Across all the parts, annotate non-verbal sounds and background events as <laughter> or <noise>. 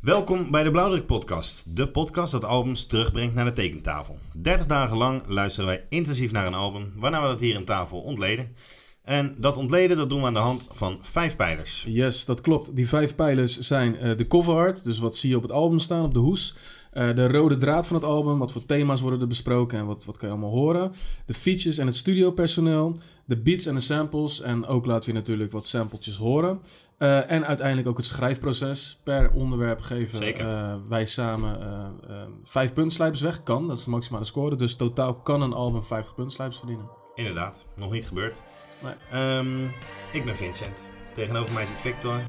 Welkom bij de Blauwdruk Podcast, de podcast dat albums terugbrengt naar de tekentafel. 30 dagen lang luisteren wij intensief naar een album, waarna we dat hier aan tafel ontleden. En dat ontleden dat doen we aan de hand van vijf pijlers. Yes, dat klopt. Die vijf pijlers zijn eh, de cover art, dus wat zie je op het album staan, op de hoes. Eh, de rode draad van het album, wat voor thema's worden er besproken en wat, wat kan je allemaal horen. De features en het studiopersoneel. De beats en de samples. En ook laten we natuurlijk wat sampletjes horen. Eh, en uiteindelijk ook het schrijfproces. Per onderwerp geven Zeker. eh, wij samen eh, eh, vijf puntslijpers weg. Kan, dat is de maximale score. Dus totaal kan een album 50 puntslijpers verdienen. Inderdaad, nog niet gebeurd. Nee. Ehm, ik ben Vincent. Tegenover mij zit Victor.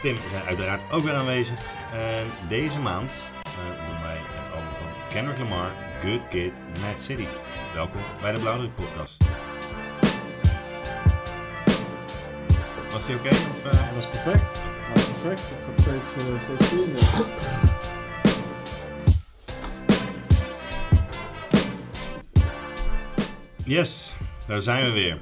Tim is uiteraard ook weer aanwezig. En deze maand eh, doen wij het album van Kendrick Lamar, Good Kid, Mad City. Welkom bij de Blauwdruk Podcast. Was die oké? of, eh? Dat is perfect. Ja, perfect. Het gaat steeds, eh, steeds vloeiender. Yes, daar zijn we weer.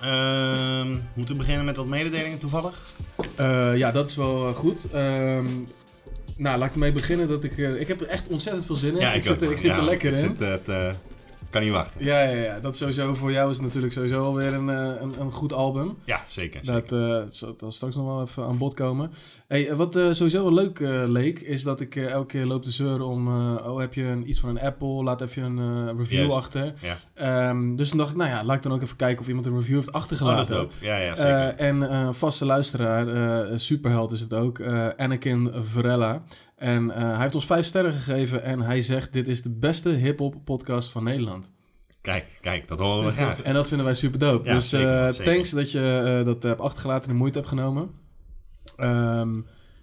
Ehm, moeten we beginnen met wat mededelingen toevallig? Eh, ja, dat is wel eh, goed. Ehm, nou, laat ik mee beginnen dat ik... eh, ik heb er echt ontzettend veel zin in. ook, zit, er- ik man. zit Ja, er lekker ik in. zit, eh, het, eh, kan niet wachten. Ja, ja, ja, dat sowieso voor jou is natuurlijk sowieso alweer een, eh, een, een goed album. Ja, zeker. zeker. Dat eh, zal zal straks nog wel even aan bod komen. Hey, eh, wat eh, sowieso wel leuk eh, leek, is dat ik eh, elke keer loop te zeuren om... eh, oh, heb je een, iets van een Apple? Laat even een eh, review Juist. achter. Ja. Ehm, dus toen dacht ik, nou ja, laat ik dan ook even kijken of iemand een review heeft Oh, achtergelaten. dat is dope. Ja, ja, zeker. Eh, en eh, vaste luisteraar, eh, superheld is het ook, eh, Anakin Varela. En eh, hij heeft ons vijf sterren gegeven en hij zegt: Dit is de beste hip-hop podcast van Nederland. Kijk, kijk, dat horen we graag. En dat vinden wij super dope. Ja, dus eh, zeker, zeker. thanks dat je eh, dat hebt achtergelaten en de moeite hebt genomen. Ehm,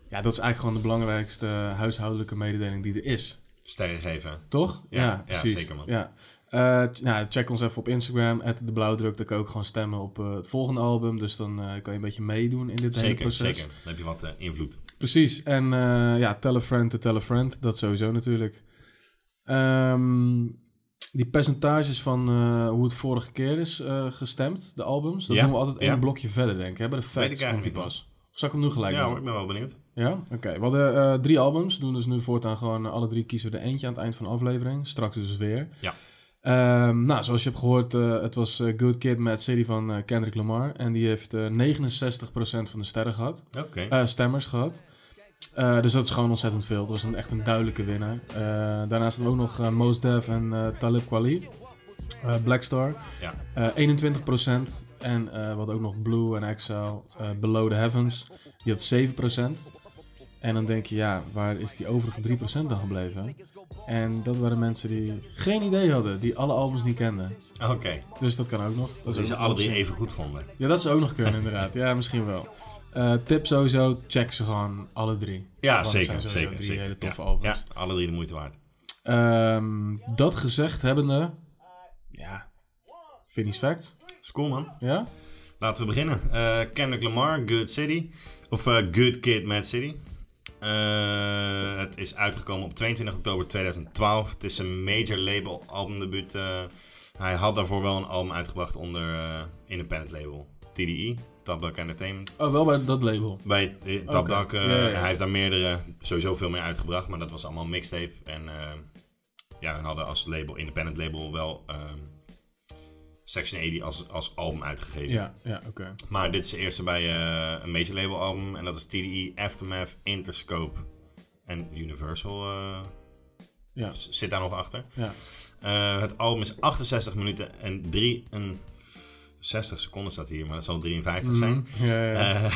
ja, dat is eigenlijk gewoon de belangrijkste huishoudelijke mededeling die er is. Sterren geven. Toch? Ja, ja, zeker, man. Ja. Eh, t- nou, check ons even op Instagram, at de blauwdruk. Daar kan je ook gewoon stemmen op eh, het volgende album. Dus dan eh, kan je een beetje meedoen in dit hele Zeker, proces. zeker. Dan heb je wat eh, invloed. Precies. En eh, ja, tell a friend to tell a friend. Dat sowieso natuurlijk. Ehm, die percentages van eh, hoe het vorige keer is eh, gestemd, de albums. Dat Ja, doen we altijd ja. één blokje verder, denk ik. Hè? Bij de Weet ik facts komt die eigenlijk pas. Of zal ik hem nu gelijk Ja doen? hoor, ik ben wel benieuwd. Ja? Oké. We hadden eh, drie albums. We doen dus nu voortaan gewoon eh, alle drie kiezen we er eentje aan het eind van de aflevering. Straks dus weer. Ja. Ehm, nou, zoals je hebt gehoord, eh, het was eh, Good Kid Mad City van eh, Kendrick Lamar. En die heeft eh 69% van de sterren gehad. Oké. Eh, stemmers gehad. Eh, dus dat is gewoon ontzettend veel. Dat was een, echt een duidelijke winnaar. Eh, daarnaast hadden we ook nog eh, Mos Def en eh, Talib Kweli. Eh Blackstar. Ja. Eh, 21%. En eh, we hadden ook nog Blue en Exile. eh, Below the Heavens. Die had 7%. En dan denk je, ja, waar is die overige 3% dan gebleven? En dat waren mensen die geen idee hadden. Die alle albums niet kenden. Oké. Dus dat kan ook nog. Dat is Die ook ze nog alle een drie optie. even goed vonden. Ja, dat zou ook nog kunnen, inderdaad. Ja, misschien wel. Eh tip sowieso, check ze gewoon alle drie. Ja, Want het zeker. Oh, zijn sowieso zeker, drie zeker. hele toffe ja. albums. Ja, alle drie de moeite waard. Ehm, dat gezegd hebbende, ja, finish fact. Is cool man. Ja? Laten we beginnen. Eh, Kendrick Lamar, Good City. Of eh, Good Kid, Mad City. Eh, het is uitgekomen op 22 oktober 2012. Het is een major label albumdebuut. eh. hij had daarvoor wel een album uitgebracht onder eh independent label. TDE, Top Dog Entertainment. Oh, wel bij dat label. Bij eh, Top Oké. Dog, eh, Ja, ja, ja. hij heeft daar meerdere, sowieso veel meer uitgebracht, maar dat was allemaal mixtape. En eh, ja, hun hadden als label, independent label, wel ehm, Section 80 als, als album uitgegeven. Ja, ja, oké. Maar dit is de eerste bij eh, een major label album. En dat is TDE, Aftermath, Interscope en Universal. eh, Ja. z- Zit daar nog achter. Ja. Eh, het album is 68 minuten en 63 seconden staat hier, maar dat zal 53 zijn. Mhm. Ja, ja, ja. Eh,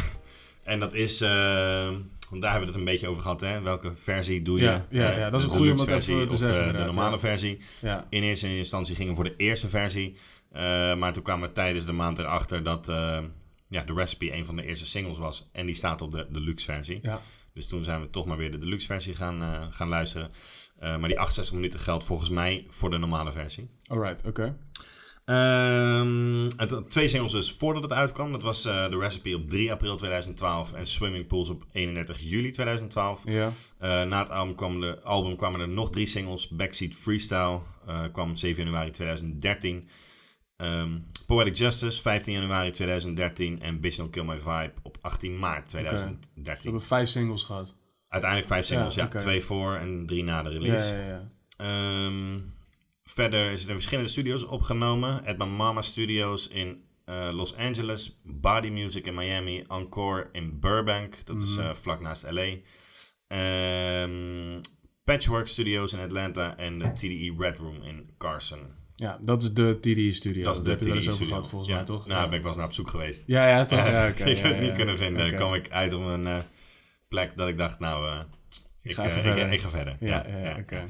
en dat is, eh, want daar hebben we het een beetje over gehad, hè? Welke versie doe je? Ja, ja, Eh, ja, dat is de een goeie deluxe om dat even versie te of, zeggen, eh, de inderdaad, normale ja. versie. ja. In eerste instantie gingen we voor de eerste versie. eh, maar toen kwamen we tijdens de maand erachter dat eh, ja, de Recipe een van de eerste singles was. En die staat op de deluxe versie. Ja. Dus toen zijn we toch maar weer de deluxe versie gaan, eh, gaan luisteren. Eh, maar die 68 minuten geldt volgens mij voor de normale versie. Alright, oké. Eh, Ehm, het had twee singles dus voordat het uitkwam. Dat was eh The Recipe op 3 april 2012 en Swimming Pools op 31 juli 2012. Ja. Eh, na het album, kwam de, album kwamen er nog drie singles. Backseat Freestyle eh, kwam 7 januari 2013. Ehm, Poetic Justice 15 januari 2013. En Bitch Don't Kill My Vibe op 18 maart We 2013. hebben vijf singles gehad. Uiteindelijk vijf singles, ja. Ja, oké. Twee voor en drie na de Ja, release. ja, ja. Ehm, verder is het in verschillende studio's opgenomen. At My Mama Studios in eh, Los Angeles, Body Music in Miami, Encore in Burbank, dat is Mhm. eh, vlak naast LA. Ehm, Patchwork Studios in Atlanta en de TDE Red Room in Carson. Ja, dat is de TD-studio. dat is de heb je wel eens TDE over Studio. gehad, volgens ja. mij, toch? Nou, daar ben ik wel eens naar op zoek geweest. Ja, <laughs> ja, toch? Ja, oké, ik heb het ja, ja, niet ja. kunnen vinden. Oké. kwam ik uit op een eh, plek dat ik dacht, nou, eh, ik, ga eh, even ik, verder. ik, ga verder. Ja, ja, oké.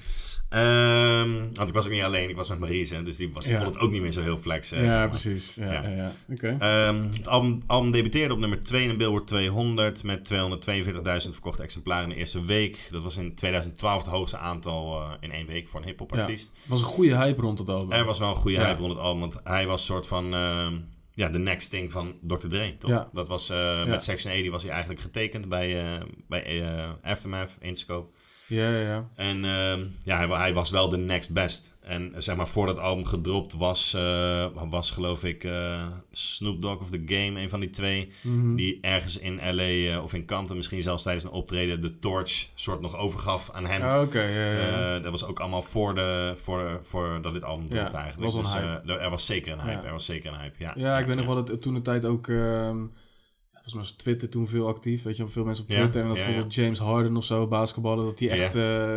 Ehm, want ik was ook niet alleen, ik was met Marise, dus die was, Ja. vond het ook niet meer zo heel flex. eh, zeg Ja, maar. precies. Ja, Ja. ja. ja. Oké. Ehm, het album, album debuteerde op nummer 2 in de Billboard 200 met 242.000 verkochte exemplaren in de eerste week. Dat was in 2012 het hoogste aantal eh, in één week voor een hip-hop Ja. artiest. was een goede hype rond het album. Er was wel een goede Ja. hype rond het album, want hij was soort van ehm, ja, de next thing van Dr. Dre, toch? Ja. Dat was, eh, met Section 80 was hij eigenlijk getekend bij, eh, bij eh, Aftermath, Interscope. Ja, ja, ja. En ehm, ja, hij, wa- hij was wel de next best. En eh, zeg maar, voordat het album gedropt was, eh, was geloof ik eh, Snoop Dogg of The Game, een van die twee, Mhm. die ergens in L.A. eh, of in Compton, misschien zelfs tijdens een optreden, de torch soort nog overgaf aan hem. Ah, Oké, ja, ja, ja. Eh, dat was ook allemaal voor, de, voor, voor dat dit album Ja, dropt eigenlijk. was dus, wel een eh, er- er was zeker een hype. Ja. Er was zeker een hype. Ja, Ja, ik weet nog wel dat toen de tijd ook. ehm, ja, volgens mij was Twitter toen veel actief. Weet je, wel, veel mensen op Ja, Twitter. en dat ja, bijvoorbeeld James Harden of zo, basketballen. Dat hij Ja. echt eh,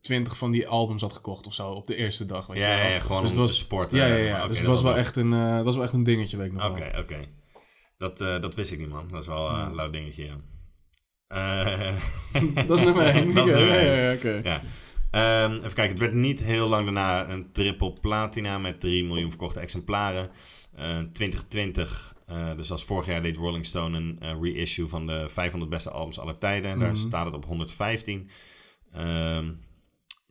twintig van die albums had gekocht of zo op de eerste dag. Weet Ja, je ja, wel. ja, gewoon Dus om het was- te supporten. Ja, ja, eh, ja. maar oké, dus het dat was wel echt, een, eh, het was wel echt een dingetje, weet ik nog wel. Oké, oké. Dat, eh, dat wist ik niet, man. Dat is wel eh, een lauw dingetje, <laughs> ja. Eh, Dat <laughs> is nummer één. dat is Ja, nummer ja, één. ja, ja, oké. Ja. Ehm, even kijken, het werd niet heel lang daarna een triple platina met 3 miljoen verkochte exemplaren. Eh, 2020, eh, dus als vorig jaar deed Rolling Stone een eh, reissue van de 500 beste albums aller tijden. Daar Mhm. staat het op 115. Ehm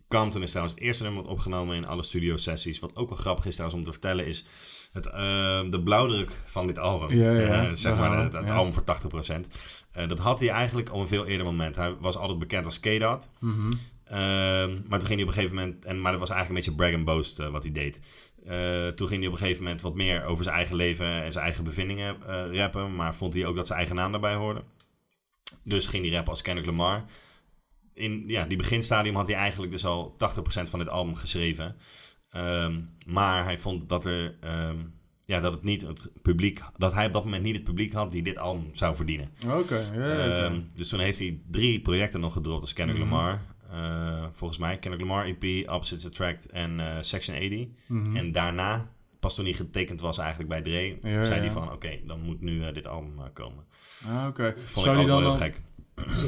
Compton is trouwens het eerste nummer wat opgenomen in alle studiosessies. Wat ook wel grappig is trouwens om te vertellen is het, ehm, de blauwdruk van dit album. Ja, ja, ja. Eh, zeg Ja, maar het, het ja. album voor 80%. Eh, dat had hij eigenlijk al een veel eerder moment. Hij was altijd bekend als K-Dot. Mhm. Ehm, maar toen ging hij op een gegeven moment, en, maar dat was eigenlijk een beetje brag and boast eh, wat hij deed. Eh, toen ging hij op een gegeven moment wat meer over zijn eigen leven en zijn eigen bevindingen eh, rappen. Maar vond hij ook dat zijn eigen naam daarbij hoorde. Dus ging hij rappen als Kendrick Lamar. In ja, die beginstadium had hij eigenlijk dus al 80% van dit album geschreven. Ehm, maar hij vond dat, er, ehm, ja, dat, het niet het publiek, dat hij op dat moment niet het publiek had die dit album zou verdienen. Oké, ja, ja, ja. Ehm, dus toen heeft hij drie projecten nog gedropt als Kendrick Mhm. Lamar. Eh, volgens mij Kendrick Lamar EP, Opposites Attract en eh, Section 80. Mhm. En daarna, pas toen hij getekend was eigenlijk bij Dre, Ja, zei ja. hij van oké, dan moet nu eh, dit album eh, komen. Ah, oké. Vond Zou ik die ook wel dan heel al- gek.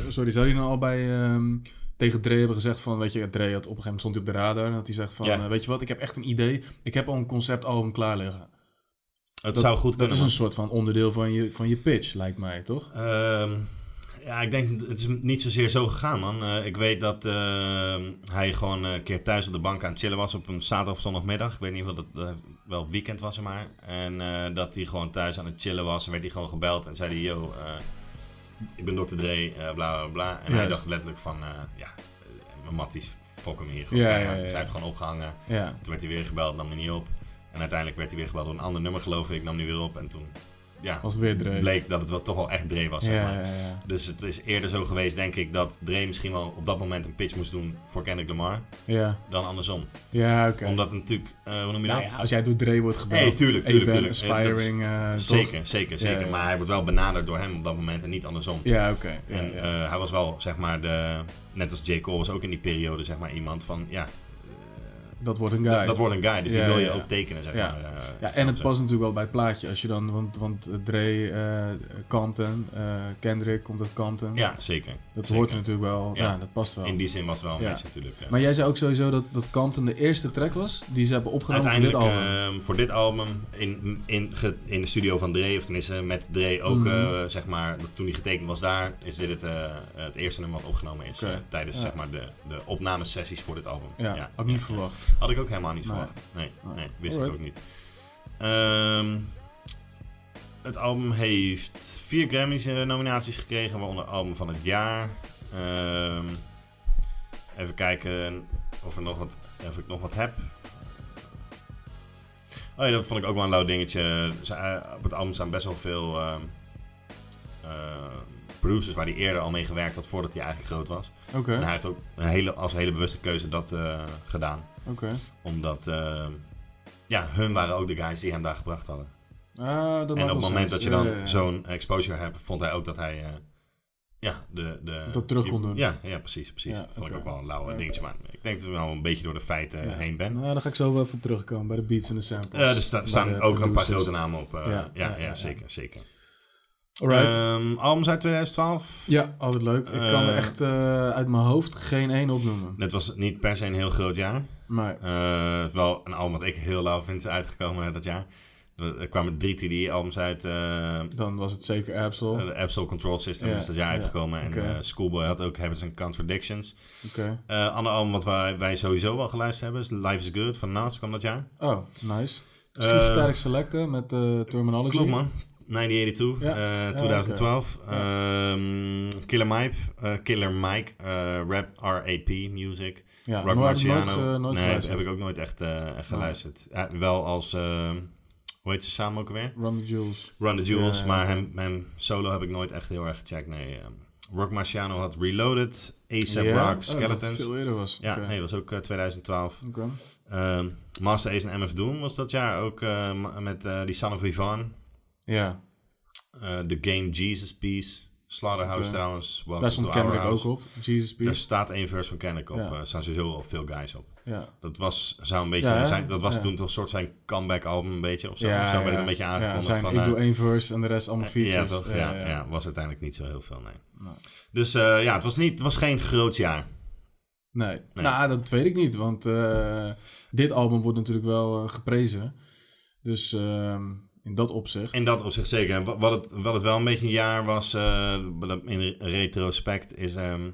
Sorry, zou hij dan al bij ehm, tegen Dre hebben gezegd van, weet je, Dre had op een gegeven moment stond hij op de radar en dat hij zegt van, Ja. eh, weet je wat, ik heb echt een idee, ik heb al een conceptalbum klaar liggen. Het zou goed Dat kunnen. is een soort van onderdeel van je, van je pitch, lijkt mij, toch? man. Ehm, ja, ik denk, het is niet zozeer zo gegaan, man. Eh, ik weet dat ehm, hij gewoon een keer thuis op de bank aan het chillen was op een zaterdag of zondagmiddag. Ik weet niet of dat eh, wel weekend was, maar. En eh, dat hij gewoon thuis aan het chillen was. En werd hij gewoon gebeld en zei hij, yo, eh, ik ben Dr. Dre, eh, bla bla bla. En hij Juist. dacht letterlijk van, eh, ja, eh, matties, fuck hem hier. Gewoon, Ja, keihard. ja, ja, Dus ja. hij heeft gewoon opgehangen. Ja. Toen werd hij weer gebeld, nam hij niet op. En uiteindelijk werd hij weer gebeld door een ander nummer, geloof ik. Nam hij weer op en toen, ja, Was het weer Dre. bleek dat het wel toch wel echt Dre was, ja, zeg ja, maar. ja. Dus het is eerder zo geweest, denk ik, dat Dre misschien wel op dat moment een pitch moest doen voor Kendrick Lamar, Ja, dan andersom. ja oké. Omdat het natuurlijk, eh, hoe noem je dat? Nou ja, als jij door Dre wordt gebeld, Nee, tuurlijk, en je tuurlijk, bent tuurlijk. Eh, dat is aspiring, eh, toch? zeker, zeker, zeker. ja. Maar hij wordt wel benaderd door hem op dat moment en niet andersom. Ja, oké. ja, en ja. eh, hij was wel, zeg maar, de, net als J. Cole was ook in die periode, zeg maar, iemand van, ja, dat wordt een guy. dat, dat wordt een guy, dus Ja, die wil je ja, ja. ook tekenen, zeg Ja. maar. eh, Ja, zo en het gezegd. past natuurlijk wel bij het plaatje. Als je dan, want, want eh, Dre, eh Compton, eh, Kendrick komt uit Compton. Ja, zeker. dat zeker. hoort er natuurlijk wel. Ja. Ja, dat past wel. In die zin was het wel een Ja. beetje natuurlijk. ja. Maar jij zei ook sowieso dat, dat Compton de eerste track was die ze hebben opgenomen voor dit Uiteindelijk album. ehm, voor dit album in, in, ge- in de studio van Dre, of tenminste met Dre ook, Mhm. eh, zeg maar, dat toen hij getekend was daar, is dit het, eh, het eerste nummer wat opgenomen is Oké, eh, tijdens ja. zeg maar, de, de opnamesessies voor dit album. ja, had ik niet verwacht. Had ik ook helemaal niet Nee. verwacht. Nee, Nee. nee wist ik Alright. ook niet. Ehm, het album heeft vier Grammys-nominaties gekregen, waaronder Album van het Jaar. Ehm, even kijken of, er nog wat, of ik nog wat heb. Oh ja, dat vond ik ook wel een lauw dingetje. Ze- eh, Op het album staan best wel veel ehm, eh, producers waar hij eerder al mee gewerkt had voordat hij eigenlijk groot was. Oké, En hij heeft ook een hele, als hele bewuste keuze dat eh, gedaan. oké. Omdat eh, ja, hun waren ook de guys die hem daar gebracht hadden. Ah, dat maakt eh, en op wel het moment sens. dat je Ja, dan ja, ja. zo'n exposure hebt, vond hij ook dat hij eh, ja, de, de, Dat terug kon die- doen. Ja, ja precies. precies. Ja, vond oké. ik ook wel een Ja, lauwe oké. dingetje. Maar ik denk dat ik wel een beetje door de feiten Ja. eh, heen ben. Nou, daar ga ik zo wel even op terugkomen bij de beats en de samples. Eh, er sta- Bij staan de ook een paar producers. grote namen op. eh, Ja, ja, ja, ja, ja. zeker. zeker. Alright. Ehm, albums uit 2012. ja, altijd leuk. Ik kan er eh, echt eh, uit mijn hoofd geen één opnoemen. Dat was niet per se een heel groot jaar. Maar Eh, wel een album wat ik heel lauw vind is uitgekomen dat jaar. Er er kwamen drie TD-albums uit. eh, dan was het zeker Absol. Oké. de Absol Control System Ja, is dat jaar ja, uitgekomen. En oké. eh, Schoolboy had ook Habits and Contradictions. Eh ander album wat wij, wij sowieso wel geluisterd hebben is Life is Good van Nas kwam dat jaar. Oh, nice. Misschien Eh, sterk selecten met eh terminology. Klopt man. 1982, Ja, eh, ja, 2012. Ehm, Killer Mike, eh, Killer Mike eh, rap R.A.P. music. Ja, Rock nooit, nooit, Marciano. eh, nooit nee, geluisterd. heb ik ook nooit echt, eh, echt geluisterd. Ja, wel als, ehm, hoe heet ze samen ook weer? Run the Jewels. Run the Jewels, Ja. maar hem, hem solo heb ik nooit echt heel erg gecheckt. Nee, ehm, Rock Marciano had Reloaded, ASAP Ja? Rock, Oh, dat het Skeletons. veel eerder was. ja, Oké. nee, dat was ook eh, 2012. Oké. Ehm, Master Ace en MF Doom was dat jaar ook eh, ma- met eh, die Son of Ivan. Ja, Eh, The Game Jesus Piece. Slaughterhouse Oké. trouwens. Welcome daar stond to Kendrick Our House. ook op. Jesus Daar Peace. staat één verse van Kendrick op. Ja. Eh, Er staan sowieso al veel guys op. Ja. Dat was, zou een beetje Ja, hè? zijn, dat was Ja. toen toch een soort zijn comeback album een beetje of zo. ja, zo werd het ja. een beetje Ja, aangekondigd zijn, van... ik eh, doe één verse en de rest allemaal features. <laughs> ja, toch? Ja, ja, ja. was uiteindelijk niet zo heel veel, nee. Nee. Dus eh, ja, het was, niet, het was geen groot jaar. Nee. Nou, dat weet ik niet, want eh, dit album wordt natuurlijk wel eh, geprezen. Dus ehm, in dat opzicht. In dat opzicht zeker. Wa- Wat het, wat het wel een beetje een jaar was, eh, in retrospect, is... ehm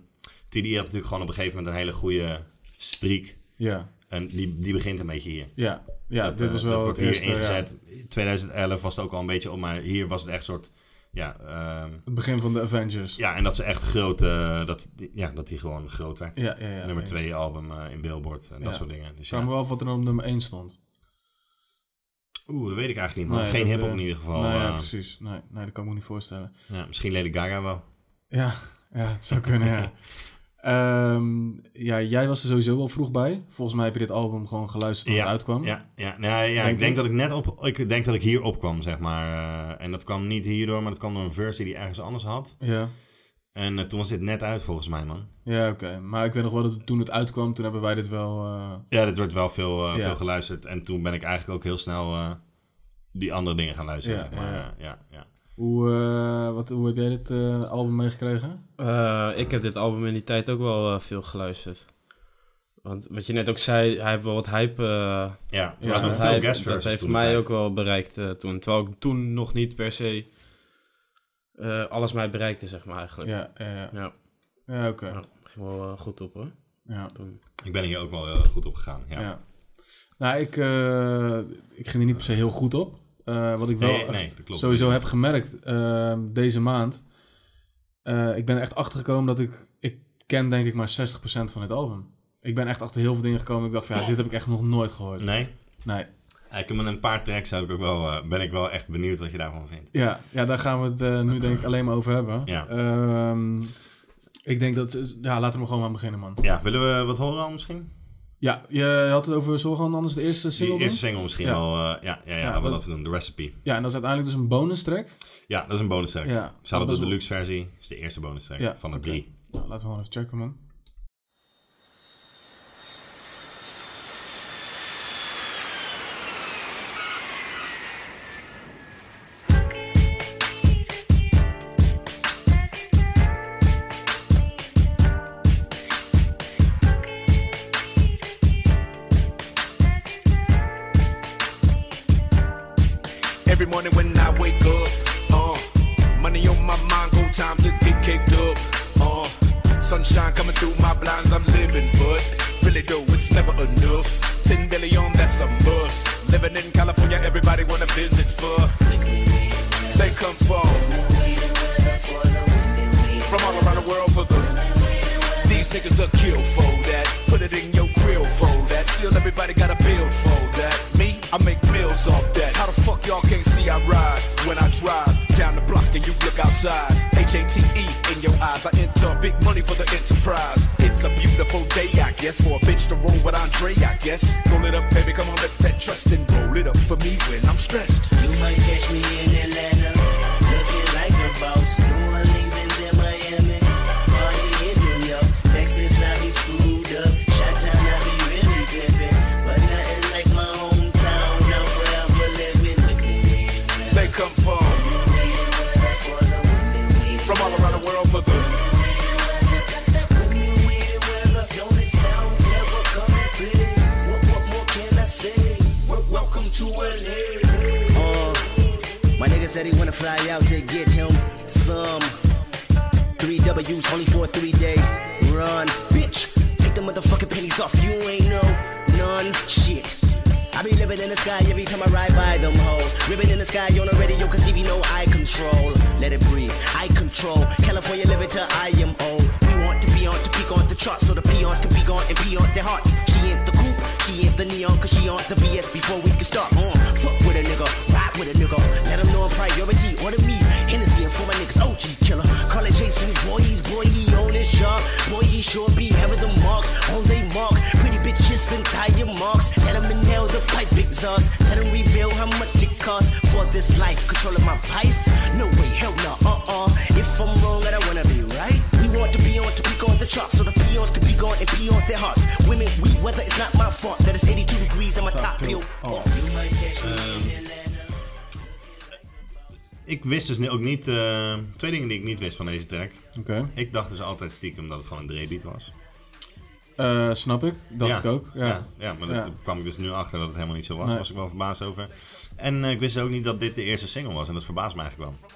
TD had natuurlijk gewoon op een gegeven moment een hele goede streak. Ja, En Ehm, die, die begint een beetje hier. ja, ja dat, dit eh, was wel dat het wordt eerste. hier ja. ingezet. 2011 was het ook al een beetje op, maar hier was het echt soort... Ja, ehm, het begin van de Avengers. ja en dat ze echt groot... eh, dat, ja, dat die gewoon groot werd. ja, ja, ja, Nummer eens. 2 album eh, in Billboard en dat Ja. soort dingen. Dus Ik ja. vraag me wel af wat er dan op nummer 1 stond. Oeh, dat weet ik eigenlijk niet, man. Nee, Geen dat, hip-hop eh, in ieder geval. nou ja, eh, precies. Nee, nee, dat kan ik me niet voorstellen. ja, misschien Lady Gaga wel. Ja, ja het zou kunnen, <laughs> ja. Ehm, ja, jij was er sowieso wel vroeg bij. Volgens mij heb je dit album gewoon geluisterd toen Ja, het uitkwam. Ja, ja, nou, ja Denk ik denk je? dat ik net op... Ik denk dat ik hier opkwam, zeg maar. eh, en dat kwam niet hierdoor, maar dat kwam door een versie die ergens anders had. ja. En eh, toen was dit net uit, volgens mij, man. Ja, oké. Maar ik weet nog wel dat het- toen het uitkwam, toen hebben wij dit wel... eh, Ja, dit werd wel veel, eh, Ja. veel geluisterd. En toen ben ik eigenlijk ook heel snel eh, die andere dingen gaan luisteren, Ja, zeg maar. ja. Ja, ja, ja. hoe, eh, wat, hoe heb jij dit eh, album meegekregen? Eh, ik heb dit album in die tijd ook wel eh, veel geluisterd. Want wat je net ook zei, hij heeft wel wat hype. eh, Ja, er Ja, waren ook dat veel hype, guest dat verses heeft toen de mij tijd. ook wel bereikt eh, toen. Terwijl ik toen nog niet per se eh, alles mij bereikte, zeg maar eigenlijk. Ja, Ja, ja, ja. ja, ja oké. ging wel eh, goed op hoor. Ja. Toen. Ik ben hier ook wel eh, goed op gegaan, ja. Ja. Nou, ik, eh, ik ging er niet per se heel goed op. Eh, wat ik wel Nee, echt nee, dat klopt. sowieso heb gemerkt eh, deze maand. eh, ik ben er echt achtergekomen dat ik... Ik ken denk ik maar 60% van dit album. Ik ben echt achter heel veel dingen gekomen. Ik dacht van ja, dit heb ik echt nog nooit gehoord. Nee? Nee. Ik heb met een paar tracks heb ik ook wel, eh, ben ik wel echt benieuwd wat je daarvan vindt. Ja, ja daar gaan we het eh, nu denk ik alleen maar over hebben. Ja. Ehm, ik denk dat... Ja, laten we gewoon maar beginnen, man. Ja, willen we wat horen al misschien? Ja, je had het over Zorg aan anders de eerste single. Die eerste dan? single misschien Ja. al. eh, ja, ja, ja, Ja, laten we dat- dat doen. De Recipe. Ja, en dat is uiteindelijk dus een bonus track. Ja, dat is een bonus track. Ja. Ze hadden dus Dat de is wel- deluxe versie. Dat is de eerste bonus track Ja, van de oké. drie. Nou, laten we gewoon even checken, man. Every morning when I wake up, uh, money on my mind, go time to get kicked up, uh, sunshine coming through my blinds, I'm living, but really though, it's never enough. 10 billion, that's a must. Living in California, everybody wanna visit for. They come from, from all around the world for the. These niggas a kill for that. Put it in your grill for that. Still, everybody got a build for that. Me, I make meals off that. How the fuck y'all can't see I ride when I drive down the block and you look outside? H A T E in your eyes. I enter big money for the enterprise. It's a beautiful day, I guess. For a bitch to roll with Andre, I guess. Roll it up, baby, come on, let that trust and roll it up for me when I'm stressed. You might catch me in Atlanta, looking like the boss. New Orleans and then Miami, party in New York, Texas. I be screwed up, shot town I be really pimping, but nothing like my hometown. I'm forever living with me They come for from the women. We from all around the world for the. Welcome to LA. Uh, my nigga said he wanna fly out to get him some. Three W's only for a three day run. Bitch, take the motherfucking pennies off. You ain't no none shit. I be living in the sky every time I ride by them hoes. Ribbon in the sky on the radio, cause Stevie know I control. Let it breathe, I control. California living till I am old. We want to be on to peak on the charts so the peons can be gone and pee on their hearts. She ain't the coupe, she ain't the neon, cause she on the BS before we can start on. Fuck with a nigga, ride with a nigga. Let them know I'm priority, order me. Hennessy and for my niggas, OG killer. Call it Jason, boy, he's boy, he on his job. Boy, he sure be having the marks on they mark. Pretty bitches and tire marks. Let them inhale the pipe exhaust. Let them reveal how much it costs for this life. Controlling my vice? No way, hell no, uh uh. If I'm wrong, I don't wanna be right. We want to be on to peak on the charts so the peons can be gone and pee on their hearts. Women, we weather, it's not my fault that it's 82 degrees and my top peel off. Ik wist dus ni- ook niet... eh, twee dingen die ik niet wist van deze track. Oké. Ik dacht dus altijd stiekem dat het gewoon een Dre-beat was. Eh, snap ik. Dacht ik ook. Ja. ja, ja, maar daar Ja. kwam ik dus nu achter dat het helemaal niet zo was. Nee. Daar was ik wel verbaasd over. En eh, ik wist ook niet dat dit de eerste single was. En dat verbaast me eigenlijk wel.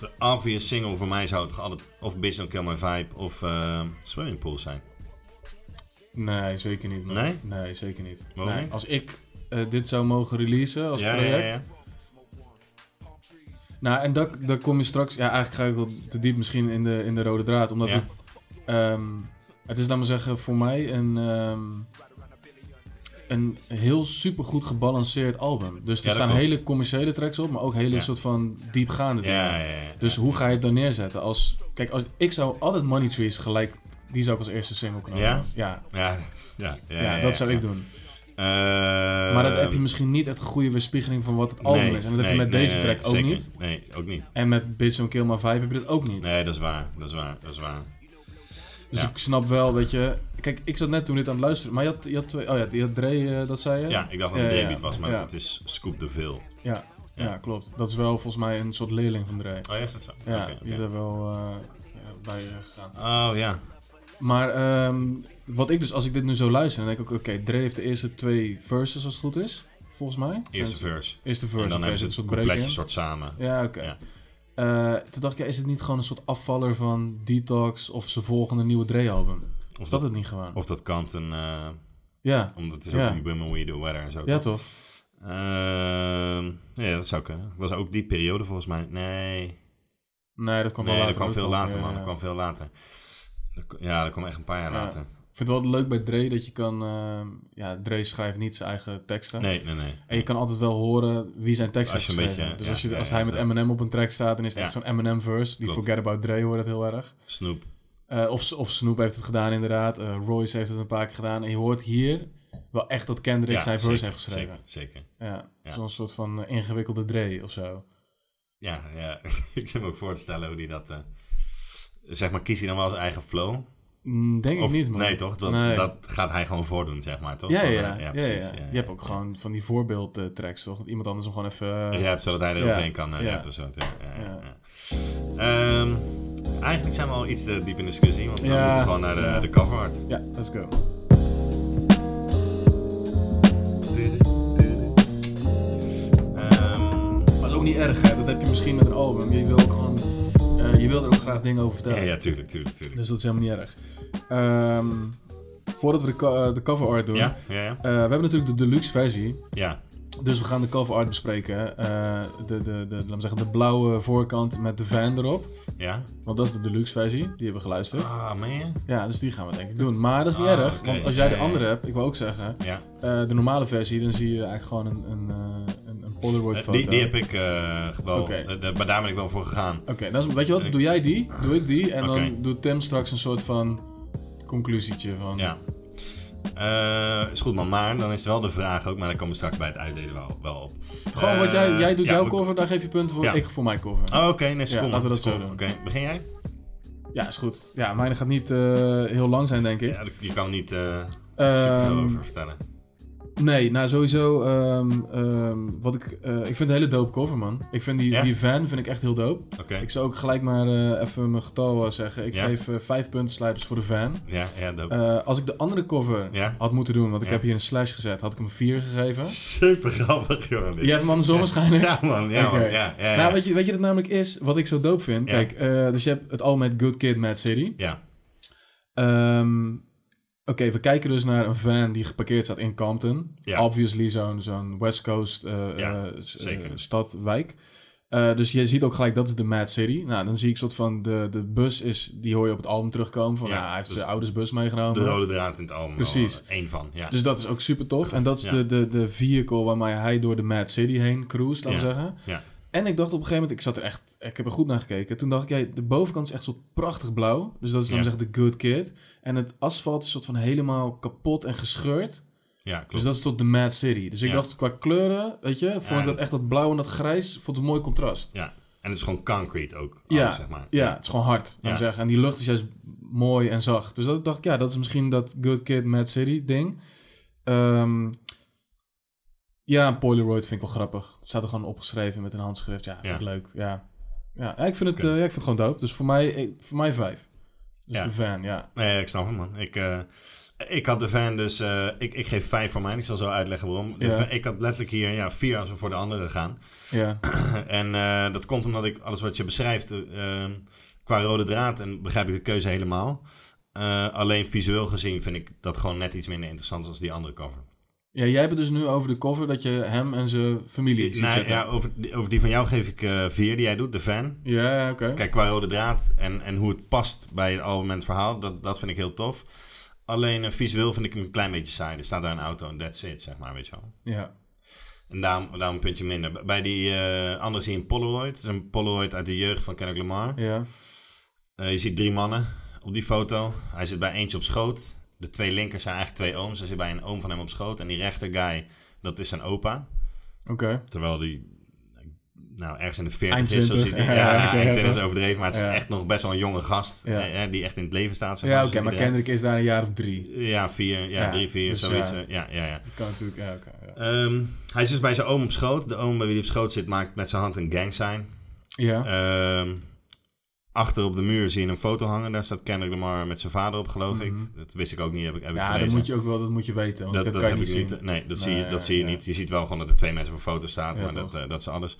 De obvious single voor mij zou het toch altijd of Bitch Don't Kill My Vibe of eh, Swimming Pool zijn. Nee, zeker niet. man. Nee? Nee, zeker niet. Waarom Nee, niet? Als ik eh, dit zou mogen releasen als Ja, ja, project... ja, ja. Nou, en dat, dat kom je straks... Ja, eigenlijk ga ik wel te diep misschien in de, in de rode draad. Omdat Ja. het... ehm, het is, laat maar zeggen, voor mij een... ehm, een heel supergoed gebalanceerd album. Dus er Ja, dat staan klopt. hele commerciële tracks op, maar ook hele Ja. soort van diepgaande dingen. Ja, ja, ja. Dus hoe ga je het dan neerzetten? Als, kijk, als, ik zou altijd Money Trees gelijk... Die zou ik als eerste single kunnen Ja? horen. Oh, Ja? Ja, ja, ja, Ja, ja, dat ja. zou ik doen. Eh, Maar dat heb je misschien niet echt een goede weerspiegeling van wat het album nee, is. En dat heb nee, je met nee, deze nee, track ook zeker. niet. Nee, ook niet. En met Bitch Don't Kill My Vibe heb je dat ook niet. Nee, dat is waar. Dat is waar. Dat is waar. dus ja. ik snap wel dat je... Kijk, ik zat net toen dit aan het luisteren. Maar je had, je had twee... Oh ja, je had Dre, eh, dat zei je? Ja, ik dacht dat het een Ja, ja, Dre-beat was, maar ja. het is Scoop de Veel. Ja, ja. klopt. Dat is wel volgens mij een soort leerling van Dre. Oh, ja, is dat zo? Ja, Oké, oké. die is daar wel eh, ja, bij eh, gegaan. Oh, ja. Maar ehm, wat ik dus, als ik dit nu zo luister, dan denk ik ook... Oké, Dre heeft de eerste twee verses als het goed is. Volgens mij. Eerste En- verse. Eerste verse. En dan oké, hebben ze zit het een soort break completje in. soort samen. Ja, oké. Ja. Eh, toen dacht ik, ja, is het niet gewoon een soort afvaller van Detox of zijn volgende nieuwe Dre-album? Of dat het niet gewoon? Of dat Compton, eh ja. omdat het is Ja. ook die Women We Do Weather en zo. ja, toch? toch? Ehm, ja, dat zou kunnen. was ook die periode volgens mij. Nee, Nee, dat kwam wel nee dat later kwam ook veel wel. later, Ja, man. ja. Dat kwam veel later. Dat k- Ja, dat kwam echt een paar jaar Ja. later. Ik vind het wel leuk bij Dre dat je kan... ehm, ja, Dre schrijft niet zijn eigen teksten. Nee, nee, nee. En je kan altijd wel horen wie zijn tekst Als heeft je een geschreven. beetje, dus ja, als, je, ja, als ja, hij ja. met Eminem op een track staat, dan is het echt Ja. zo'n Eminem-verse. Die Klopt. Forget About Dre hoort het heel erg. Snoep. Eh, of, of Snoop heeft het gedaan, inderdaad. Eh, Royce heeft het een paar keer gedaan. En je hoort hier wel echt dat Kendrick Ja, zijn verse zeker, heeft geschreven. Zeker, zeker. Ja, Ja. zo'n soort van eh, ingewikkelde Dre of zo. Ja, ja. <laughs> ik kan me ook voorstellen hoe die dat... eh, zeg maar, kiest hij dan wel zijn eigen flow? Mm, Denk Of, ik niet, man. nee, toch? Dat, Nee. dat gaat hij gewoon voordoen, zeg maar, toch? Ja, ja, Want, eh, ja. ja, precies. ja. je hebt ook gewoon van die voorbeeldtracks, toch? Dat iemand anders hem gewoon even... eh, Ja, zodat hij er Ja, overheen kan eh, ja. rappen. Zo, ja, ja, Ja. ja. Ehm, eigenlijk zijn we al iets te diep in discussie, want we Ja, moeten gewoon naar de, ja. de cover art. ja, let's go. Ehm, Maar dat is ook niet erg, hè? Dat heb je misschien met een album. Je wil ook gewoon... eh, je wil er ook graag dingen over ja, vertellen. ja, tuurlijk, tuurlijk, tuurlijk. Dus dat is helemaal niet erg. Ehm, voordat we de, co- eh, de cover art doen... Ja, ja, ja. eh, we hebben natuurlijk de deluxe versie. ja. Dus we gaan de cover art bespreken. Eh, de, de, de, laat me zeggen, de blauwe voorkant met de van erop. Ja? Want dat is de deluxe versie. Die hebben we geluisterd. Ah, meen je? Ja, dus die gaan we denk ik doen. Maar dat is niet Ah, erg. oké. Want als jij de Ja, ja, andere hebt, ik wil ook zeggen, Ja. eh, de normale versie, dan zie je eigenlijk gewoon een, een, eh, een, een Polaroid Eh, foto. Die, die heb ik eh wel, Oké. eh, daar- maar daar ben ik wel voor gegaan. Oké, dat is- weet je wat? Doe jij die, doe ik die. En Oké. dan doet Tim straks een soort van conclusietje van... Ja. Eh, is goed, man. Maar dan is wel de vraag ook, maar daar komen we straks bij het uitdelen wel, wel op. Gewoon wat jij, Eh, jij doet ja, jouw we- cover, daar geef je punten voor. Ja. Ik voor mijn cover. Oh, oké, nee, seconde. laten we dat zo seconde. doen. Oké, begin jij? Ja, is goed. Ja, mijn gaat niet eh, heel lang zijn, denk ik. Ja, je kan er niet eh super Ehm, veel over vertellen. <laughs> Nee, nou sowieso. ehm, ehm, wat ik, eh, ik vind het een hele dope cover, man. Ik vind die, Ja? die van vind ik echt heel dope. Oké, Ik zou ook gelijk maar eh, even mijn getal eh, zeggen. Ik Ja? geef eh, vijf punten slijpers voor de van. ja, ja, dat... Eh, als ik de andere cover Ja? had moeten doen, want ik Ja. heb hier een slash gezet, had ik hem vier gegeven. super grappig, joh. dit. Jij hebt hem andersom waarschijnlijk. Ja, man, ja, Oké. man, ja, ja, ja. Nou, weet je, weet je wat het namelijk is? Wat ik zo dope vind? Ja. Kijk, eh, dus je hebt het al met Good Kid, Mad City. ja. Ehm, Oké, we kijken dus naar een van die geparkeerd staat in Compton. Ja. Obviously zo'n zo'n West Coast eh, Ja, eh, s- zeker. eh, stad, wijk. Eh, dus je ziet ook gelijk, dat is de Mad City. Nou, dan zie ik soort van de, de bus is, die hoor je op het album terugkomen. Van, Ja, ja, hij heeft dus- zijn ouders bus meegenomen. De rode draad in het album. Precies. Eén van, ja. Dus dat is ook super tof. En dat is Ja. de, de, de vehicle waarmee hij door de Mad City heen cruise, laten we Ja. zeggen. ja. En ik dacht op een gegeven moment, ik zat er echt, ik heb er goed naar gekeken. Toen dacht ik, ja, de bovenkant is echt zo prachtig blauw. Dus dat is dan Ja. zeg de Good Kid. En het asfalt is soort van helemaal kapot en gescheurd. Ja, klopt. Dus dat is tot de Mad City. Dus ik Ja. dacht, qua kleuren, weet je, vond ik Ja. dat echt dat blauw en dat grijs, vond ik een mooi contrast. Ja. En het is gewoon concrete ook. Ja, alles, zeg maar. ja, het is gewoon hard, laat Ja. ik zeggen. En die lucht is juist mooi en zacht. Dus dat dacht ik, ja, dat is misschien dat Good Kid, Mad City ding. Ehm, ja, een Polaroid vind ik wel grappig. Het staat er gewoon opgeschreven met een handschrift. Ja, vind ik Ja. leuk. Ja, ja ik, vind het, Oké. eh, ja ik vind het gewoon dope. Dus voor mij, ik- voor mij vijf. Dus Ja. de fan, ja. Nee, ik snap hem, man. Ik, eh, ik had de fan dus... eh, ik, ik geef vijf voor mij. Ik zal zo uitleggen waarom. De Ja. fan- ik had letterlijk hier ja, vier als we voor de andere gaan. ja. <clears throat> en eh, dat komt omdat ik alles wat je beschrijft... eh, ehm, qua rode draad, en begrijp ik de keuze helemaal... Eh, alleen visueel gezien vind ik dat gewoon net iets minder interessant als die andere cover. ja, jij hebt het dus nu over de cover dat je hem en zijn familie ziet Nou, zitten. ja, Ja, over, over die van jou geef ik eh, vier, die jij doet, de fan. ja oké. Kijk, qua rode draad en, en hoe het past bij het album en het verhaal, dat, dat vind ik heel tof. Alleen eh, visueel vind ik hem een klein beetje saai. Er staat daar een auto en that's it, zeg maar, weet je wel. Ja. En daarom, daarom een puntje minder. B- Bij die eh andere zie je een Polaroid. Dat is een Polaroid uit de jeugd van Kendrick Lamar. Ja. Eh, je ziet drie mannen op die foto. Hij zit bij eentje op schoot. De twee linkers zijn eigenlijk twee ooms. Hij zit bij een oom van hem op schoot. En die rechter guy, dat is zijn opa. Oké. Terwijl die nou, ergens in de 40 Eind is. Zo 20. ziet hij, Ja, ja, <laughs> ja, ja, oké, ja, eind 20 toch? is overdreven, maar het is Ja. echt nog best wel een jonge gast. Ja. eh, die echt in het leven staat. zeg Dus Ja, oké, Zo ziet maar hij eruit. Kendrick is daar een jaar of drie. Ja, vier, ja, Ja, drie, vier, dus zoiets. ja. eh, Ja, ja, ja. Kan natuurlijk, ja, oké. ja. Ehm, hij is dus bij zijn oom op schoot. De oom bij wie hij op schoot zit maakt met zijn hand een gang sign. ja. Ehm, achter op de muur zie je een foto hangen. Daar staat Kendrick Lamar met zijn vader op, geloof ik. Dat wist ik ook niet, heb ik, heb ik Mhm. Ja, dat gelezen. moet je ook wel, dat moet je weten. Want dat, dat, dat kan je heb niet ik zien. niet. Nee, dat, zie, Nee, je, dat zie je nee. niet. Je ziet wel gewoon dat er twee mensen op een foto staan, Ja, maar toch. dat, eh, dat is alles.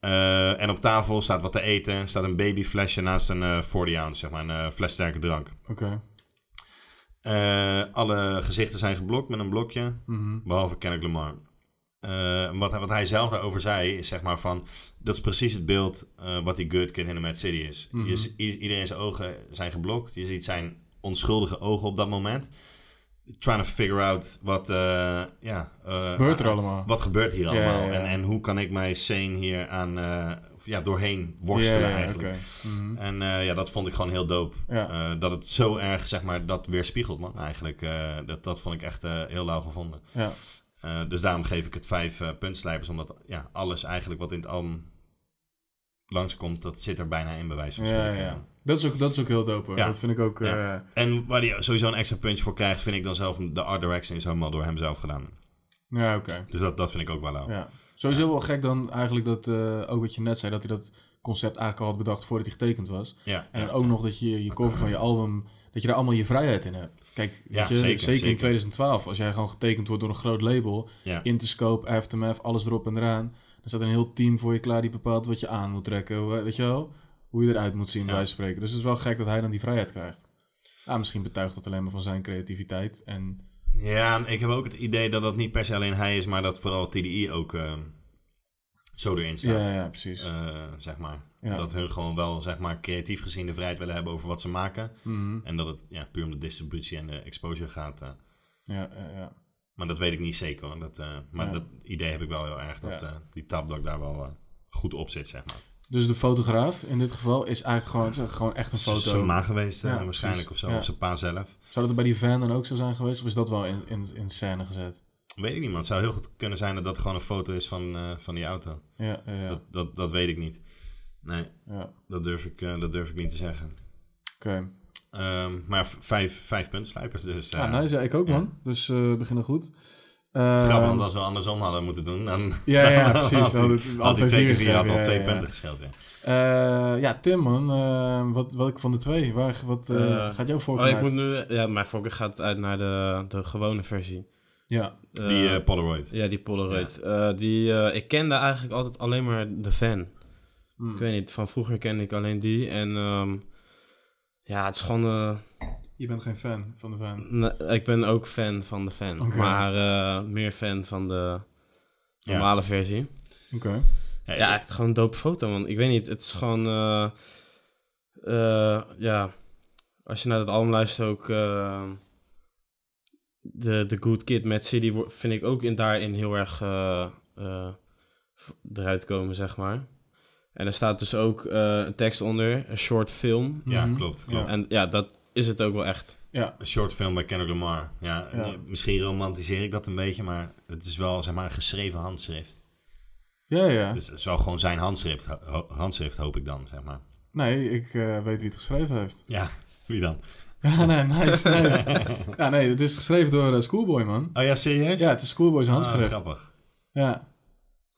Eh, en op tafel staat wat te eten. staat een babyflesje naast een eh 40 ounce, zeg maar, een eh, fles sterke drank. Oké. Eh, alle gezichten zijn geblokt met een blokje, Mhm. behalve Kendrick Lamar. Eh, wat, hij- wat hij zelf daarover zei, is zeg maar van... Dat is precies het beeld eh, wat die Good Kid in de Mad City is. Mhm. Je zi- i- iedereen zijn ogen zijn geblokt. Je ziet zijn onschuldige ogen op dat moment. Trying to figure out wat... eh, ja, eh, Gebeurt er eh, allemaal? Wat gebeurt hier ja, allemaal? ja. En, en hoe kan ik mij sane hier aan... eh, of ja, doorheen worstelen eigenlijk. oké. Mhm. En eh, ja, dat vond ik gewoon heel dope. Ja. Eh, dat het zo erg, zeg maar, dat weerspiegelt, man, eigenlijk. Eh, dat, dat vond ik echt eh, heel lauw gevonden. Ja. Eh, dus daarom geef ik het vijf eh, puntslijpers, omdat ja, alles eigenlijk wat in het album langskomt, dat zit er bijna in, bij wijze van Ja, ja, spreken. ja. Dat is ook, dat is ook heel dope. hoor. Ja. Dat vind ik ook... Ja. eh, En waar hij sowieso een extra puntje voor krijgt, vind ik dan zelf de art direction is helemaal door hem zelf gedaan. ja, oké. Dus dat, dat vind ik ook wel lauw. Ja. Sowieso wel gek dan eigenlijk dat, eh, ook wat je net zei, dat hij dat concept eigenlijk al had bedacht voordat hij getekend was. Ja, En ja. ook nog dat je je cover van je album, dat je daar allemaal je vrijheid in hebt. Kijk, Ja, weet je, zeker, zeker, in zeker. 2012, als jij gewoon getekend wordt door een groot label, Ja. Interscope, Aftermath, alles erop en eraan, dan staat een heel team voor je klaar die bepaalt wat je aan moet trekken, hoe- weet je wel, hoe je eruit moet zien, bij wijze van spreken. Dus het is wel gek dat hij dan die vrijheid krijgt. Ja, misschien betuigt dat alleen maar van zijn creativiteit en Ja, ik heb ook het idee dat dat niet per se alleen hij is, maar dat vooral TDI ook eh, zo erin staat. Ja, ja, precies. Eh, zeg maar. Ja. Dat hun gewoon wel, zeg maar, creatief gezien de vrijheid willen hebben over wat ze maken. Mhm. En dat het ja, puur om de distributie en de exposure gaat. eh. ja, ja, ja. maar dat weet ik niet zeker. hoor. Dat, eh, maar Ja. dat idee heb ik wel heel erg. Dat Ja. eh, die tapdok daar wel eh, goed op zit, zeg maar. Dus de fotograaf in dit geval is eigenlijk gewoon, het is gewoon echt een Het is zijn foto. ma geweest, eh, Ja, waarschijnlijk, precies. of zo. Ja. Of zijn pa zelf. Zou dat er bij die van dan ook zo zijn geweest? Of is dat wel in, in, in scène gezet? Weet ik niet, man. Het zou heel goed kunnen zijn dat dat gewoon een foto is van, eh, van die auto. Ja, ja, ja. Dat, dat, dat weet ik niet. Nee, ja. Oké. dat durf ik, eh, dat durf ik niet te zeggen. Ehm, maar v- vijf, vijf punten slijpers, dus... eh, Ja, nou nice. Ja, ik ook, ja. man. Dus eh, we beginnen goed. het is Eh, Grappig, want als we andersom hadden moeten doen, dan Ja, ja, <laughs> dan precies. Had, Dan had hij- het al had hij twee twee keer vier vier, had gegeven, al ja, twee ja, punten ja. gescheeld. Ja. eh, ja, Tim, man. eh, wat, welke van de twee? Waar, wat eh, Eh, gaat jouw voorkeur Oh, ik uit? moet nu... Ja, mijn voorkeur gaat uit naar de, de gewone versie. Ja, Eh, die eh, Polaroid. Ja, die Polaroid. Eh, die, eh, ik kende eigenlijk altijd alleen maar de fan. Hmm. Ik weet niet, van vroeger kende ik alleen die. En ehm, ja, het is gewoon... eh, je bent geen fan van de fan. ne- ik ben ook fan van de fan. Oké. Maar eh, meer fan van de Ja. normale versie. Oké. Ja, Ja, echt gewoon een dope foto, man. Ik weet niet, het is gewoon... eh, eh, ja, als je naar dat album luistert ook... eh, de, de Good Kid, Mad City wo- vind ik ook in, daarin heel erg eh, eh, v- eruit komen, zeg maar. En er staat dus ook eh, een tekst onder, een short film. Ja, Mhm. klopt, klopt. En ja, dat is het ook wel echt. Ja, Een short film bij Kendrick Lamar. Ja, Ja. eh, Misschien romantiseer ik dat een beetje, maar het is wel zeg maar, een geschreven handschrift. ja, ja. Dus het is wel gewoon zijn handschrift, ho- ho- handschrift hoop ik dan, zeg maar. Nee, ik eh, weet wie het geschreven heeft. Ja, wie dan? <laughs> Ja, nee, nice, nice. ja, nee, het is geschreven door eh, Schoolboy, man. Oh ja, serieus? Ja, het is Schoolboy's Ah, handschrift. grappig. ja.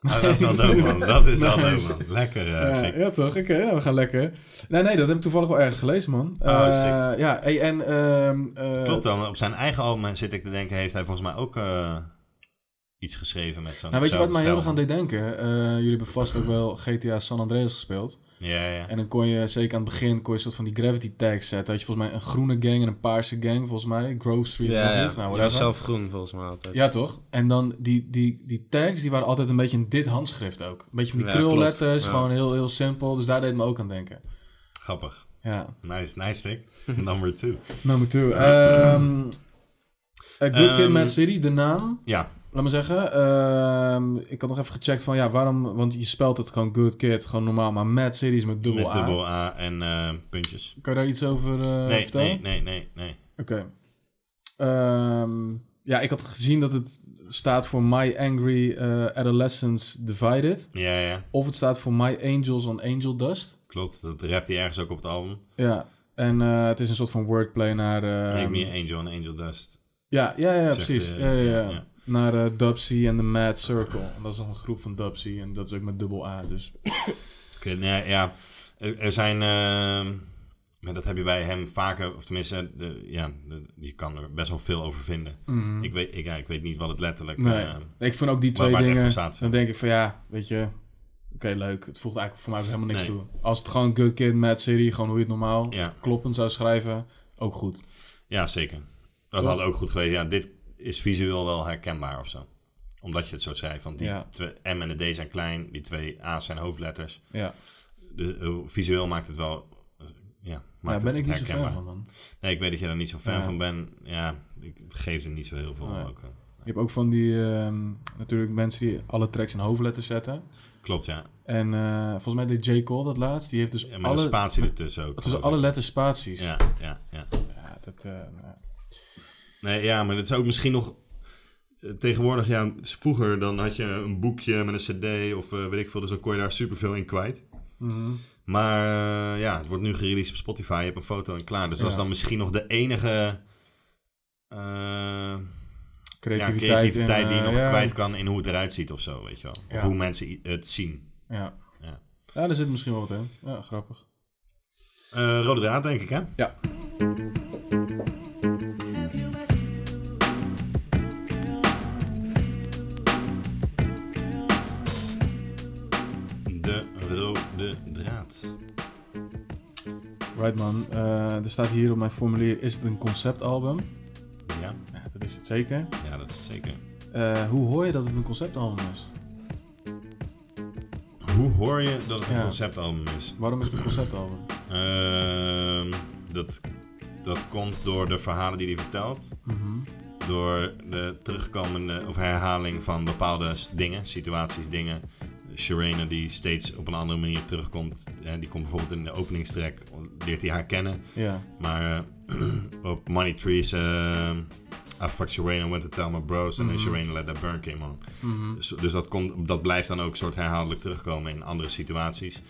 Oh, dat is wel dope, <laughs> man. Dat is wel Nice. dope, man. Lekker, eh, Ja, gek. ja, toch? Oké, nou, we gaan lekker. Nee, nee, dat heb ik toevallig wel ergens gelezen, man. Oh, Eh, sick. Ja, hey, en... ehm, eh, Klopt dan. Op zijn eigen album zit ik te denken, heeft hij volgens mij ook eh, iets geschreven met zo'n Nou, weet je wat mij heel erg aan hetzelfde deed denken? Eh, jullie hebben vast ook wel GTA San Andreas gespeeld. stijl. Ja, ja. En dan kon je, zeker aan het begin, kon je een soort van die gravity tags zetten. Had je volgens mij een groene gang en een paarse gang, volgens mij. Grove Street en Ja, ja. iets. Nou, Je whatever. was zelf groen volgens mij altijd. Ja, toch? En dan die, die, die tags, die waren altijd een beetje in dit handschrift ook. Een beetje van die Ja, krulletters, klopt. Ja. gewoon heel, heel simpel. Dus daar deed het me ook aan denken. Grappig. Ja, Nice, nice, Vic. <laughs> Number two. number two. Nou, <clears throat> Ehm A Good Kid, Ehm, Mad City, de naam. Ja, Laat me zeggen, ehm, ik had nog even gecheckt van, ja, waarom... Want je spelt het gewoon Good Kid, gewoon normaal, maar Mad City is met dubbel met A. dubbel A en eh, puntjes. Kan je daar iets over eh, Nee, vertellen? nee, nee, nee, nee. Oké. Ehm, ja, ik had gezien dat het staat voor My Angry eh, Adolescents Divided. Ja, ja, Of het staat voor My Angels on Angel Dust. klopt. Dat rapt hij ergens ook op het album. Ja. En eh, het is een soort van wordplay naar... eh, Make me angel and angel dust. ja, ja, ja, Zegt, precies. eh, ja, ja, ja. ja, ja. Naar eh Dubsy en de Mad Circle. En dat is nog een groep van Dubsy. En dat is ook met dubbel A, dus... Oké, nee, ja. Er er zijn... ehm, maar dat heb je bij hem vaker, of tenminste, de, ja, de- je kan er best wel veel over vinden. Ik, weet, ik, ja, ik weet niet wat het letterlijk... Mhm. Nee, eh, ik vind ook die waar- twee waar het echt dingen... voor staat. Dan denk ik van, ja, weet je... Oké, leuk. Het voegt eigenlijk voor mij ook helemaal niks Nee. toe. Als het gewoon Good Kid, Mad City, gewoon hoe je het normaal Ja. kloppend zou schrijven, ook goed. ja, zeker. Dat had ook goed geweest. Ja, dit is visueel wel herkenbaar of zo. Omdat je het zo schrijft. Want die Ja. twee- M en de D zijn klein. Die twee A's zijn hoofdletters. Ja, Dus, eh, visueel maakt het wel. eh, Ja, daar maakt Nou, ben het ik niet zo herkenbaar. fan van, man. Nee, ik weet dat je daar niet zo fan Ja. van bent. Ja, ik geef er niet zo heel veel. Nee. Ook, eh. Je hebt ook van die, ehm, natuurlijk mensen die alle tracks in hoofdletters zetten. Klopt, ja. En eh, volgens mij deed J. Cole dat laatst. Die heeft dus En met alle, een spatie ertussen ook. tussen alle geloof ik. letters spaties. Ja, ja, ja. Ja, dat, eh, nou, Nee, ja, maar dat is ook misschien nog. eh, Tegenwoordig, ja, vroeger dan had je een boekje met een cd of eh, weet ik veel, dus dan kon je daar superveel in kwijt. Mhm. Maar eh, ja, het wordt nu gereleased op Spotify, je hebt een foto en klaar. Dus dat is Ja. dan misschien nog de enige eh, creativiteit, ja, creativiteit en, die je eh, nog ja, kwijt kan in hoe het eruit ziet of zo, weet je wel. Of Ja. hoe mensen i- het zien. Ja. Ja. ja, daar zit misschien wel wat in. Ja, grappig. Eh, rode draad, denk ik, hè? Ja, De rode draad. right man. Eh, er staat hier op mijn formulier, is het een conceptalbum? Ja. Ja, dat Dat is het zeker. Ja, dat is zeker. Eh, hoe hoor je dat het een conceptalbum is? Hoe hoor je dat het een Ja. conceptalbum is? Waarom is het een conceptalbum? Ehm, dat, dat komt door de verhalen die hij vertelt. Mhm. Door de terugkomende of herhaling van bepaalde s- dingen, situaties, dingen. Shirena die steeds op een andere manier terugkomt. hè, Die komt bijvoorbeeld in de openingstrack, leert hij haar kennen. Ja, Maar eh, <clears throat> op Money Trees, eh, I fucked Shirena, went to tell my bros. Mhm. En then Shirena let that burn came on. Dus, dus dat, komt, dat blijft dan ook soort herhaaldelijk terugkomen in andere situaties.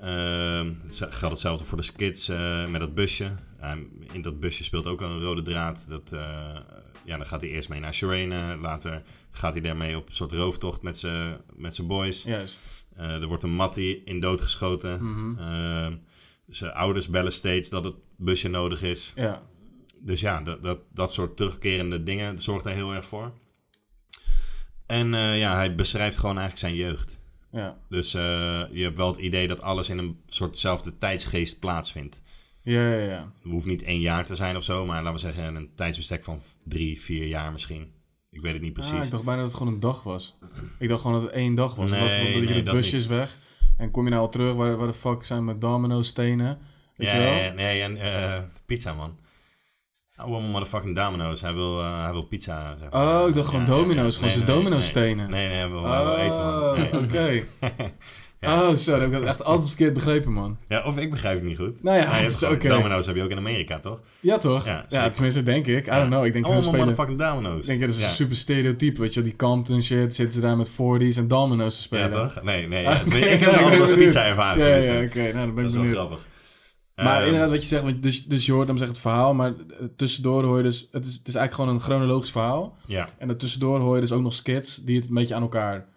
Ehm, het z- geldt hetzelfde voor de skits eh, met dat busje. Ja, in dat busje speelt ook een rode draad. Dat, eh, ja, dan gaat hij eerst mee naar Shirena. Later gaat hij daarmee op een soort rooftocht met zijn met zijn boys. juist. Mhm. Eh, er wordt een mattie in doodgeschoten. Eh, zijn ouders bellen steeds dat het busje nodig is. Ja, Dus ja, dat, dat, dat soort terugkerende dingen zorgt daar heel erg voor. En eh, ja, hij beschrijft gewoon eigenlijk zijn jeugd. ja. Dus eh, je hebt wel het idee dat alles in een soortzelfde tijdsgeest plaatsvindt. Ja, ja, ja. Het hoeft niet één jaar te zijn of zo, maar laten we zeggen een tijdsbestek van drie, vier jaar misschien. Ik weet het niet precies. Ah, ik dacht bijna dat het gewoon een dag was. Ik dacht gewoon dat het één dag was. Nee, dat, dat nee, je de dat busjes niet. weg. En kom je nou al terug, waar, waar de fuck zijn mijn domino stenen? Weet Ja, je wel? ja, nee, en eh, pizza, man. Oude motherfucking domino's. Hij wil, eh, hij wil pizza. Zeg maar. Oh, ik dacht gewoon domino's, gewoon zijn domino's stenen. Nee, nee, hij wil, hij wil Oh, eten, man. Nee. oké. <laughs> Oh, zo, dan heb ik dat echt altijd verkeerd begrepen, man. Ja, of ik begrijp het niet goed. Nou ja, <laughs> Maar je hebt is gewoon- oké. Domino's heb je ook in Amerika, toch? Ja, toch? Ja, Ja, zeker. tenminste, denk ik. I don't know, ik denk Allemaal hun spelen... motherfucking domino's. Ik denk, dat is ja. een super stereotype, weet je wel. Die Compton shit, zitten ze daar met 40's en domino's te Ja, spelen. toch? Nee, <laughs> nee. Ah, ja. oké, Ik heb een nou, ben andere benieuwd. pizza ervaring. Ja, tenminste. ja, oké. Nou, dan Dat ben ik is wel benieuwd. grappig. Maar Ehm, inderdaad, wat je zegt, want dus, dus je hoort hem zeggen het verhaal, maar eh, tussendoor hoor je dus... Het is, het is eigenlijk gewoon een chronologisch verhaal. Ja. En daartussendoor hoor je dus ook nog skits die het een beetje aan elkaar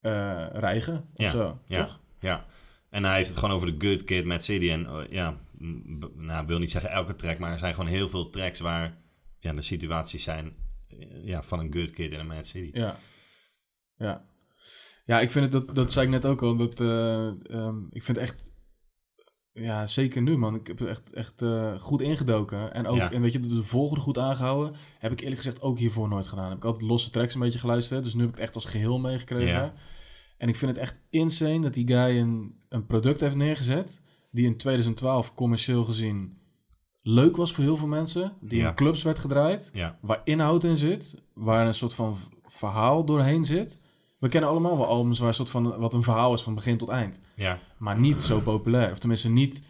eh rijgen. Of Ja, zo, ja, toch? ja. En hij heeft het gewoon over de Good Kid, Mad City. En eh, ja, m- b- nou, ik wil niet zeggen elke track, maar er zijn gewoon heel veel tracks waar ja, de situaties zijn eh, ja, van een Good Kid en een Mad City. Ja. Ja. Ja, ik vind het, dat, dat zei ik net ook al, dat eh, ehm, ik vind echt, ja, zeker nu man, ik heb er echt, echt eh, goed ingedoken. En ook, Ja. en weet je, de, de volgorde goed aangehouden, heb ik eerlijk gezegd ook hiervoor nooit gedaan. Heb ik altijd losse tracks een beetje geluisterd, dus nu heb ik het echt als geheel meegekregen. Ja. En ik vind het echt insane dat die guy een, een product heeft neergezet, die in 2012 commercieel gezien leuk was voor heel veel mensen, die Ja. in clubs werd gedraaid Ja, waar inhoud in zit, waar een soort van v- verhaal doorheen zit. We kennen allemaal wel albums waar een soort van wat een verhaal is van begin tot eind, ja. maar niet zo populair. Of tenminste niet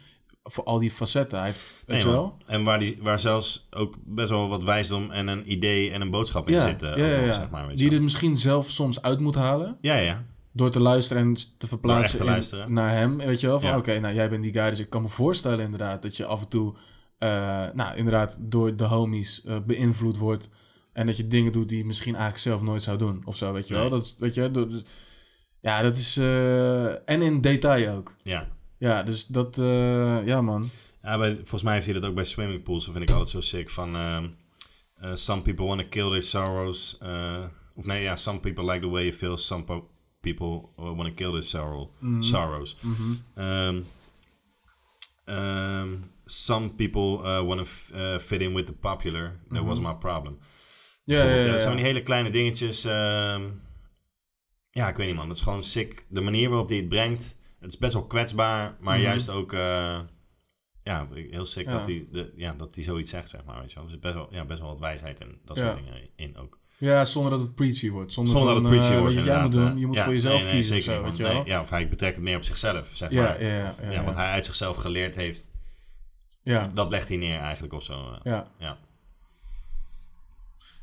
voor al die facetten. Hij heeft, weet Nee, je man. wel? En waar, die, waar zelfs ook best wel wat wijsdom en een idee en een boodschap in zit. eh, ook nog, Zeg maar, weet je die wel. er misschien zelf soms uit moet halen Ja, ja. door te luisteren en te echt te verplaatsen in- luisteren. naar hem. Weet je wel? Van Ja. oké, nou jij bent die guy, dus ik kan me voorstellen inderdaad dat je af en toe, eh, nou inderdaad door de homies eh, beïnvloed wordt en dat je dingen doet die je misschien eigenlijk zelf nooit zou doen of zo. Weet je Nee. wel? Dat weet je. door- ja, dat is eh, en in detail ook. ja. Ja, dus dat eh, ja man. Ja, bij, volgens mij heeft hij dat ook bij swimmingpools. Dat vind ik altijd zo sick. Van ehm, eh, some people want to kill their sorrows. eh, of nee, ja, some people like the way you feel. Some po- people want to kill their sorrow, Mhm. sorrows. Ehm, ehm, some people uh, want to fit in with the popular. That was my problem. Mhm. Ja, ja, Bijvoorbeeld, ja, ja, dat zijn ja. van die hele kleine dingetjes. ehm, ja, ik weet niet man. Dat is gewoon sick. De manier waarop hij het brengt. Het is best wel kwetsbaar. Maar Mhm. juist ook... eh, ja, heel sick Ja. dat hij de- ja, dat hij zoiets zegt, zeg maar. Weet je wel. Er zit best wel, ja, best wel wat wijsheid en dat Ja. soort dingen in ook. Ja, zonder dat het preachy wordt. Zonder, Zonder dat van, het preachy eh, wordt, weet je, jij moet inderdaad. doen, eh, je moet ja, voor jezelf nee, nee, kiezen of zeker zo, niet, weet je man. wel? Nee, ja, of hij betrekt het meer op zichzelf, zeg Ja, maar. ja, ja, Of- ja, Want ja. hij uit zichzelf geleerd heeft, ja. dat legt hij neer eigenlijk of zo. eh. Ja. Ja.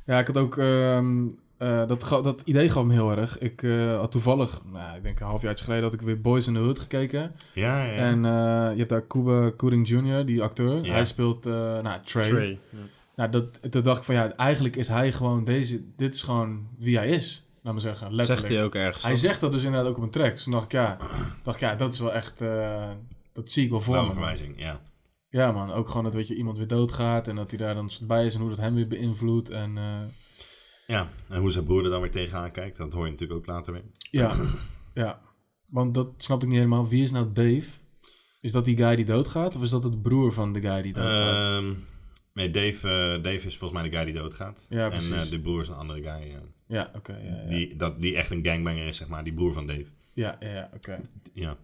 Ja, ik had ook. ehm, eh, dat, ga- dat idee gaf me heel erg. Ik eh, had toevallig, nou, ik denk een half jaar geleden, had ik weer Boys in the Hood gekeken. Ja, ja, ja. En eh, je hebt daar Cuba Gooding Jr., die acteur. Ja. Hij speelt eh nou, Trey. Trey. Ja. Nou, dat, toen dacht ik van ja, eigenlijk is hij gewoon deze. Dit is gewoon wie hij is, laat maar zeggen. Letterlijk. Zegt hij ook ergens. Hij zegt dat dus inderdaad ook op een track. Dus toen dacht ik ja, dacht ik, ja dat is wel echt. eh, dat zie ik wel voor Blauwe me. verwijzing, ja. Ja, man. Ook gewoon dat weet je, iemand weer doodgaat en dat hij daar dan bij is en hoe dat hem weer beïnvloedt. En eh, Ja, en hoe zijn broer er dan weer tegenaan kijkt, dat hoor je natuurlijk ook later weer. <clears throat> Ja, ja. Want dat snap ik niet helemaal. Wie is nou Dave? Is dat die guy die doodgaat? Of is dat het broer van de guy die doodgaat? Ehm, Nee, Dave, eh, Dave is volgens mij de guy die doodgaat. Ja, en precies. eh, de broer is een andere guy. eh, Ja, oké. ja, ja. die, dat, die echt een gangbanger is, zeg maar. Die broer van Dave. ja, ja, ja, oké. Ja.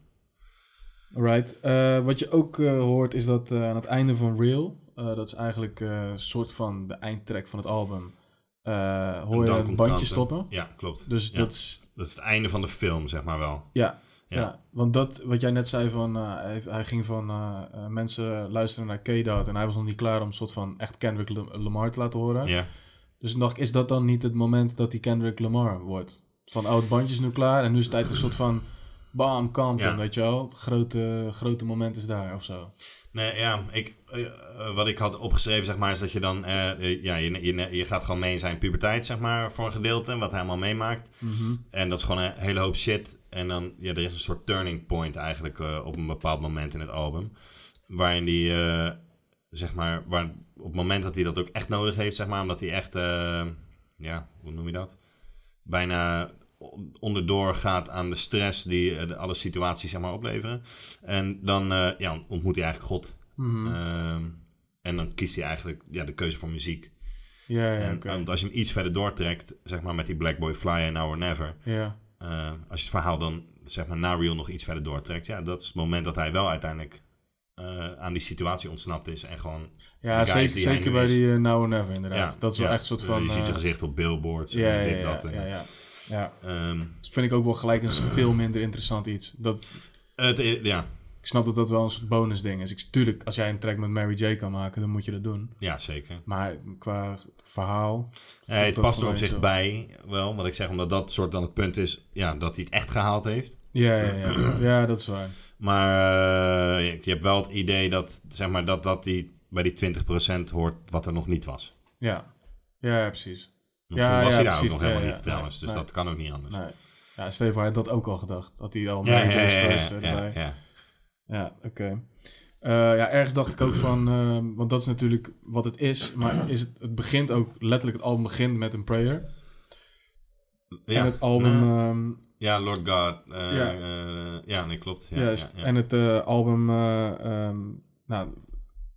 Alright. Eh, wat je ook eh, hoort is dat eh, aan het einde van Real, eh, dat is eigenlijk eh, een soort van de eindtrack van het album, eh, hoor je dan een komt bandje Kanten. stoppen. Ja, klopt. Dus Ja. dat is, Dat is het einde van de film, zeg maar wel. ja, ja. Ja. Want dat, wat jij net zei van, eh, hij, hij ging van eh, eh, mensen luisteren naar K-Dot en hij was nog niet klaar om een soort van echt Kendrick Lam- Lamar te laten horen. Ja. Dus dan dacht ik, is dat dan niet het moment dat hij Kendrick Lamar wordt? Van, oh, het bandje is nu klaar en nu is het tijd voor een soort van, bam, Compton, Ja. weet je wel? Het grote, grote moment is daar, of zo. Nee, ja, ik, eh, eh, wat ik had opgeschreven, zeg maar, is dat je dan... eh, eh, ja, je, je, je gaat gewoon mee in zijn puberteit, zeg maar, voor een gedeelte. Wat hij allemaal meemaakt. Mhm. En dat is gewoon een hele hoop shit. En dan, ja, er is een soort turning point eigenlijk eh, op een bepaald moment in het album. Waarin die, eh, zeg maar, waar, op het moment dat hij dat ook echt nodig heeft, zeg maar. Omdat hij echt, eh, ja, hoe noem je dat? Bijna on- onderdoor gaat aan de stress die eh, de, alle situaties, zeg maar, opleveren. En dan eh, ja, ontmoet hij eigenlijk God. Mhm. Ehm, en dan kiest hij eigenlijk ja, de keuze voor muziek. Ja, ja, En, oké. Want als je hem iets verder doortrekt, zeg maar met die Black Boy Fly en Now or Never, Ja. eh, als je het verhaal dan zeg maar na Real nog iets verder doortrekt, ja, dat is het moment dat hij wel uiteindelijk eh, aan die situatie ontsnapt is en gewoon. Ja, de guys zeker, die hij zeker nu bij is. die eh, Now or Never inderdaad. ja, dat is wel ja. echt een soort van... Je ziet zijn eh, gezicht op billboards ja, en ja, dit, ja, dat. en- ja, ja. Ja, Ehm, dat vind ik ook wel gelijk een <clears throat> veel minder interessant iets. Dat, het, ja, ik snap dat dat wel een soort bonusding is. Ik, tuurlijk, als jij een track met Mary J kan maken, dan moet je dat doen. ja, zeker. Maar qua verhaal... Eh, het dat past er voor op mij zich zo. bij, wel, wat ik zeg, omdat dat soort dan het punt is ja, dat hij het echt gehaald heeft. Ja, ja, ja. ja, dat is waar. Maar eh, je- je hebt wel het idee dat, zeg maar, dat, dat die bij die 20% hoort wat er nog niet was. Ja, ja, ja, precies. Want Ja, toen was ja, hij daar precies. ook nog Ja, helemaal ja. niet trouwens, dus Nee. dat kan ook niet anders. Nee. Ja, Stefan had dat ook al gedacht. Had hij al Ja, Mary ja, J's ja, verse ja, erbij. ja, ja. Ja, oké. Eh, ja, ergens dacht ik ook <clears throat> van, ehm, want dat is natuurlijk wat het is, maar is het, het begint ook letterlijk, het album begint met een prayer. Ja, en het album, nou, ehm, ja, Lord God. eh, eh, Ja. ja. nee, klopt. Ja, juist, ja, ja. en het eh, album, eh, ehm, nou,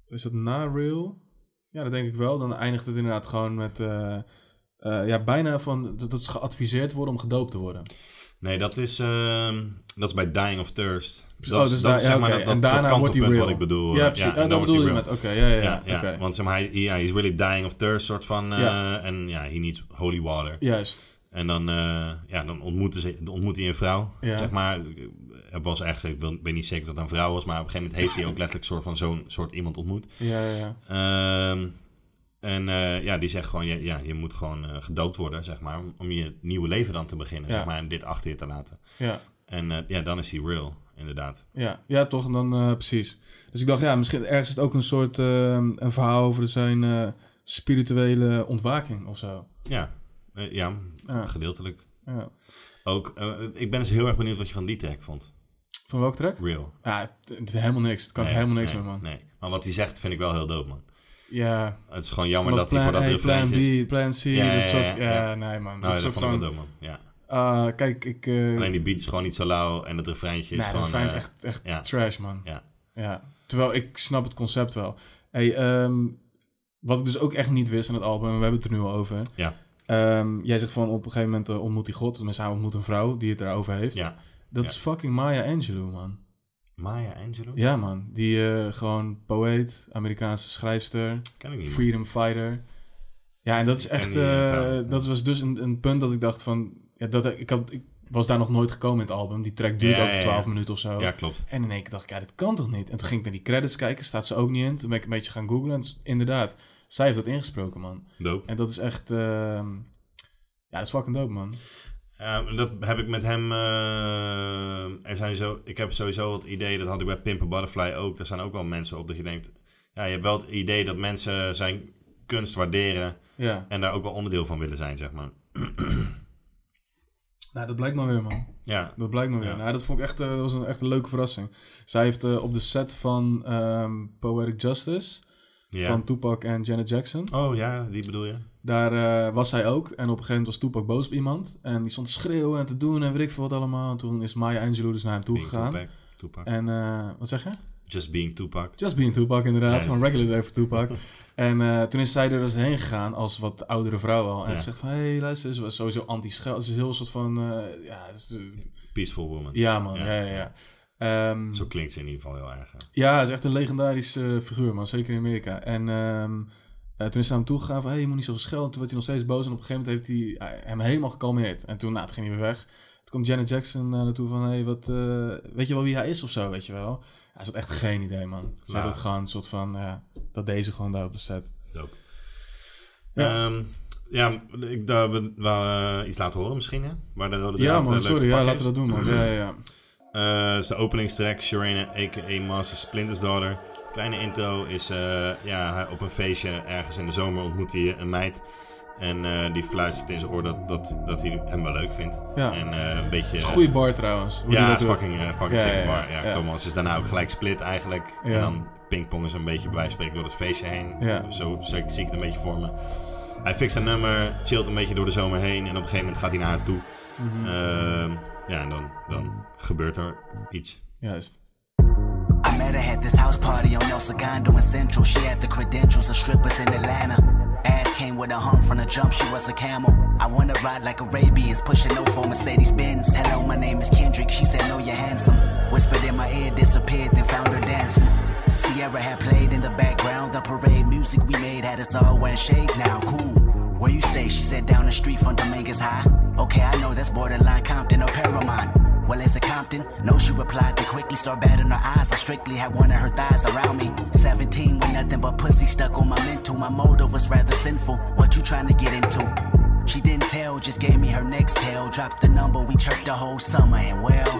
is dat na Real? Ja, dat denk ik wel. Dan eindigt het inderdaad gewoon met, eh, eh, ja, bijna van dat, dat ze geadviseerd worden om gedoopt te worden. Nee, dat is, ehm, dat is bij Dying of Thirst. Dat Oh, is, dus dat daar- is ja, zeg maar oké. dat, en dat, daarna dat wordt hij kantelpunt real. wat ik bedoel. Ja, precies. en Ja, dan dat wordt hij bedoel je real. met, oké, ja, ja, Ja, ja. ja, oké. want zeg maar, hij, ja, hij is really dying of thirst, soort van. eh, Ja. En ja, he needs holy water. Juist, En dan, eh, ja, dan ontmoeten ze, dan ontmoet hij een vrouw. Ja. Zeg maar, het was eigenlijk, ik wil- ik weet niet zeker dat het een vrouw was, maar op een gegeven moment heeft hij ook letterlijk soort van zo'n soort iemand ontmoet. ja, ja, ja. Ehm, en eh, ja, die zegt gewoon, ja, ja je moet gewoon eh, gedoopt worden, zeg maar, om je nieuwe leven dan te beginnen, Ja. zeg maar, en dit achter je te laten. ja. En eh, ja, dan is hij real, inderdaad. Ja, ja toch? En dan eh, precies. Dus ik dacht, ja, misschien ergens is het ook een soort eh, een verhaal over zijn eh, spirituele ontwaking of zo. Ja, Eh, ja, Ja. gedeeltelijk. Ja. Ook, eh, ik ben dus heel erg benieuwd wat je van die track vond, Van welk track? real. Ja, het, het is helemaal niks. Het kan Nee, helemaal niks nee, meer, man. Nee, maar wat hij zegt vind ik wel heel dope, man. Ja, Het is gewoon van jammer dat dat hij voor dat plan A, plan refreintje is- B, plan C, Ja, ja, dat soort... ja, ja. Ja, nee, man. Nou, dat ja, dat soort vond ik wel van... dope, man. Ja. Ah, kijk, ik... eh Alleen die beat is gewoon niet zo lauw en het refreintje is nee, gewoon... dat is eh, echt, echt ja. trash, man. Ja. Ja. Terwijl ik snap het concept wel. Hey, ehm, wat ik dus ook echt niet wist aan het album, en we hebben het er nu al over. Ja. Ehm, jij zegt van op een gegeven moment eh, ontmoet hij God, tenminste hij ontmoet een vrouw die het daarover heeft. ja. Dat Ja. is fucking Maya Angelou, man. Maya Angelou? Ja, man. Die eh, gewoon poëet, Amerikaanse schrijfster, Ken ik niet. man. freedom fighter. Ja, en dat is echt... die, eh, eh, vrouw, ja. dat was dus een, een punt dat ik dacht van... Ja, dat, ik, had, ik was daar nog nooit gekomen in het album. Die track duurt Ja, ook ja, ja. 12 minuten of zo. Ja, klopt. En in één keer dacht ik, ja, dit kan toch niet? En toen ging ik naar die credits kijken, staat ze ook niet in. Toen ben ik een beetje gaan googlen. En dus inderdaad, zij heeft dat ingesproken, man. Dope. En dat is echt... ehm, ja, dat is fucking dope, man. Ja, Ehm, dat heb ik met hem... eh, er zijn zo, ik heb sowieso het idee, dat had ik bij Pimper Butterfly ook. Daar zijn ook wel mensen op dat je denkt... Ja, je hebt wel het idee dat mensen zijn kunst waarderen... Ja, en daar ook wel onderdeel van willen zijn, zeg maar. nou, dat blijkt maar weer, man. Ja, Dat blijkt me weer. Ja. Nou, dat vond ik echt, eh, dat was een, echt een leuke verrassing. Zij heeft eh, op de set van ehm, Poetic Justice ja. van Tupac en Janet Jackson. Oh ja, die bedoel je? Daar eh, was zij ook. En op een gegeven moment was Tupac boos op iemand. En die stond te schreeuwen en te doen en weet ik veel wat allemaal. En toen is Maya Angelou dus naar hem toe Being gegaan. Tupac. Tupac. En eh, wat zeg je? Just Being Tupac. Just Being Tupac inderdaad. Juist. <laughs> Gewoon regular day voor Tupac. En eh, toen is zij er dus heen gegaan als wat oudere vrouw al. En Ja. gezegd van, hé, hey, luister, ze was sowieso anti-schel. Ze is heel soort van, eh, ja, ze- Peaceful Woman. ja man, Ja, ja, ja, ja. Ehm, Zo klinkt ze in ieder geval heel erg. hè. ja, het is echt een legendarische eh, figuur, man. Zeker in Amerika. En ehm, eh, toen is ze aan hem toegegaan van... Hé, je moet niet zoveel schelden. Toen werd hij nog steeds boos. En op een gegeven moment heeft hij eh, hem helemaal gekalmeerd. En toen, nou, het ging hij weer weg. Toen komt Janet Jackson eh, naartoe van... Hé, wat... eh, weet je wel wie hij is of zo, weet je wel? Hij zat echt geen idee, man. Ze had Nou. het gewoon een soort van... ja, dat deze gewoon daar op de set. Dope. Ja, Ehm, ja ik, daar we, we eh, iets laten horen misschien, hè? Waar de rode ja, draad, eh, man. leuk Sorry. te Ja, pakken laten we is. dat doen, man. Ja, ja, ja. <clears throat> Eh, is de openingstrack, Shirena a.k.a. Master Splinter's Daughter. Kleine intro is, eh, ja, hij- op een feestje ergens in de zomer ontmoet hij een meid. En eh, die fluistert in zijn oor dat, dat, dat hij hem wel leuk vindt. Ja. En eh, een beetje... Goeie bar, trouwens. hoe die ja, dat doet. fucking, eh, fucking Ja, sick ja, bar. ja, Ja, ja. come on. Ze is daarna ook gelijk split eigenlijk. Ja. En dan pingpongen ze een beetje bij wijze van spreken door het feestje heen. Ja. Zo zie ik zie ik het een beetje voor me. Hij fixt een nummer, chillt een beetje door de zomer heen. En op een gegeven moment gaat hij naar haar toe. Mhm. Ehm, ja, en dan, dan gebeurt er iets. Juist. I met her at this house party on El Segundo in Central. She had the credentials of strippers in Atlanta. Ass came with a hump from the jump, she was a camel. I wanna ride like Arabians, pushing no for Mercedes Benz. Hello, my name is Kendrick. She said, No, you're handsome. Whispered in my ear, disappeared, then found her dancing. Sierra had played in the background. The parade music we made had us all wearing shades now. Cool. Where you stay? She said down the street from Dominguez High. Okay, I know that's borderline Compton or Paramount. Well, is it Compton? No, she replied. Then quickly start batting her eyes. I strictly had one of her thighs around me. 17 with nothing but pussy stuck on my mental. My motive was rather sinful. What you trying to get into? She didn't tell, just gave me her next tale. Dropped the number, we chirped the whole summer, and well.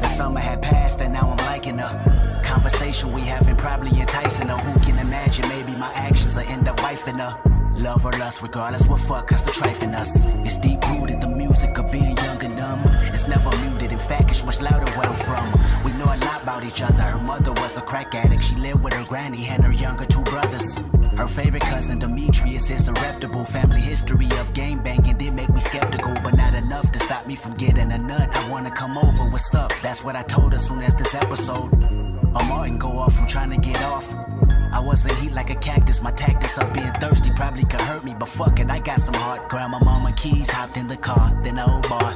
The summer had passed and now I'm liking her. Conversation we having probably enticing her. Who can imagine? Maybe my actions will end up wifing her. Love or lust, regardless what fuck us the trife in us. It's deep rooted, the music of being young and dumb. It's never muted, in fact, it's much louder where I'm from. We know a lot about each other. Her mother was a crack addict. She lived with her granny and her younger two brothers. Her favorite cousin Demetrius is a reputable family history of game banging. Did make me skeptical, but not enough to stop me from getting a nut. I wanna come over, what's up? That's what I told her soon as this episode. A Martin go off, I'm trying to get off. I wasn't heat like a cactus, my tactics of being thirsty probably could hurt me, but fuck it, I got some heart. Grandma, mama, keys, hopped in the car, then the old bar.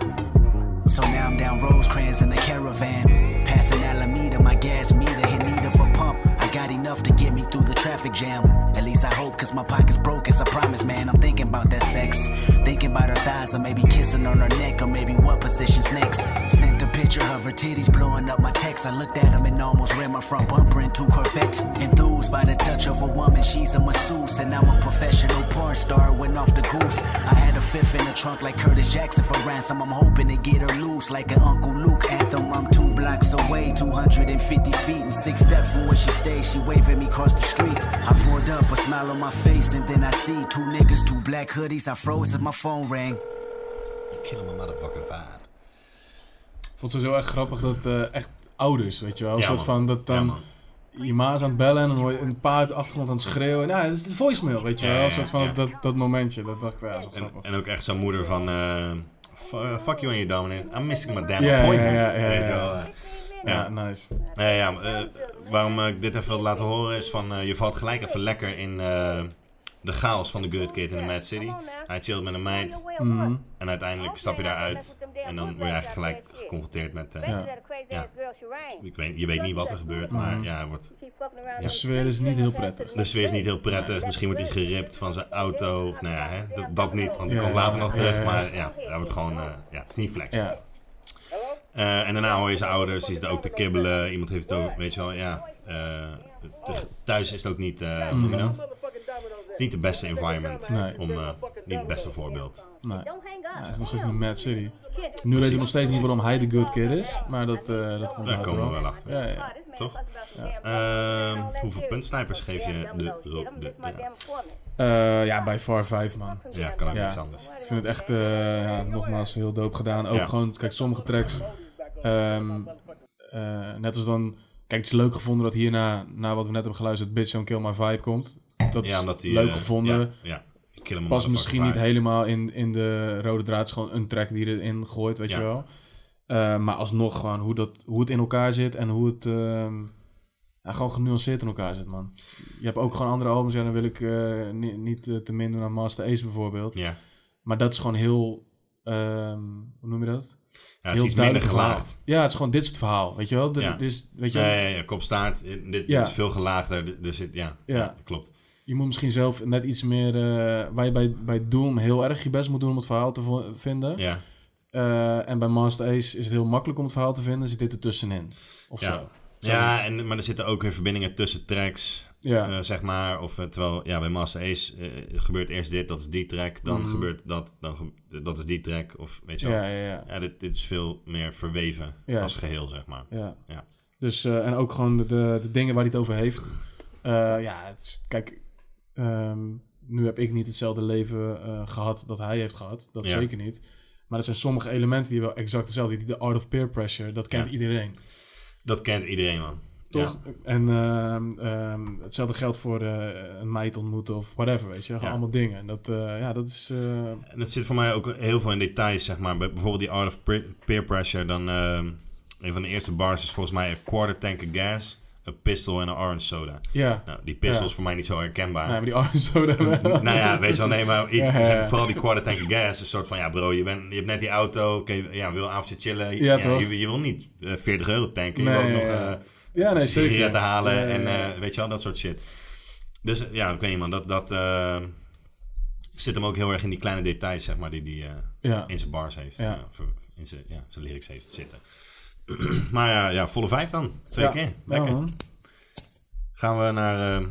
So now I'm down Rosecrans in the caravan. Passing Alameda, my gas meter hit need of a pump. I got enough to get me through the traffic jam. At least I hope, cause my pocket's broke as I promise, man. I'm thinking about that sex. Thinking about her thighs, or maybe kissing on her neck, or maybe what position's next. Sent a picture of her titties blowing up my text. I looked at him and almost ran my front bumper into Corvette. Enthused by the touch of a woman, she's a masseuse, and I'm a professional porn star. Went off the goose. I had a fifth in the trunk like Curtis Jackson for ransom. I'm hoping to get her loose like an Uncle Luke anthem. I'm two blocks away, 250 feet, and six steps from where she stays. She waving me across the street. I pulled up, a smile on my face, and then I see two niggas, two black hoodies. I froze as my phone rang. Kill my motherfucking vibe. Ik vond het zo erg grappig dat eh, echt ouders, weet je wel. Een Ja, soort man. van dat dan... Ja, man. je ma is aan het bellen en dan hoor je een pa op de achtergrond aan het schreeuwen. Nou, dat is de voicemail, weet je Ja, wel. ja, Een soort van ja. dat, dat momentje, dat dacht ik, ja, zo En, grappig. en ook echt zo'n moeder van... eh, f- eh, fuck you en je dominant. I'm missing my damn Ja, ja, appointment. ja, ja, Weet ja. je wel, eh. Ja, nice. Nee, ja, maar, eh, waarom ik dit even wil laten horen is van eh, je valt gelijk even lekker in eh, de chaos van de Good Kid in de Mad City. Hij chillt met een meid Mhm. en uiteindelijk stap je daaruit en dan word je eigenlijk gelijk geconfronteerd met, eh, Ja. Ja. ik weet, je weet niet wat er gebeurt, maar Mhm. ja, hij wordt, De sfeer is niet heel prettig. de sfeer is Dus niet heel prettig. Misschien wordt hij geript van zijn auto of nou ja, hè, dat, dat niet, want die Ja, komt ja, later nog ja, terug, ja. maar ja, hij wordt gewoon, eh, ja, het is niet flex. Ja, Eh, en daarna hoor je zijn ouders, die zitten ook te kibbelen. Iemand heeft het ook, weet je wel, ja. eh, te- thuis is het ook niet, eh, hoe noem je dat? Het is niet de beste environment. Nee. Om, eh, niet het beste voorbeeld. nee. Ja, Hij het is nog steeds een Mad City. Nu weten we nog steeds niet waarom hij de good kid is, maar dat, eh, dat komt Daar later komen we wel. wel achter. Ja, ja. Toch? Ehm, hoeveel puntsnipers geef je de- de- de- Eh, ja, bij Far 5, man. Ja, kan ook Ja. niks anders. Ik vind het echt, eh, ja, nogmaals, heel doop gedaan. Ook Ja. gewoon, kijk, sommige tracks. ehm, eh, net als dan. Kijk, het is leuk gevonden dat hierna, na wat we net hebben geluisterd, Bitch Don't Kill My Vibe komt. Dat is Ja, omdat die, leuk eh, gevonden. Ja, ja. Ik kill hem Past misschien niet helemaal. helemaal in, in de rode draad. Het is gewoon een track die je erin gooit, weet Ja. je wel. Eh, maar alsnog gewoon hoe, dat, hoe het in elkaar zit en hoe het, ehm, ja, gewoon genuanceerd in elkaar zit, man. Je hebt ook gewoon andere albums. Ja, dan wil ik eh, ni- niet eh, te min doen aan Master Ace bijvoorbeeld. Ja. Maar dat is gewoon heel... ehm, hoe noem je dat? Ja, het is iets minder duidelijk gelaagd. Ja, het is gewoon dit is het verhaal, weet je wel? Dit, Ja. dit is, weet je, wel? Nee, ja, kopstaart. eh, Dit, dit Ja. is veel gelaagder. Dit- Er zit, ja, Ja. ja. klopt. Je moet misschien zelf net iets meer... eh, waar je bij, bij Doom heel erg je best moet doen om het verhaal te vo- vinden. Ja. Eh, en bij Master Ace is het heel makkelijk om het verhaal te vinden. Zit dit ertussenin, of Ja. zo. Ja, en, maar er zitten ook weer verbindingen tussen tracks, Ja. eh, zeg maar. Of eh, terwijl, ja, bij Master Ace eh, gebeurt eerst dit, dat is die track. Dan gebeurt dat, dan ge- dat is die track. Of weet je wel. Mhm. Ja, Ja, ja, ja. dit, dit is veel meer verweven Ja. als geheel, zeg maar. ja. Ja. Dus, eh, en ook gewoon de, de, de dingen waar hij het over heeft. Eh, ja, het is- kijk, ehm, nu heb ik niet hetzelfde leven eh, gehad dat hij heeft gehad. Dat Ja. zeker niet. Maar er zijn sommige elementen die wel exact hetzelfde Die De art of peer pressure, dat kent Ja. iedereen. Dat kent iedereen, man. Toch? Ja. En ehm, ehm, hetzelfde geldt voor eh, een meid ontmoeten of whatever, weet je. Gewoon Ja. allemaal dingen. En dat, eh, ja, dat is... eh, En dat zit voor mij ook heel veel in details, zeg maar. Bij- Bijvoorbeeld die Art of Pre- Peer Pressure. Dan, ehm, een van de eerste bars is volgens mij... een quarter tank of gas, een pistol en een orange soda. ja. Nou, die pistol Ja. is voor mij niet zo herkenbaar. Nee, maar die arm zo daar <laughs> wel. nou ja, weet je wel, nee, maar iets, Ja, ja, ja. vooral die quarter tank of gas. Een soort van, ja bro, je, bent je hebt net die auto, oké, ja, je wil een avondje chillen. Ja, toch? je, je wil niet eh, 40 euro tanken, je Nee, wil ook nog ja, ja. eh, Ja, nee, zeker. sigaretten halen Ja, ja, en ja. eh, weet je wel, dat soort shit. Dus eh, ja, ik weet niet man, dat, dat eh, zit hem ook heel erg in die kleine details, zeg maar, die, die eh, Ja. in zijn bars heeft. Ja. eh, ver- in zijn, ja, zijn lyrics heeft zitten. <clears throat> maar ja, ja, volle vijf dan, twee Ja. keer. Ja, Lekker. man. Gaan we naar eh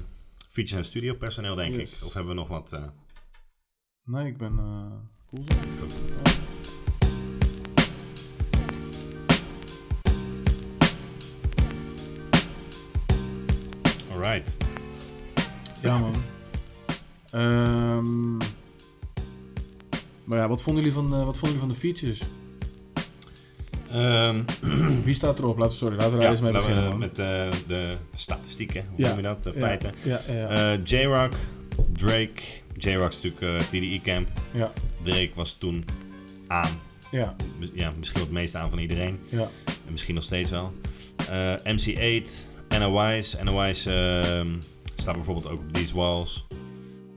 feature en studio personeel, denk Yes. ik. Of hebben we nog wat... eh, Nee, ik ben... eh, cool. Alright. Ja, man. Ehm, maar ja, wat vonden, jullie van, eh, wat vonden jullie van de features? Ehm, <clears throat> Wie staat erop? Laten we, sorry, laten we daar ja, eens mee laten we, beginnen. eh, man. met eh, de statistieken, hoe Ja. noem je dat? De Ja, feiten. Ja, ja, ja. Eh, J-Rock, Drake. J-Rock is natuurlijk eh, TDE Camp. ja, Drake was toen aan. ja, Mis- Ja, misschien wel het meest aan van iedereen. ja. En misschien nog steeds wel. Eh, MC8, NOI's. NOI's ehm, staat bijvoorbeeld ook op These Walls.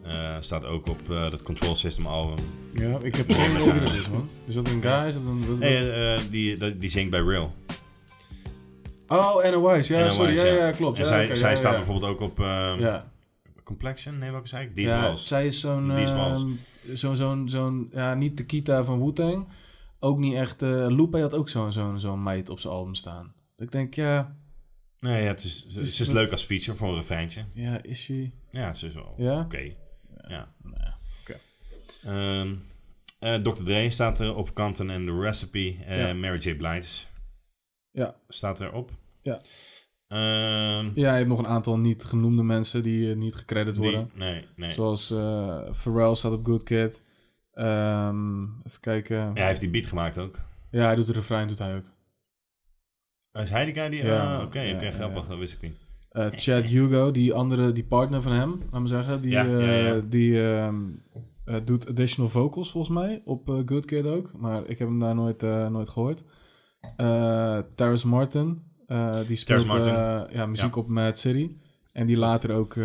Eh, staat ook op eh, dat Control System album. eh, Ja, ik <laughs> heb geen idee wie dat is, man. Is dat een guy? Is dat een... dat- Nee, eh, eh, die, dat- die zingt bij Real. oh, NOI's. Ja, NOI's, sorry. Ja, ja, klopt. En ja, zij, oké, zij ja, staat ja. bijvoorbeeld ook op ehm, Ja, Complexion? Nee, welke zei ik? These ja Walls. zij is zo'n... Die is ehm, Mals. zo'n, zo'n, zo'n... Ja, niet de Kita van Wu-Tang. Ook niet echt... eh Lupe had ook zo'n, zo'n, zo'n meid op zijn album staan. Dat ik denk, ja... Nee, ja, het is, het is, dus wat- leuk als feature voor een refreintje. Ja, is ze... Ja, het is wel Ja? Nou oké. Ja. Ehm, eh, Dr. Dre staat er op Kanten en The Recipe. eh, Ja. Mary J. Blige Ja. staat erop. Ja. Ehm, ja, je hebt nog een aantal niet genoemde mensen die eh, niet gecredit die, worden. nee, nee. Zoals eh Pharrell staat op Good Kid. Ehm, even kijken. Ja, hij heeft die beat gemaemaakt ook. Ja, hij doet de refrein, doet hij ook. Is hij die guy die... Ja. ah, Oké, Ja, oké, ja, grappig. ja. Dat wist ik niet. Eh, Chad Hugo, die andere, die partner van hem, laat me zeggen, die, Ja, ja, eh, ja. die ehm, eh, doet additional vocals volgens mij op eh, Good Kid ook, maar ik heb hem daar nooit, eh, nooit gehoord. Eh Terrence Martin, eh, die speelt Terrence eh, ja, muziek op Mad City. En die later ook, eh,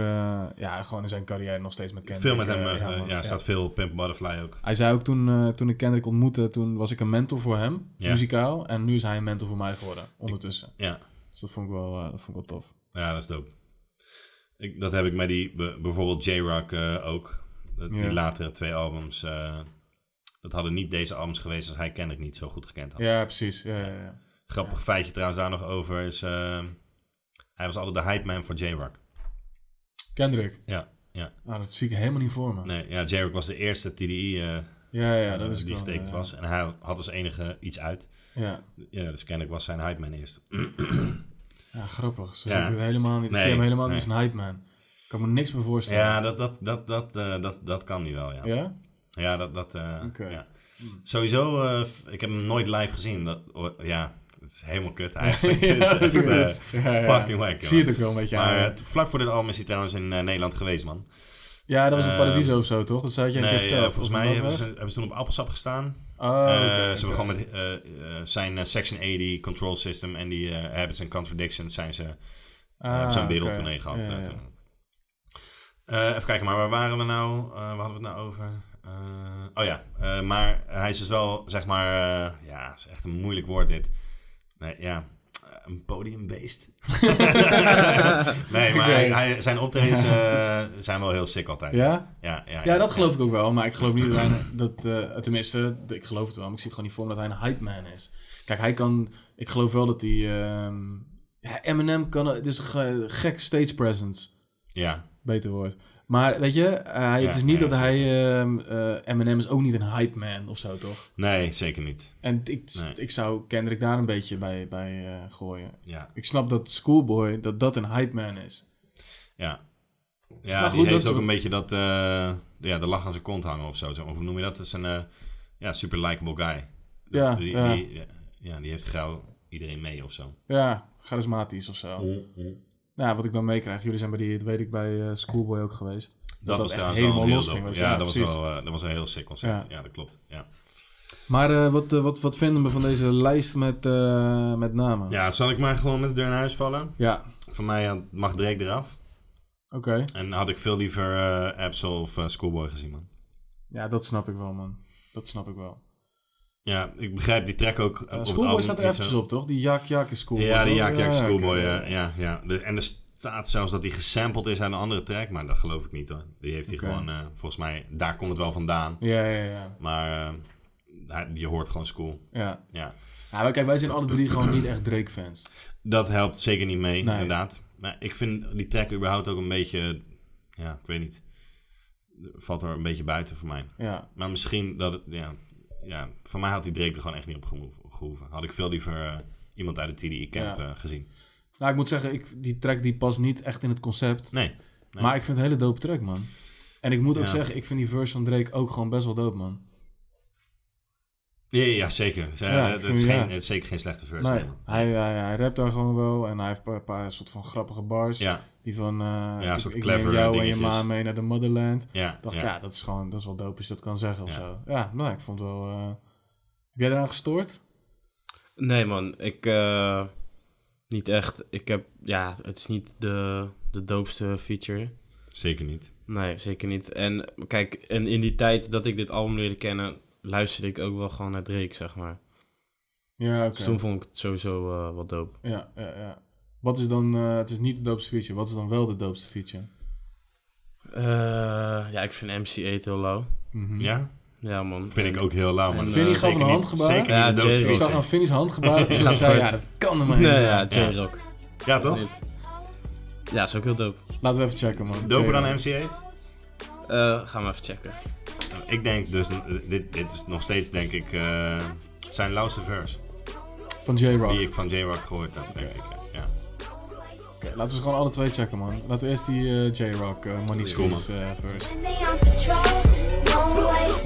ja, gewoon in zijn carrière nog steeds met Kendrick. Veel met hem... eh, eh, ja, ja, man, ja. staat veel op Pimp Butterfly ook. Hij zei ook toen, eh, toen ik Kendrick ontmoette, toen was ik een mentor voor hem, Ja. muzikaal. En nu is hij een mentor voor mij geworden, ondertussen. Ja. Dus dat vond ik wel, eh, dat vond ik wel tof. Ja, dat is dope. Ik, dat heb ik met die, b- bijvoorbeeld J-Rock eh, ook. Dat- Die Ja. latere twee albums. eh, dat hadden niet deze albums geweest als hij kennelijk niet zo goed gekend had. Ja, precies. Ja, ja, ja. Grappig feitje trouwens daar nog over is... eh, hij was altijd de hype man voor J-Rock. Kendrick. Ja, ja. Nou, dat zie ik helemaal niet voor me. Nee, ja, J-Rock was de eerste TDI eh, Oh. Ja, ja, dat is die wel, getekend ja. was. En hij had als enige iets uit. Ja, Ja, dus kennelijk was zijn hype man eerst. <clears throat> ja grappig. Zo Ja. zie ik het helemaal niet. Ik zie Nee, hem helemaal niet als nee. een hype man. Ik kan me niks meer voorstellen. Ja, dat, dat, dat, dat, eh, dat, dat kan hij wel, ja. Ja? Ja, dat... dat eh, Oké. ja. Sowieso, eh, f- ik heb hem nooit live gezien. Dat, o- ja, het is helemaal <laughs> kut eigenlijk. <laughs> Het is echt, eh, Ja, ja. fucking wack, Ik zie het jongen. ook wel een beetje Maar aan. het- vlak voor dit album is hij trouwens in eh, Nederland geweest, man. ja, dat was een eh, paradiso of zo, toch? Dat zei jij een keer Nee, eh, verteld. volgens Of mij een hebben ze, Melkweg? hebben ze toen op Appelsap gestaan. Oh, Eh, oké, ze oké. hebben gewoon met eh, eh, zijn eh, Section 80 Control System en die eh, Habits and Contradictions zijn ze Hij heeft Ah, zo'n oké. wereldtournee gehad. Ja, eh, ja. toen. Eh, even kijken, maar waar waren we nou? Eh, waar hadden we het nou over? Eh, oh ja, eh, maar hij is dus wel, zeg maar, eh, ja, is echt een moeilijk woord dit. Nee, ja, eh, een podiumbeest. <laughs> nee, maar hij, hij- zijn optredens eh, zijn wel heel sick altijd. Ja? Ja, ja, Ja, dat geloof ik ook wel. Maar ik geloof niet dat hij... Dat, eh, tenminste, d- ik geloof het wel. Maar ik zie het gewoon niet voor me dat hij een hype man is. Kijk, hij kan... Ik geloof wel dat hij... ehm, ja, Eminem kan... Het is een ge- gek stage presence. Ja, Beter woord. Maar weet je, eh, hij- het Ja, is niet ja, dat hij... ehm, eh, Eminem is ook niet een hype man of zo, toch? nee, zeker niet. En ik, Nee. ik zou Kendrick daar een beetje bij, bij eh, gooien. Ja, Ik snap dat Schoolboy, dat dat een hype man is. ja. Ja, Maar goed, die dat heeft is ook wat- een beetje dat, eh, ja, de lach aan zijn kont hangen of zo. zeg maar. Hoe noem je dat? Dat is een eh, ja, super likable guy. Dat- Ja, die, ja. Die, ja, die heeft gauw iedereen mee of zo. Ja, charismatisch of zo. Nou, wat ik dan meekrijg, jullie zijn bij die, dat weet ik, bij eh, Schoolboy ook geweest. Dat, was echt trouwens wel een heel dope. weet je. Ja, dat was, precies. wel, eh, dat was een heel sick concert. Ja. Ja, dat klopt. Ja. Maar eh, wat, eh, wat, wat vinden we van deze lijst met, eh, met namen? ja, zal ik maar gewoon met de deur naar huis vallen? Ja, Voor mij eh, mag Drake eraf. oké. En had ik veel liever eh Absol of eh, Schoolboy gezien, man. Ja, dat snap ik wel, man. Dat snap ik wel. Ja, ik begrijp die track ook. eh, op Eh het Schoolboy album staat er niet zo- eventjes op, toch? Die Jaak Jaak is Schoolboy. Ja, de toch? Jaak Jaak oké. Schoolboy. Ja, ja, ja. De- en er staat zelfs dat hij gesampled is aan een andere track, maar dat geloof ik niet hoor. Die heeft hij Oké. gewoon, eh, volgens mij, daar komt het wel vandaan. Ja, ja, ja. Maar eh, hij- je hoort gewoon school. ja. Ja. ja maar kijk, wij zijn alle drie gewoon niet echt Drake-fans. Dat helpt zeker niet mee, Nee. inderdaad. Maar ik vind die track überhaupt ook een beetje, ja, ik weet niet, valt er een beetje buiten voor mij. Ja, Maar misschien dat het, ja, ja voor mij had die Drake er gewoon echt niet op gehoeven- gehoeven. Had ik veel liever eh, iemand uit de TDI-camp Ja. eh, gezien. Nou, ik moet zeggen, ik, die track die past niet echt in het concept. Nee. nee. Maar ik vind het een hele dope track, man. En ik moet ook Ja. zeggen, ik vind die verse van Drake ook gewoon best wel dope, man. Ja, ja, ja, zeker. Zij- Ja, ik het, vind- is geen, ja. het is zeker geen slechte versie. Nee, hij, hij, hij rapt daar gewoon wel en hij heeft een paar, paar soort van grappige bars. Ja, Die van, eh, ik, soort ik neem clever eh, jou en je dingetjes. ma mee naar de motherland. Ik ja, dacht, ja, ja. dat is gewoon, dat is wel dope als je dat kan zeggen of Ja. zo. Ja, nou, ik vond wel... eh, Heb jij eraan gestoord? Nee, man. Ik... eh, niet echt. Ik heb... Ja, het is niet de, de doopste feature. zeker niet. Nee, zeker niet. En kijk, en in die tijd dat ik dit album leerde kennen... luisterde ik ook wel gewoon naar Drake, zeg maar. Ja, oké. Dus toen vond ik het sowieso eh wat dope. Ja, ja, ja. Wat is dan, eh, het is niet de doopste feature, wat is dan wel de doopste feature? Eh, ja, ik vind MC8 heel low. Mhm. Ja, Ja, man. vind ik ook heel lauw. Maar En, dat eh, Vinnie is gaf zeker een niet- handgebaar. Zeker Ja, niet de doopste Jerry. Ik zag aan feature. Finney's <laughs> handgebaar toen ik zei, ja, dat kan er maar Nee, niet ja, zijn. J-Rock. Ja, toch? Ja, is ook heel dope. Laten we even checken, man. Doper dan J-Rock. MCA? Eh, gaan we even checken. Ik denk dus, eh, dit, dit is nog steeds denk ik eh, zijn lauwste verse. Van J-Rock. Die ik van J-Rock gehoord heb, denk ik. ja. Ja. Oké, laten we ze gewoon alle twee checken, man. Laten we eerst die eh, J-Rock, eh Money Is goed, man. Schools eh verse.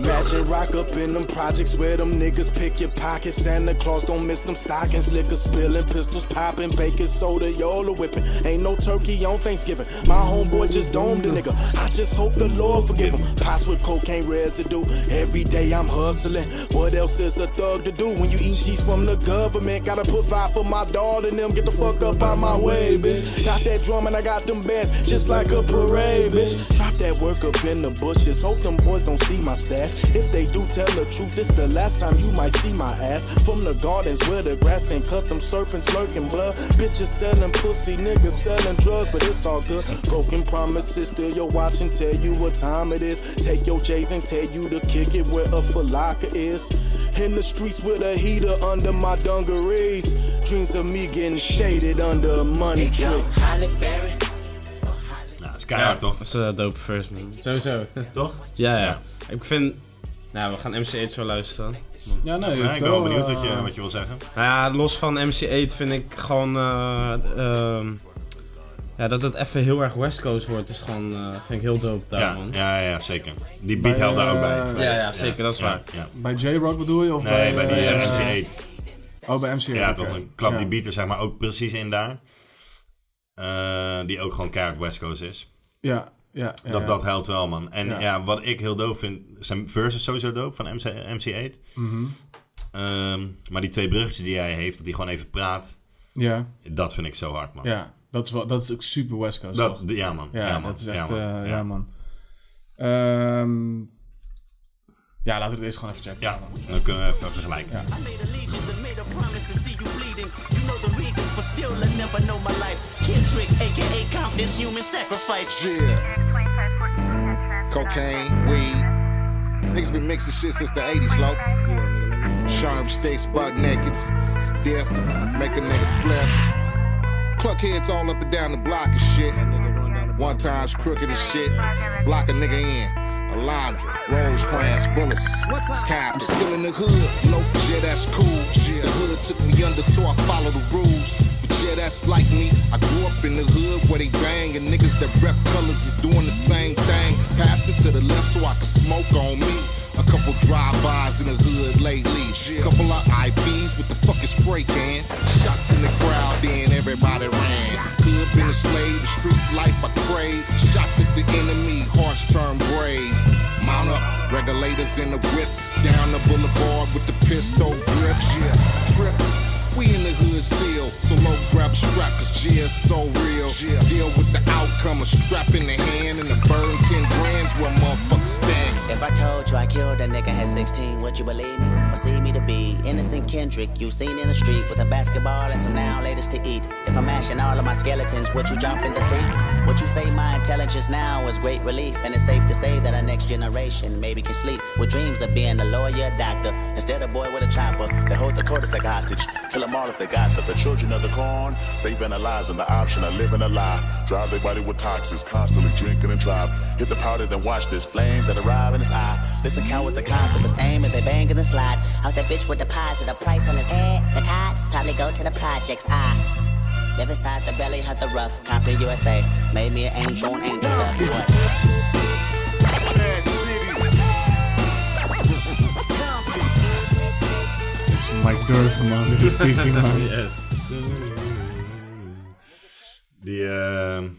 Magic rock up in them projects where them niggas pick your pockets. Santa Claus don't miss them stockings. Liquor spilling, pistols popping, baking soda, yola whipping. Ain't no turkey on Thanksgiving. My homeboy just domed a nigga. I just hope the Lord forgive him. Pots with cocaine residue. Every day I'm hustling. What else is a thug to do when you eat cheese from the government? Gotta provide for my daughter and them. Get the fuck up out my way, bitch. Got that drum and I got them bands just like a parade, bitch. Drop that work up in the bushes. Hope them boys don't see my stash. If they do tell the truth, this the last time you might see my ass. From the gardens where the grass ain't cut, them serpents lurking blood. Bitches selling pussy, niggas selling drugs, but it's all good. Broken promises, still your watch and tell you what time it is. Take your J's and tell you to kick it where a falaka is. In the streets with a heater under my dungarees. Dreams of me getting shaded under a money tree. Nou, dat is keihard toch? Dat is een dope first, man. Sowieso. Toch? Ja, ja. Ja. Ik vind... Nou, we gaan MC8 zo luisteren. Ja, nee, Ja, Nou, ik ben wel benieuwd wat eh, je, wat je wil zeggen. Nou ja, los van MC8 vind ik gewoon... eh, ehm, ja, dat het even heel erg West Coast wordt is gewoon... eh, vind ik heel dope daar, Ja, man. ja, ja, zeker. Die beat Bij, held daar ook eh, bij. Ja, ja, zeker, dat is Ja, waar. ja. Bij J-Rock bedoel je? Of Nee, bij die eh, eh, MC8. Oh, bij MC8. Ja, oké. toch een klap die Ja. beat er zeg maar ook precies in daar. Eh, die ook gewoon keihard West Coast is. Ja, ja. ja, Dat, ja. dat helpt wel, man. En Ja. ja. wat ik heel doof vind... Zijn verse is sowieso doof van MC, MC8. Mhm. Ehm, maar die twee bruggetjes die hij heeft, dat hij gewoon even praat... Ja, Dat vind ik zo hard, man. ja. Dat is, wel, dat is ook super West Coast. Dat, toch? ja, man. Ja, Ja, man. dat is echt... ja, Ja, man. ja. ja. man. Ehm, ja, laten we het eerst gewoon even checken. Ja, dan kunnen we even vergelijken. I made allegiance and made a promise to see you bleeding. You know the reasons, but still I never know my life. Kendrick, aka Count, this human sacrifice. Yeah. Cocaine, weed. Niggas been mixing shit since the 80s, low. Sharp sticks, buck nakeds. Death, make a nigga flip. Cluck heads all up and down the block and shit. One time's crooked and shit. Block a nigga in. Alondra, Rosecrans, bullets, sky. I'm still in the hood. Nope, yeah, that's cool. Yeah, the hood took me under, so I follow the rules. But yeah, that's like me. I grew up in the hood where they bang, and niggas that rep colors is doing the same thing. Pass it to the left so I can smoke on me. A couple drive-bys in the hood lately. Couple of IPs with the fucking spray can. Shots in the crowd, then everybody ran. Hood been a slave, the street life I crave. Shots at the enemy, hearts turn brave. Mount up, regulators in the whip. Down the boulevard with the pistol grip. Yeah, trip. We in the hood still, so low grab strap, cause G is so real. Deal with the outcome, a strap in the hand, and the burn 10 brands where motherfuckers stand. If I told you I killed a nigga at 16, would you believe me? Or see me to be innocent Kendrick you seen in the street with a basketball and some now latest to eat? If I'm mashing all of my skeletons, would you jump in the sea? Would you say my intelligence now is great relief? And it's safe to say that our next generation maybe can sleep with dreams of being a lawyer, doctor, instead of boy with a chopper. They hold the court as like hostage. Kill them all if they gossip. The children of the corn, they've been lies and the option of living a lie. Drive their body with toxins, constantly drinking and drive. Hit the powder, then watch this flame that arrive in his eye. Listen, coward, the concept is aim and they bang in the slide. Out that bitch with the deposit, a price on his head. The tots probably go to the projects. I Live inside the belly of the rough. Compton, USA. Made me an angel, an angel dust. What? Mike Durf, man. Dit is busy, <laughs> man. Yes. Die ehm,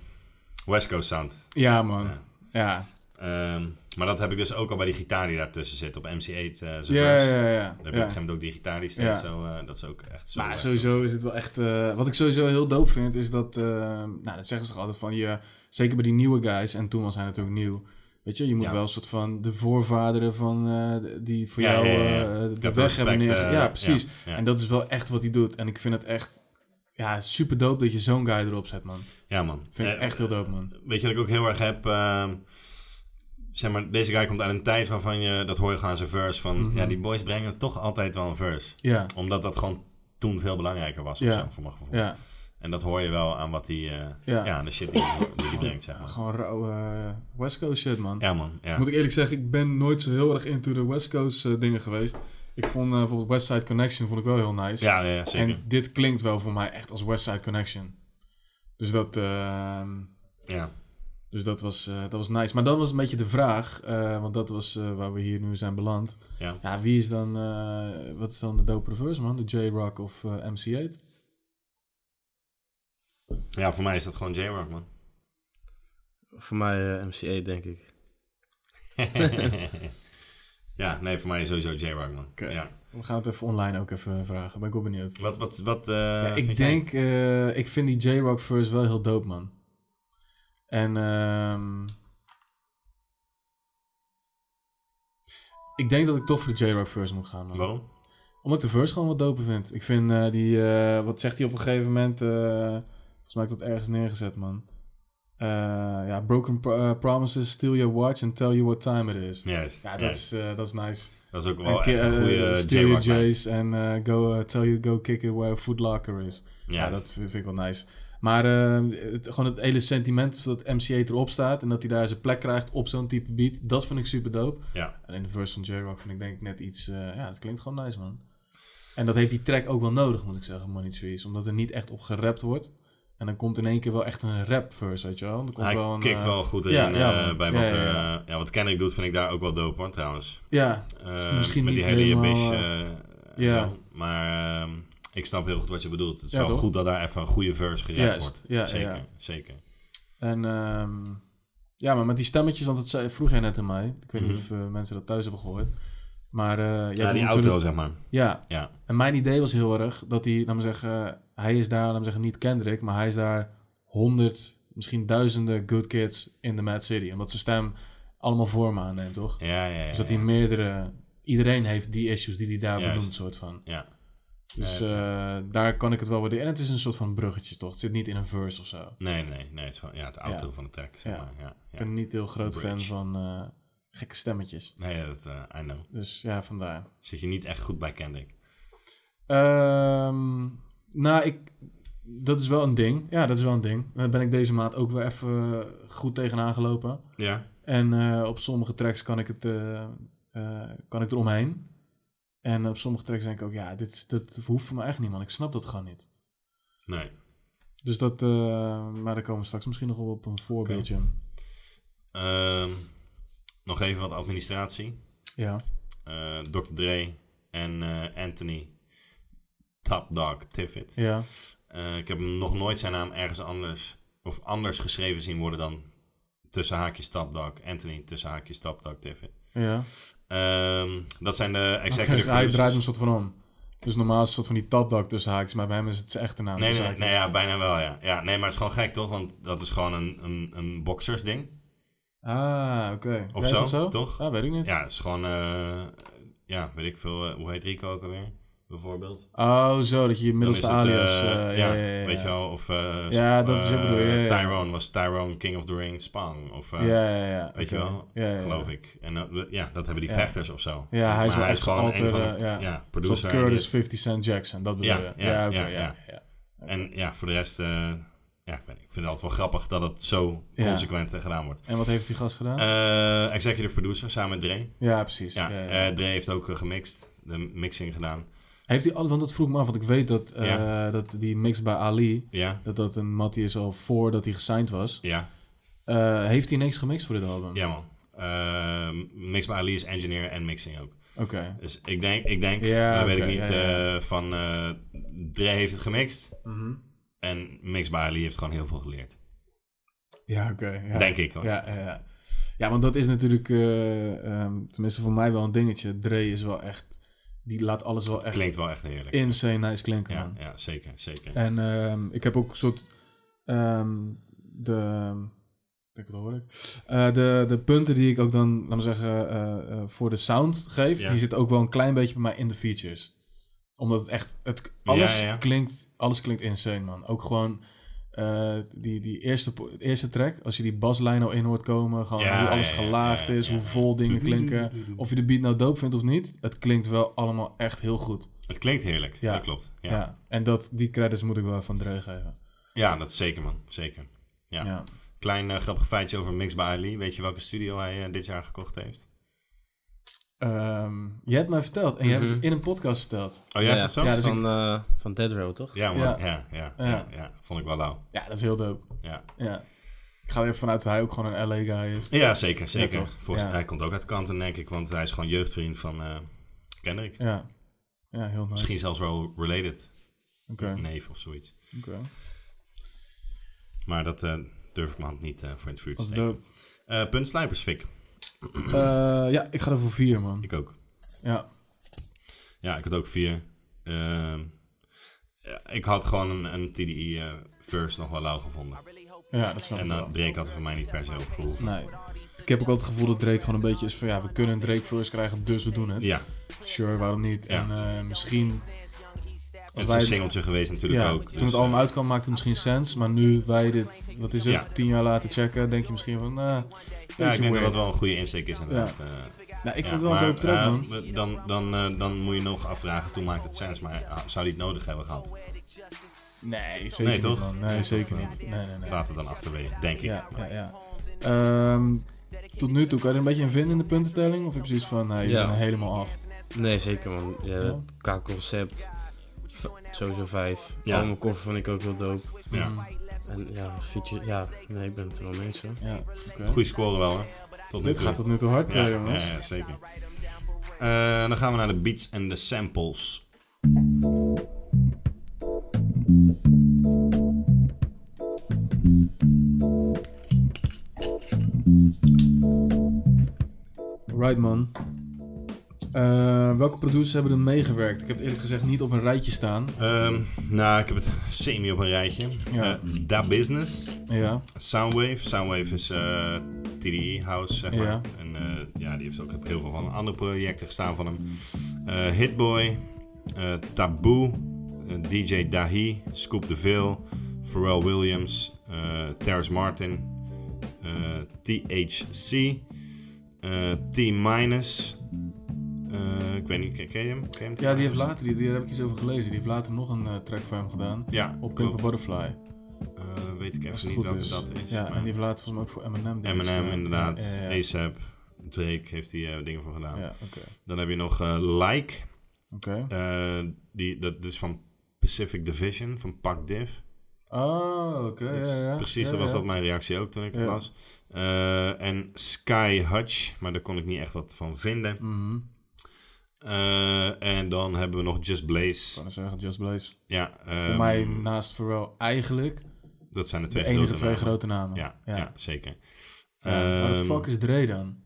West Coast sound. Ja, man. Ja. Ehm, maar dat heb ik dus ook al bij die gitaar die daartussen zit. Op MC8. eh zijn Ja, verse. ja, ja. Daar heb ik op een ja. gegeven moment ook die gitaar die staat. Ja. Zo, eh, dat is ook echt zo. Maar West sowieso is het wel echt... eh, wat ik sowieso heel dope vind, is dat... eh, nou, dat zeggen ze toch altijd van je... Zeker bij die nieuwe guys, en toen was hij natuurlijk nieuw. Weet je, je moet Ja. wel een soort van de voorvaderen van... eh, die voor Ja, jou ja, ja, ja. eh, de Dat weg hebben respect, neerge- eh, ja, precies. ja, ja. En dat is wel echt wat hij doet. En ik vind het echt... Ja, super dope dat je zo'n guy erop zet, man. Coast. Ja, man. Vind ik Eh, echt heel dope, man. Weet je wat ik ook heel erg heb? ehm, zeg maar, deze guy komt uit een tijd waarvan je... Dat hoor je gewoon aan zijn verse. Van, Ja, die boys brengen toch altijd wel een verse. Mhm. Ja, Omdat dat gewoon toen veel belangrijker was. of Ja. zo, voor mijn gevoel. ja. En dat hoor je wel aan wat die... eh, Ja. ja. aan de shit die die hij brengt, zeg maar. Gewoon rauwe eh, West Coast shit, man. Ja, man. Ja. Moet ik eerlijk zeggen, ik ben nooit zo heel erg into de West Coast eh, dingen geweest. Ik vond eh, bijvoorbeeld West Side Connection vond ik wel heel nice. Ja, ja, zeker. En dit klinkt wel voor mij echt als West Side Connection. Dus dat, ehm, Ja. dus dat, was, eh, dat was nice. Maar dat was een beetje de vraag, eh, want dat was eh, waar we hier nu zijn beland. Ja. Ja, wie is dan, eh, wat is dan de dope reverse man? De J-Rock of eh, MC8? ja, voor mij is dat gewoon J-Rock, man. Voor mij eh, MC8, denk ik. <laughs> ja, nee, voor mij is sowieso J-Rock, man. Ja. We gaan het even online ook even vragen, ben ik wel benieuwd. Wat, wat, wat... eh, Ja, vind ik jij? denk, eh, ik vind die J-Rock verse wel heel dope, man. En ehm, ik denk dat ik toch voor de J-Rock verse moet gaan, man. Waarom? Omdat ik de verse gewoon wat dope vind. Ik vind eh, die, eh, wat zegt hij op een gegeven moment? eh, volgens mij heb ik dat ergens neergezet, man. Eh, ja, broken pro- eh, promises, steal your watch and tell you what time it is. Juist. Ja, dat, juist. is, eh, dat is nice. Dat is ook En wel ki- echt een eh, goede steal your J-Rock. lijn. J's en eh, go, eh, tell you go kick it where a food locker is. Ja, Juist. dat vind vind ik wel nice. Maar eh, het, gewoon het hele sentiment dat MCA erop staat en dat hij daar zijn plek krijgt op zo'n type beat, dat vind ik super dope. Ja. En in de verse van J-Rock vind ik denk ik net iets, eh, ja, dat klinkt gewoon nice man. En dat heeft die track ook wel nodig, moet ik zeggen, Money Trees, omdat er niet echt op gerapt wordt. En dan komt in één keer wel echt een rap verse, weet je wel. Dan komt Hij wel een, kikt eh, wel goed in ja, eh, ja, man. bij Ja, wat ja, er... ja. eh, ja, wat Kendrick doet vind ik daar ook wel dope, hoor, trouwens. ja, Eh, misschien met niet die hele helemaal, Jebbish, eh, eh, ja. zo. Maar ehm, ik snap heel goed wat je bedoelt. Het is Ja, wel toch? goed dat daar even een goede verse geraakt Juist. wordt. Ja, zeker, ja. zeker. En ehm, ja, maar met die stemmetjes, want dat zei, vroeg jij net aan mij. Ik weet niet of eh, mensen dat thuis hebben gehoord. Maar eh, jij vond Mhm. Ja, die natuurlijk- outro, zeg maar. Ja, Ja, en mijn idee was heel erg dat hij, laten we zeggen, hij is daar, laten we zeggen, niet Kendrick, maar hij is daar 100% honderd, misschien duizenden good kids in de Mad City. Omdat zijn stem allemaal vorm aanneemt, toch? Ja, ja, ja. Dus dat hij meerdere... Iedereen heeft die issues die hij daar Juist. benoemt, soort van. ja. Dus eh, daar kan ik het wel waarderen. En het is een soort van bruggetje, toch? Het zit niet in een verse of zo. Nee, nee, nee. Het is gewoon ja, het auto Ja. van de track, zeg Ja. maar. Ja, Ik ja. ben niet heel groot fan Bridge. van eh, gekke stemmetjes. Nee, ja, dat, eh, I know. Dus ja, vandaar. Zit je niet echt goed bij, Kendrick. Ehm, nou, ik, dat is wel een ding. Ja, dat is wel een ding. Daar ben ik deze maand ook wel even goed tegenaan gelopen. Ja. En eh, op sommige tracks kan ik, het, eh, eh, kan ik eromheen. En op sommige tracks denk ik ook, ja, dit, is- dat hoeft voor mij echt niet, man. Ik snap dat gewoon niet. Nee. Dus dat, eh, maar daar komen we straks misschien nog wel op een voorbeeldje. Ehm, nog even wat administratie. Ja. Eh, Dr. Dre en eh, Anthony Top Dog Tiffit. Ja. Eh, ik heb hem nog nooit zijn naam ergens anders of anders geschreven zien worden dan tussen haakjes Top Dog Anthony tussen haakjes Top Dog Tiffit. Ja. Ehm, dat zijn de executive Dus hij producers. draait hem een soort van om. Dus normaal is het een soort van die tapdak tussen haakjes, maar bij hem is het zijn echte naam. Nee, nou tussen nee, haakjes. nee, ja, bijna wel, ja. ja. Nee, maar het is gewoon gek, toch? Want dat is gewoon een, een, een boxersding. Ah, oké. Ja, Of is zo, dat zo? toch? Ah, weet ik niet. Ja, het is gewoon, eh, ja, weet ik veel. eh, hoe heet Rico ook alweer? Bijvoorbeeld. Oh, zo, dat je je Dan middels is de het, alias... eh, eh, ja, ja, ja, ja. weet je wel. Of, eh, Ja, Sp- dat is wat ik eh, bedoel, ja, ja, ja. Tyrone was Tyrone King of the Ring Spang. Of, eh, Ja, ja, ja. Weet oké. je wel, Ja, ja, ja. geloof ik. En dat, ja, dat hebben die vechters of zo. Ja, hij is Maar wel echt gewoon altijd... een van de eh, ja, ja. Zoals producer. en die- Curtis 50 Cent Jackson, dat bedoel Ja, je. ja, oké, ja, ja, ja. ja. En ja, voor de rest, eh, ja, ik, weet niet, ik vind het altijd wel grappig dat het zo Ja. consequent eh, gedaan wordt. En wat heeft die gast gedaan? Eh, executive producer samen met Dre. ja, precies. Ja, ja, ja. eh, Dre heeft ook eh, gemixt, de mixing gedaan. heeft hij al, want dat vroeg me af, want ik weet dat, eh, Ja. dat die mix bij Ali, Ja, dat dat een mattie is al voordat hij gesigned was. ja, Eh, heeft hij niks gemixt voor dit album? ja man. Eh, mix bij Ali is engineer en mixing ook. Oké. Dus ik denk, ik denk Ja, maar dat weet oké, ik niet, ja, ja. Mhm. eh, van eh, Dre heeft het gemixt. En Mix bij Ali heeft gewoon heel veel geleerd. Ja, oké. ja. Denk ik, hoor. Ja, ja, ja. ja, want dat is natuurlijk, eh, ehm, tenminste voor mij wel een dingetje. Dre is wel echt, die laat alles wel echt Klinkt wel echt heerlijk. insane nice klinken, Ja, man. ja, zeker, zeker. En ehm, ik heb ook een soort, ehm, de, ik wat hoor ik? Eh, de, de punten die ik ook dan, laat maar zeggen, eh, eh, voor de sound geef, Ja. die zitten ook wel een klein beetje bij mij in de features. Omdat het echt, het, alles, Ja, ja. Klinkt, alles klinkt insane, man. Ook gewoon... eh, die, die eerste, po- eerste track, als je die baslijn al in hoort komen, gewoon Ja, hoe ja, alles ja, gelaagd ja, ja, is, ja. hoe vol dingen klinken, of je de beat nou dope vindt of niet, het klinkt wel allemaal echt heel goed. Het klinkt heerlijk, Ja. dat klopt. Ja. Ja. Ja. En dat, die credits moet ik wel van Dre geven. dat is zeker man, zeker. Ja. Ja. Klein eh, grappig feitje over Mix by Ali. Weet je welke studio hij eh, dit jaar gekocht heeft? Ehm, jij hebt mij verteld, en jij hebt het in een podcast verteld. Oh ja, is dat zo? Ja, dus van, eh, van Dead Row, toch? man. Ja. Ja. Ja, ja, ja, Ja. Vond ik wel lauw. Ja, dat is heel dope. Ja, Ja. Ik ga er even vanuit dat hij ook gewoon een LA guy is. ja zeker, zeker. toch? Volgens, Ja. Hij komt ook uit Compton, denk ik, want hij is gewoon jeugdvriend van eh Kendrick. Ja. Ja, heel nice. Misschien zelfs wel related, Oké. neef of zoiets. oké. Maar dat eh, durf ik mijn hand niet eh, voor in het vuur te Dat is steken. dope. Eh, puntslijpers, Fik. Eh, ja, ik ga er voor vier, man. Ik ook. Ja. Ja, ik had ook vier. Ehm, ja, ik had gewoon een, een TDI-verse eh, nog wel lauw gevonden. Ja, dat snap ik En wel. eh, Drake had er voor mij niet per se op gevoel van. Nee. Ik heb ook altijd het gevoel dat Drake gewoon een beetje is van ja, we kunnen een Drake first krijgen, dus we doen het. Ja, Sure, waarom niet? Ja. En eh, misschien. het is Als een wij, singeltje geweest natuurlijk ja, ook. toen dus, het allemaal eh, uitkwam maakte het misschien sens, maar nu wij dit, wat is het, Ja. tien jaar later checken, denk je misschien van, nou, Ja, ik denk dat dat wel een goede insteek is inderdaad. eh. Nou, ik Ja, vond het wel maar, een dope track, eh, man. we- dan, dan, eh, dan moet je nog afvragen, toen maakt het sens. Maar ah, zou die het nodig hebben gehad? Nee, zeker Nee, niet, toch? man. Nee, zeker niet. Nee, nee, nee. Laat het dan achterwege, denk ik. Ja, ja, Maar- ja. Ehm, tot nu toe, kan je er een beetje in vinden in de puntentelling? Of heb je zoiets van, nee, je Ja. bent er helemaal af? Nee, zeker man. eh, Ja, Qua concept, v- sowieso vijf. Ja. Allemaal koffer vond ik ook wel dope. ja. En ja, feature, ja, nee, ik ben het er wel mee eens hoor. Ja, oké. Goeie score wel, hè? Tot nu Dit toe. gaat tot nu toe hard, Ja, eh, ja, jongens. ja, zeker. Eh, dan gaan we naar de beats en de samples. Right, man. Eh, welke producers hebben er meegewerkt? Ik heb het eerlijk gezegd niet op een rijtje staan. Ehm, nou, ik heb het semi op een rijtje. Ja. Eh, Da Business, Ja, Soundwave. Soundwave is eh TDE House, zeg maar. Ja. En eh, ja, die heeft ook op heel veel van andere projecten gestaan van hem. Eh, Hitboy, eh Taboe, eh, DJ Dahi, Scoop de Ville, Pharrell Williams, eh Terrence Martin, eh, THC, eh, T-Minus. Eh, ik weet niet, ken ken je hem? Ken je hem, ja die heeft T-Minus? later, die, daar heb ik iets over gelezen. Die heeft later nog een eh, track voor hem gedaan. Ja, Op Pimp a klopt. Butterfly. Eh, weet ik even Als het niet goed welke is. dat is. Ja, maar en die heeft later volgens mij ook voor Eminem. dingen Eminem geschreven. M&M, inderdaad, Ja, ja, ja. ASAP, Drake heeft die eh, dingen voor gedaan. Ja, oké. Dan heb je nog eh, Like, Oké. eh, die, dat is van Pacific Division, van Pak Div. Oh, oké. Dat is ja, ja. Precies, Ja, dat was ja. dat mijn reactie ook toen ik het Ja. las. Eh, en Sky Hutch, maar daar kon ik niet echt wat van vinden. Mhm. Eh, en dan hebben we nog Just Ik Blaze. kan zeggen, Just Blaze. Ja, Voor ehm, mij naast Pharrell eigenlijk dat zijn de de twee enige grote twee namen. grote namen. Ja, ja. zeker. Ja, Waar de Ehm, fuck is Dre dan?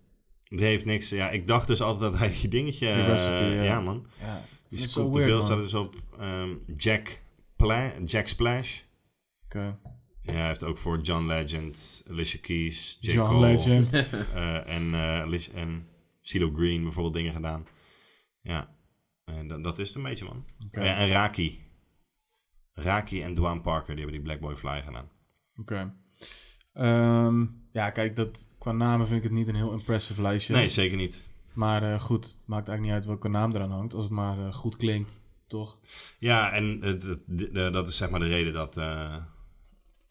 Die heeft niks. Ja, ik dacht dus altijd dat hij die dingetje. Die recipe, eh, ja. ja. man. Ja, Die dat is zo scoop te weird, veel man. staat dus op ehm, Jack, Pla- Jack Splash. Oké. Ja, hij heeft ook voor John Legend, Alicia Keys, J. John Cole <laughs> Legend. eh, en, eh Alicia, en CeeLo Green bijvoorbeeld dingen gedaan. Ja, en dat, dat is het een beetje, man. Oké. Ja, en Raki. Raki en Dwan Parker, die hebben die Black Boy Fly gedaan. Oké. Ehm, ja, kijk, dat, qua namen vind ik het niet een heel impressive lijstje. Nee, zeker niet. Maar eh, goed, het maakt eigenlijk niet uit welke naam eraan hangt. Als het maar eh, goed klinkt, toch? Ja, en eh, d- d- eh, dat is zeg maar de reden dat... eh,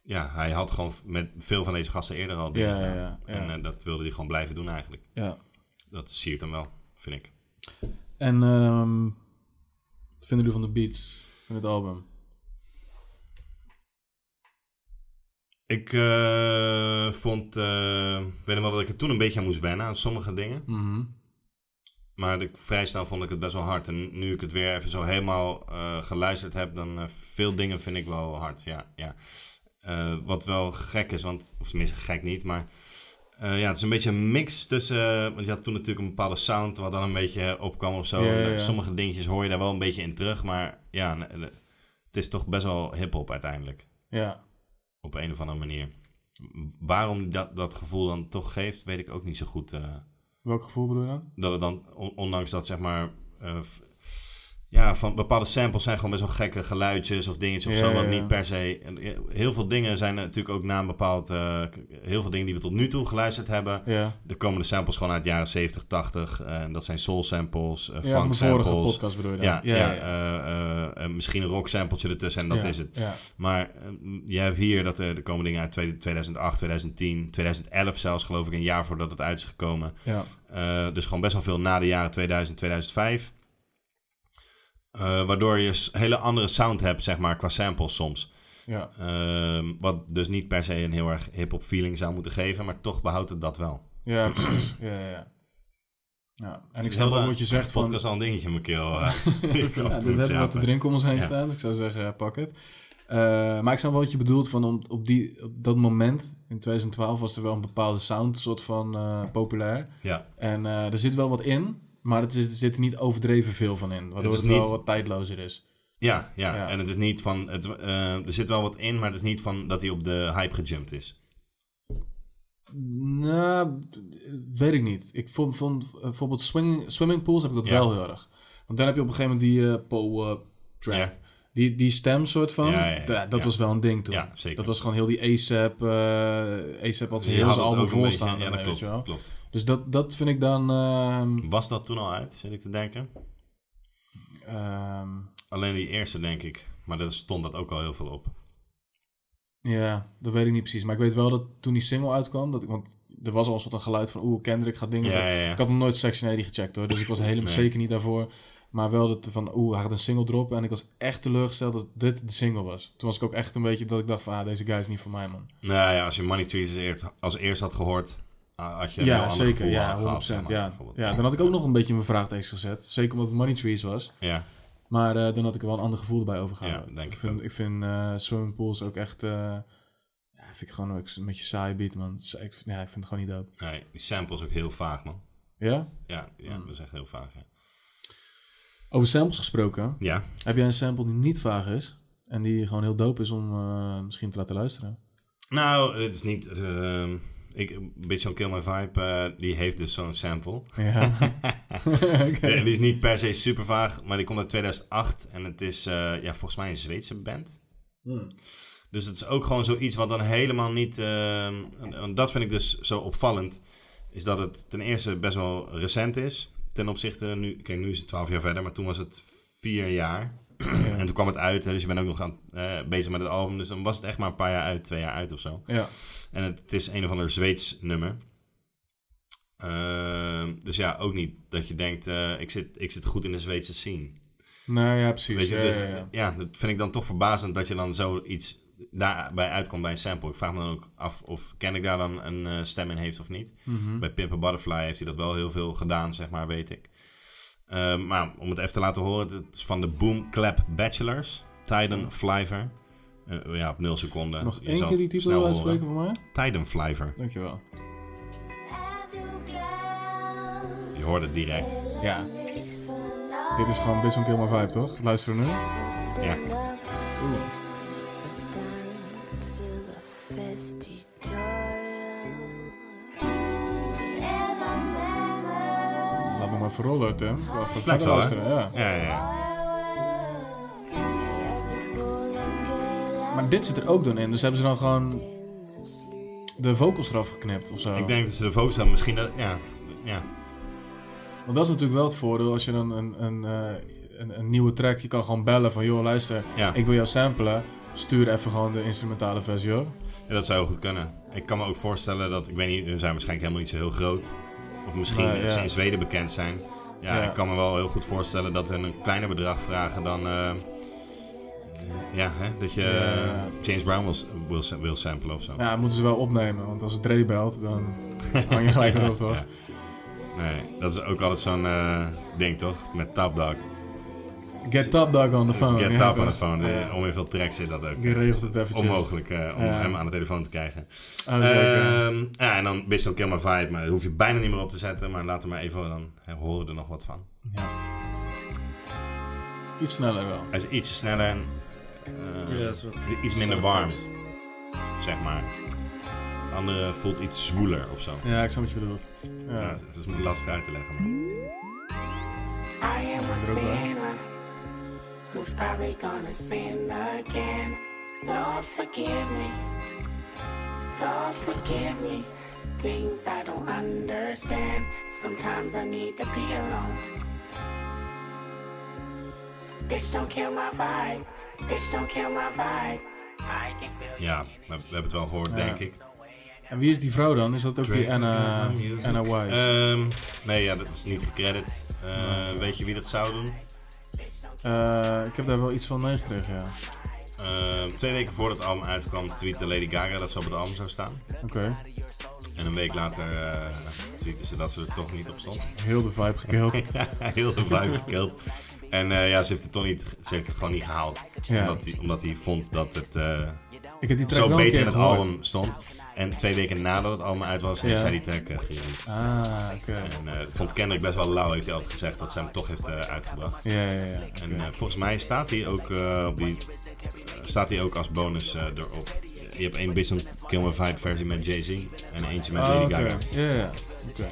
ja, hij had gewoon v- met veel van deze gasten eerder al dingen Ja, ja, gedaan. ja, ja. En eh, dat wilde hij gewoon blijven doen eigenlijk. Ja. Dat siert hem wel, vind ik. En ehm, wat vinden jullie van de beats van het album? Ik eh, vond, eh, ik weet nog wel dat ik er toen een beetje aan moest wennen aan sommige dingen. Mhm. Maar ik, vrij snel vond ik het best wel hard. En nu ik het weer even zo helemaal eh, geluisterd heb, dan eh, veel dingen vind ik wel hard. Ja, ja. Eh, wat wel gek is, want, of tenminste gek niet, maar eh, ja, het is een beetje een mix tussen. eh, Want je had toen natuurlijk een bepaalde sound wat dan een beetje opkwam of zo. Ja, ja, En, eh, ja. Sommige dingetjes hoor je daar wel een beetje in terug, maar ja, n- eh, het is toch best wel hip-hop uiteindelijk Ja. op een of andere manier. W- Waarom dat, dat gevoel dan toch geeft, weet ik ook niet zo goed. eh, Welk gevoel bedoel je dan? dat het dan, on- ondanks dat zeg maar. eh, f- ja, van bepaalde samples zijn gewoon best wel gekke geluidjes of dingetjes of Ja, zo. Wat ja, ja. niet per se. en, eh, Heel veel dingen zijn er natuurlijk ook na een bepaald. eh, k- heel veel dingen die we tot nu toe geluisterd hebben. Ja. Er komen de samples gewoon uit jaren 70, 80. eh, En dat zijn soul samples, eh, Ja, van funk de vorige samples. podcast bedoel je dan? Ja, ja, eh, eh, en misschien een rock sampletje ertussen en dat Ja, is het. ja. Maar eh, je hebt hier dat er, er komen dingen uit 2008, 2010, 2011 zelfs geloof ik, een jaar voordat het uit is gekomen. Ja. Eh, dus gewoon best wel veel na de jaren 2000, 2005. Eh, waardoor je s- hele andere sound hebt, zeg maar, qua samples soms. ja. Ehm, wat dus niet per se een heel erg hip-hop feeling zou moeten geven, maar toch behoudt het dat wel. Ja, precies. Ja, ja, ja. ja. En Dus ik snap heel wel de wat je zegt van... podcast al een dingetje in mijn keel. eh. Ik <laughs> <laughs> ja, af en we toe moet hebben wat te zappen. drinken om ons heen Ja. staan. Dus ik zou zeggen, eh, pak het. Eh, maar ik snap wel wat je bedoelt van om, op, die, op dat moment, in 2012, was er wel een bepaalde sound soort van eh, populair. Ja, En eh, er zit wel wat in, maar het zit, er zit er niet overdreven veel van in. Waardoor is het, wel niet- wat tijdlozer is. ja, ja. Ja. En het is niet van, het, eh, er zit wel wat in, maar het is niet van dat hij op de hype gejumpt is. Nou, weet ik niet. Ik vond, vond eh, bijvoorbeeld swimming, swimming pools heb ik dat Ja. wel heel erg. Want daar heb je op een gegeven moment die eh po eh, trap. Ja. Die, die stem soort van, Ja, ja, ja, da- dat ja. was wel een ding toen. Ja, zeker. Dat was gewoon heel die ASAP, eh ASAP had zijn Je heel had zijn het album ook een vol beetje- Ja, staan. dat ermee, weet je wel. klopt, klopt. Dus dat, dat vind ik dan, ehm, Was dat toen al uit, zit ik te denken? ehm, Alleen die eerste, denk ik. Maar daar stond dat ook al heel veel op. ja, dat weet ik niet precies. Maar ik weet wel dat toen die single uitkwam, dat ik, want er was al een soort van geluid van, oeh, Kendrick gaat dingen Ja, doen. ja, ja. Ik had nog nooit Section 80 gecheckt hoor, dus ik was helemaal Nee. zeker niet daarvoor. Maar wel dat van, oeh, hij gaat een single droppen. En ik was echt teleurgesteld dat dit de single was. Toen was ik ook echt een beetje dat ik dacht van, ah, deze guy is niet voor mij, man. Nou ja, als je Money Trees als eerst, als eerst had gehoord, ah, had je Ja, een heel ander zeker. gevoel Ja, al 100%. gehad, zeg maar, ja. bijvoorbeeld. ja, dan had ik ook nog een beetje mijn vraagtekens gezet. Zeker omdat het Money Trees was. Ja, Maar eh, dan had ik er wel een ander gevoel bij overgehouden. Ja, denk ik vind, ook. Ik vind eh, Swimming Pools ook echt... eh, ja, vind ik gewoon ook een beetje saai beat, man. Dus Ik, vind- ja, ik vind het gewoon niet dope. nee, die sample is ook heel vaag, man. Ja? Hmm. Ja, ja dat is echt heel vaag, ja. Over samples gesproken. Ja. Heb jij een sample die niet vaag is? En die gewoon heel dope is om eh, misschien te laten luisteren? Nou, het is niet... ehm ik, een beetje zo'n Kill My Vibe, eh, die heeft dus zo'n sample. <laughs> Ja. <laughs> Oké. Nee, die is niet per se super vaag, maar die komt uit 2008 en het is eh, ja, volgens mij een Zweedse band. Dus het is ook gewoon zoiets wat dan helemaal niet. ehm, en- en dat vind ik dus zo opvallend. Is dat het ten eerste best wel recent is. Ten opzichte nu. Kijk, nu is het 12 jaar verder, maar toen was het 4 jaar. en toen kwam het uit, hè, dus je bent ook nog aan, eh, bezig met het album. Dus dan was het echt maar een paar jaar uit, twee jaar uit of zo. Ja. En het, het is een of ander Zweeds nummer. Ehm, dus ja, ook niet dat je denkt, eh, ik, zit, ik zit goed in de Zweedse scene. Nou ja, precies. Weet je, ja, dus, ja, ja, ja. dat vind ik dan toch verbazend dat je dan zoiets daarbij uitkomt bij een sample. Ik vraag me dan ook af of Kendrick daar dan een eh, stem in heeft of niet. Mhm. Bij Pimp a Butterfly heeft hij dat wel heel veel gedaan, zeg maar, weet ik. Ehm, maar om het even te laten horen, het is van de Boom Clap Bachelors, Tiden Flyver. Eh, ja, op nul seconden. Nog Je één zal keer die het titel snel uitspreken horen. voor mij? Tiden Flyver. Dankjewel. Je hoort het direct. Ja. Dit is gewoon best wel een Kill My Vibe, toch? Luister nu. Ja. Laat me maar verrollen, Tim. Even Flex verder wel, hè? luisteren, ja. Ja, ja, ja. Maar dit zit er ook dan in, dus hebben ze dan gewoon de vocals eraf geknipt of zo? Ik denk dat ze de focus hadden. Misschien dat... Ja. Ja. Want dat is natuurlijk wel het voordeel als je dan een, een, eh, een, een nieuwe track, je kan gewoon bellen van joh luister, Ja. ik wil jou samplen, stuur even gewoon de instrumentale versie hoor. Ja, dat zou heel goed kunnen. Ik kan me ook voorstellen dat, ik weet niet, hun zijn waarschijnlijk helemaal niet zo heel groot. Of misschien Nee, dat ze ja. in Zweden bekend zijn. Ja, Ja. ik kan me wel heel goed voorstellen dat hun een kleiner bedrag vragen dan. eh, eh, ja, hè, dat je eh, James Brown wil, s- wil, s- wil samplen of zo. Ja, dat moeten ze wel opnemen, want als het Dre belt dan hang je <laughs> gelijk erop toch? Ja. Nee, dat is ook altijd zo'n eh, ding toch? Met Top Dog. Get Top Dog on the phone. Get ja, Top on the toch? phone. Ja. Eh, Om in veel tracks zit dat ook. Die regelt het eventjes. Onmogelijk eh, om Ja. hem aan de telefoon te krijgen. Ah, zeker. Ehm, ja, en dan wist ook helemaal vibe, maar daar hoef je bijna niet meer op te zetten. Maar laten we maar even, dan horen we er nog wat van. ja. Iets sneller wel. Hij is ietsje sneller en eh, Ja, dat is wat- iets minder warm, zeg maar. De andere voelt iets zwoeler of zo. Ja, ik snap wat je bedoelt. Ja, Ja, dat is lastig uit te leggen. Maar. dat is er ook wel. Who's probably gonna sin again? Lord, forgive me. Lord, forgive me. Things I don't understand. Sometimes I need to be alone. Bitch, don't kill my vibe. Bitch, don't kill my vibe. I can feel Ja, we, we hebben het wel gehoord, denk ik. En wie is die vrouw dan? Is dat ook die Anna, Drake, uh, music. Anna Wise? Ehm, nee, ja, dat is niet gecredit. Eh, weet je wie dat zou doen? Eh, ik heb daar wel iets van meegekregen, ja. Eh, twee weken voordat het album uitkwam, tweette Lady Gaga dat ze op het album zou staan. Oké, En een week later eh tweeten ze dat ze er toch niet op stond. <laughs> heel de vibe <laughs> gekild. Heel de vibe gekild. En eh, ja, ze heeft het toch niet, ze heeft het gewoon niet gehaald. Ja. Omdat, hij, omdat hij vond dat het eh, ik heb die track zo wel een beter keer in het gehoord. album stond. En twee weken nadat het album uit was, heeft Ja. zij die track eh, gereleased. Ah, oké. En eh, vond Kendrick best wel lauw, heeft hij altijd gezegd, dat ze hem toch heeft eh, uitgebracht. Ja, ja, ja. En eh, volgens mij staat hij ook, eh, op die, eh, staat hij ook als bonus eh, erop. Je hebt één Bison Kill My Vibe versie met Jay-Z en eentje met Ah, Lady oké. Gaga. Eh, Ja, ja, ja. Oké.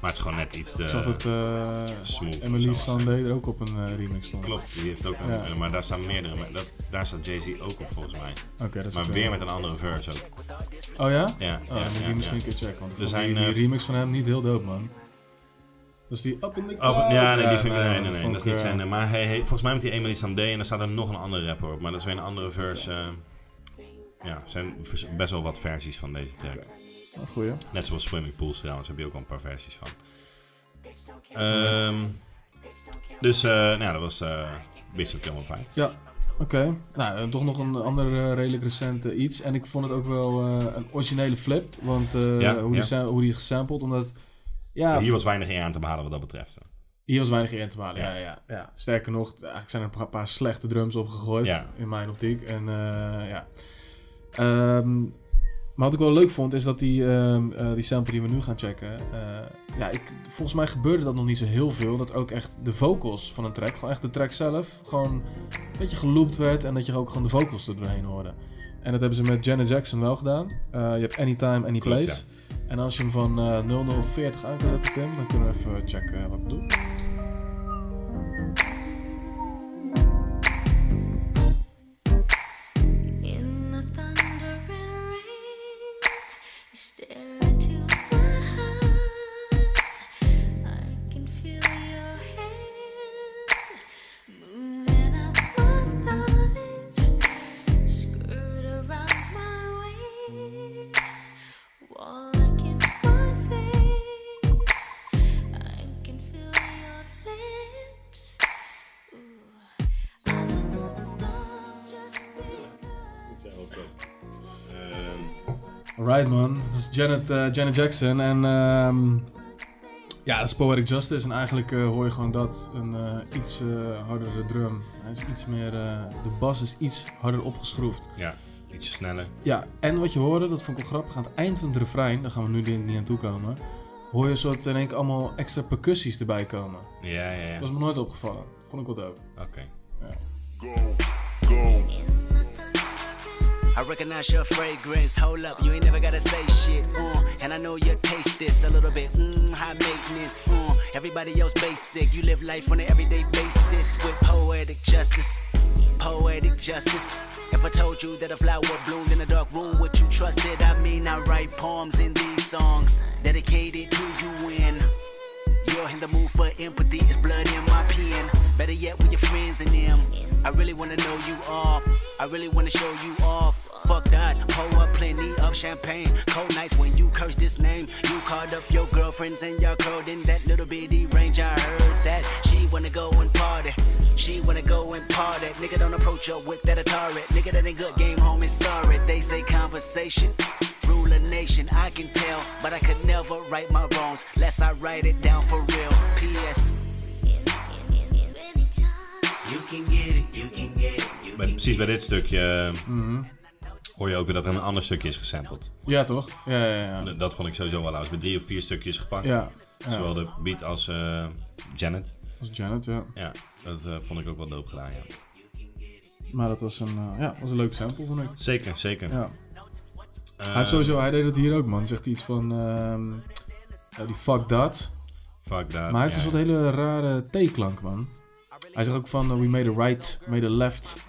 Maar het is gewoon net iets te... Ik zag dat eh, Smooth of zo Emily was het. Sandé er ook op een eh, remix stond. Klopt, die heeft ook een, Ja. eh, maar daar staan meerdere, maar dat, daar staat Jay-Z ook op volgens mij. Oké, dat is Maar oké. weer met een andere verse ook. Oh ja? Ja, Oh, ja, dan moet ik ja, die misschien ja. een keer checken, want ik Er vond zijn, die, die eh, remix van hem niet heel dope, man. Dat is die Up in the Oh, Cloud. ja, nee, die vind ik, nee, nee, nee, dat dat vond is ik, niet eh, zijn. eh, Maar hij, hij- volgens mij met die Emily Sandé en daar staat er nog een andere rapper op. Maar dat is weer een andere verse. eh, ja, er zijn vers- best wel wat versies van deze track. een Goeie. Net zoals Swimming Pools trouwens, heb je ook al een paar versies van. Ehm, dus, eh, nou ja, dat was eh Bishop Campbell Fine. Ja, oké. Nou, eh, toch nog een ander eh, redelijk recent eh, iets. En ik vond het ook wel eh, een originele flip. Want eh, Ja, hoe, die ja. sa- hoe die is gesampled, omdat... Ja, Hier was weinig in aan te behalen wat dat betreft. hier was weinig in te halen. Ja. Ja. Ja, ja, Sterker nog, eigenlijk zijn er een paar- paar slechte drums opgegooid, Ja. in mijn optiek. En eh, ja... Ehm, Maar wat ik wel leuk vond, is dat die, ehm, eh, die sample die we nu gaan checken... eh, ja, ik, volgens mij gebeurde dat nog niet zo heel veel. Dat ook echt de vocals van een track, gewoon echt de track zelf... gewoon een beetje geloopt werd en dat je ook gewoon de vocals er doorheen hoorde. En dat hebben ze met Janet Jackson wel gedaan. Eh, je hebt Anytime, Any Klopt, Place. En als je hem van eh 0040 aan kan zetten, Tim, dan kunnen we even checken wat ik doe. In the thunder and rain, you stare into my eyes. I can feel your hand moving up my thighs, skirt around my waist, wall against my face. I can feel your lips. Ooh, I don't wanna stop just because. Alright man, dat is Janet, eh, Janet Jackson en ehm, ja, dat is Poetic Justice en eigenlijk eh, hoor je gewoon dat, een eh, iets eh, hardere drum. Hij is iets meer, eh, de bas is iets harder opgeschroefd. Ja, ietsje sneller. Ja, en wat je hoorde, dat vond ik wel grappig, aan het eind van het refrein, daar gaan we nu niet niet aan toe komen, hoor je een soort in één keer allemaal extra percussies erbij komen. Ja, ja, ja. Dat was me nooit opgevallen, vond ik wel dope. Oké. I recognize your fragrance. Hold up, you ain't never gotta say shit. Uh, and I know you taste this a little bit. Mmm, high maintenance. Uh, everybody else basic. You live life on an everyday basis with poetic justice. Poetic justice. If I told you that a flower bloomed in a dark room, would you trust it? I mean, I write poems in these songs dedicated to you in. You're in the mood for empathy, it's blood in my pen. Better yet, with your friends and them. I really wanna know you all. I really wanna show you off. Fuck that, pour up plenty of champagne. Cold nights when you curse this name. You called up your girlfriends and y'all curled in that little bitty range. I heard that she wanna go and party. She wanna go and party. Nigga, don't approach her with that Atari. Nigga, that ain't good game, homie. Sorry, they say conversation rule a nation, I can tell, but I could never right my wrongs lest I write it down for real. P.S. You can get it, you can get it. Bij- precies bij dit stukje eh, Mhm. hoor je ook weer dat er een ander stukje is gesampled. Ja toch? Ja, ja, ja. Dat- Dat vond ik sowieso wel leuk. Bij drie of vier stukjes gepakt. Ja, ja. Zowel de beat als eh, Janet. Dat was Janet, ja. Ja, dat eh, vond ik ook wel dope gedaan, ja. Maar dat was een, eh, ja, was een leuk sample, vond ik. Zeker, zeker. Ja. Eh, Hij, heeft sowieso, hij deed het hier ook, man. Zegt hij iets van. ehm, ja, die fuck dat. Fuck that. Maar hij heeft ja. een soort hele rare T-klank, man. Hij zegt ook van: eh, We made a right, made a left.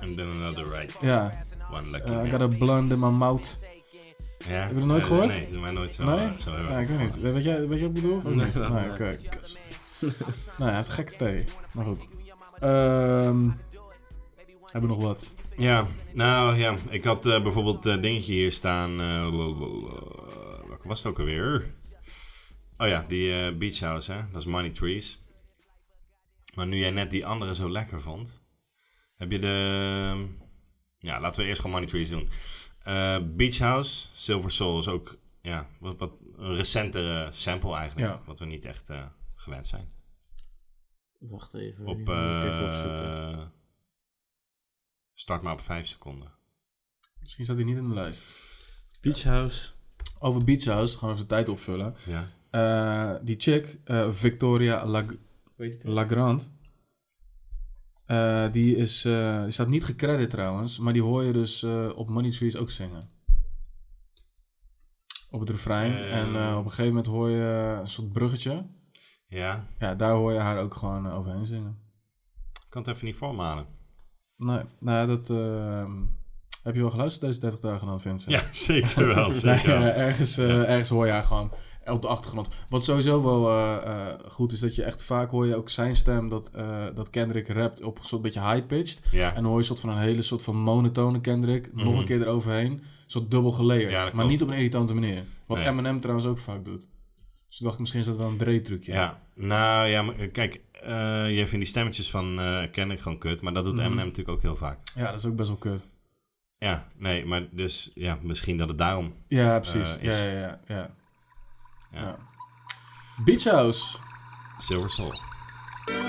And then another right. Ja. One lucky Eh, man. I got a blonde in my mouth. Ja? Heb je dat nooit Nee, gehoord? Nee, nee, maar nooit zo, nee? zo heel ja, erg ik weet niet. Weet jij, weet jij wat ik bedoel? Of Nee, niet? dat- nee, nee. oké. kus. nou, hij heeft gekke T. Maar goed. Ehm hebben we nog wat? Ja, nou ja, ik had eh, bijvoorbeeld eh dingetje hier staan. eh, welke was het ook alweer? Oh ja, die eh, Beach House, hè? Dat is Money Trees. Maar nu jij net die andere zo lekker vond, heb je de. Ja, laten we eerst gewoon Money Trees doen. Eh, Beach House, Silver Soul is ook ja, wat, wat een recentere sample eigenlijk. Ja. Wat we niet echt eh, gewend zijn. Wacht even. die Op. moet ik even opzoeken. eh, start maar op 5 seconden. Misschien staat hij niet in de lijst. Beach House. Over Beach House, gewoon even de tijd opvullen. Ja. Eh, die chick, eh, Victoria Lag Weet je het? Lagrand. Eh, die, is, eh, die staat niet gecredit trouwens, maar die hoor je dus eh, op Money Trees ook zingen. Op het refrein. Eh. En eh, op een gegeven moment hoor je een soort bruggetje. Ja, Ja, daar hoor je haar ook gewoon eh, overheen zingen. ik kan het even niet voormalen. Nee, nou ja, dat... ehm, heb je wel geluisterd deze 30 dagen dan, Vincent? Ja, <laughs> zeker wel. Nee, Zeker wel. eh, ergens, eh, ergens hoor je haar gewoon op de achtergrond. Wat sowieso wel eh, eh, goed is, dat je echt vaak hoor je ook zijn stem dat, eh, dat Kendrick rapt op een soort beetje high-pitched. Ja. Mhm. En dan hoor je een soort van een hele soort van monotone Kendrick, nog een keer eroverheen. Een soort dubbel geleerd, Ja, dat maar klopt. niet op een irritante manier. Wat Nee. Eminem trouwens ook vaak doet. Dus ik dacht, misschien is dat wel een Dre-trucje. Ja, nou ja, maar eh, kijk, eh, je vindt die stemmetjes van eh ken ik gewoon kut, maar dat doet Eminem natuurlijk ook heel vaak. Mhm. Ja, dat is ook best wel kut. Ja, nee, maar dus ja, misschien dat het daarom. Ja, precies. Eh, is- ja, ja, ja, ja. Ja. Ja. Beach House. Silver Soul. Thank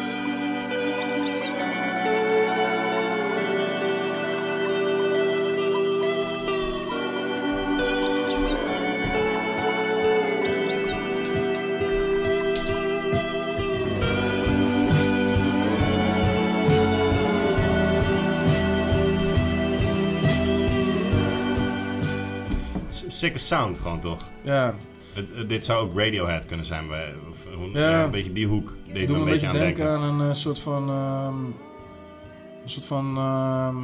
sicke sound gewoon, toch? Ja. Het, het- dit zou ook Radiohead kunnen zijn. Bij, of, eh, hoe- Ja. ja, een beetje die hoek deed me Doe een me beetje aan denken. aan een eh, soort van. ehm, een soort van. ehm,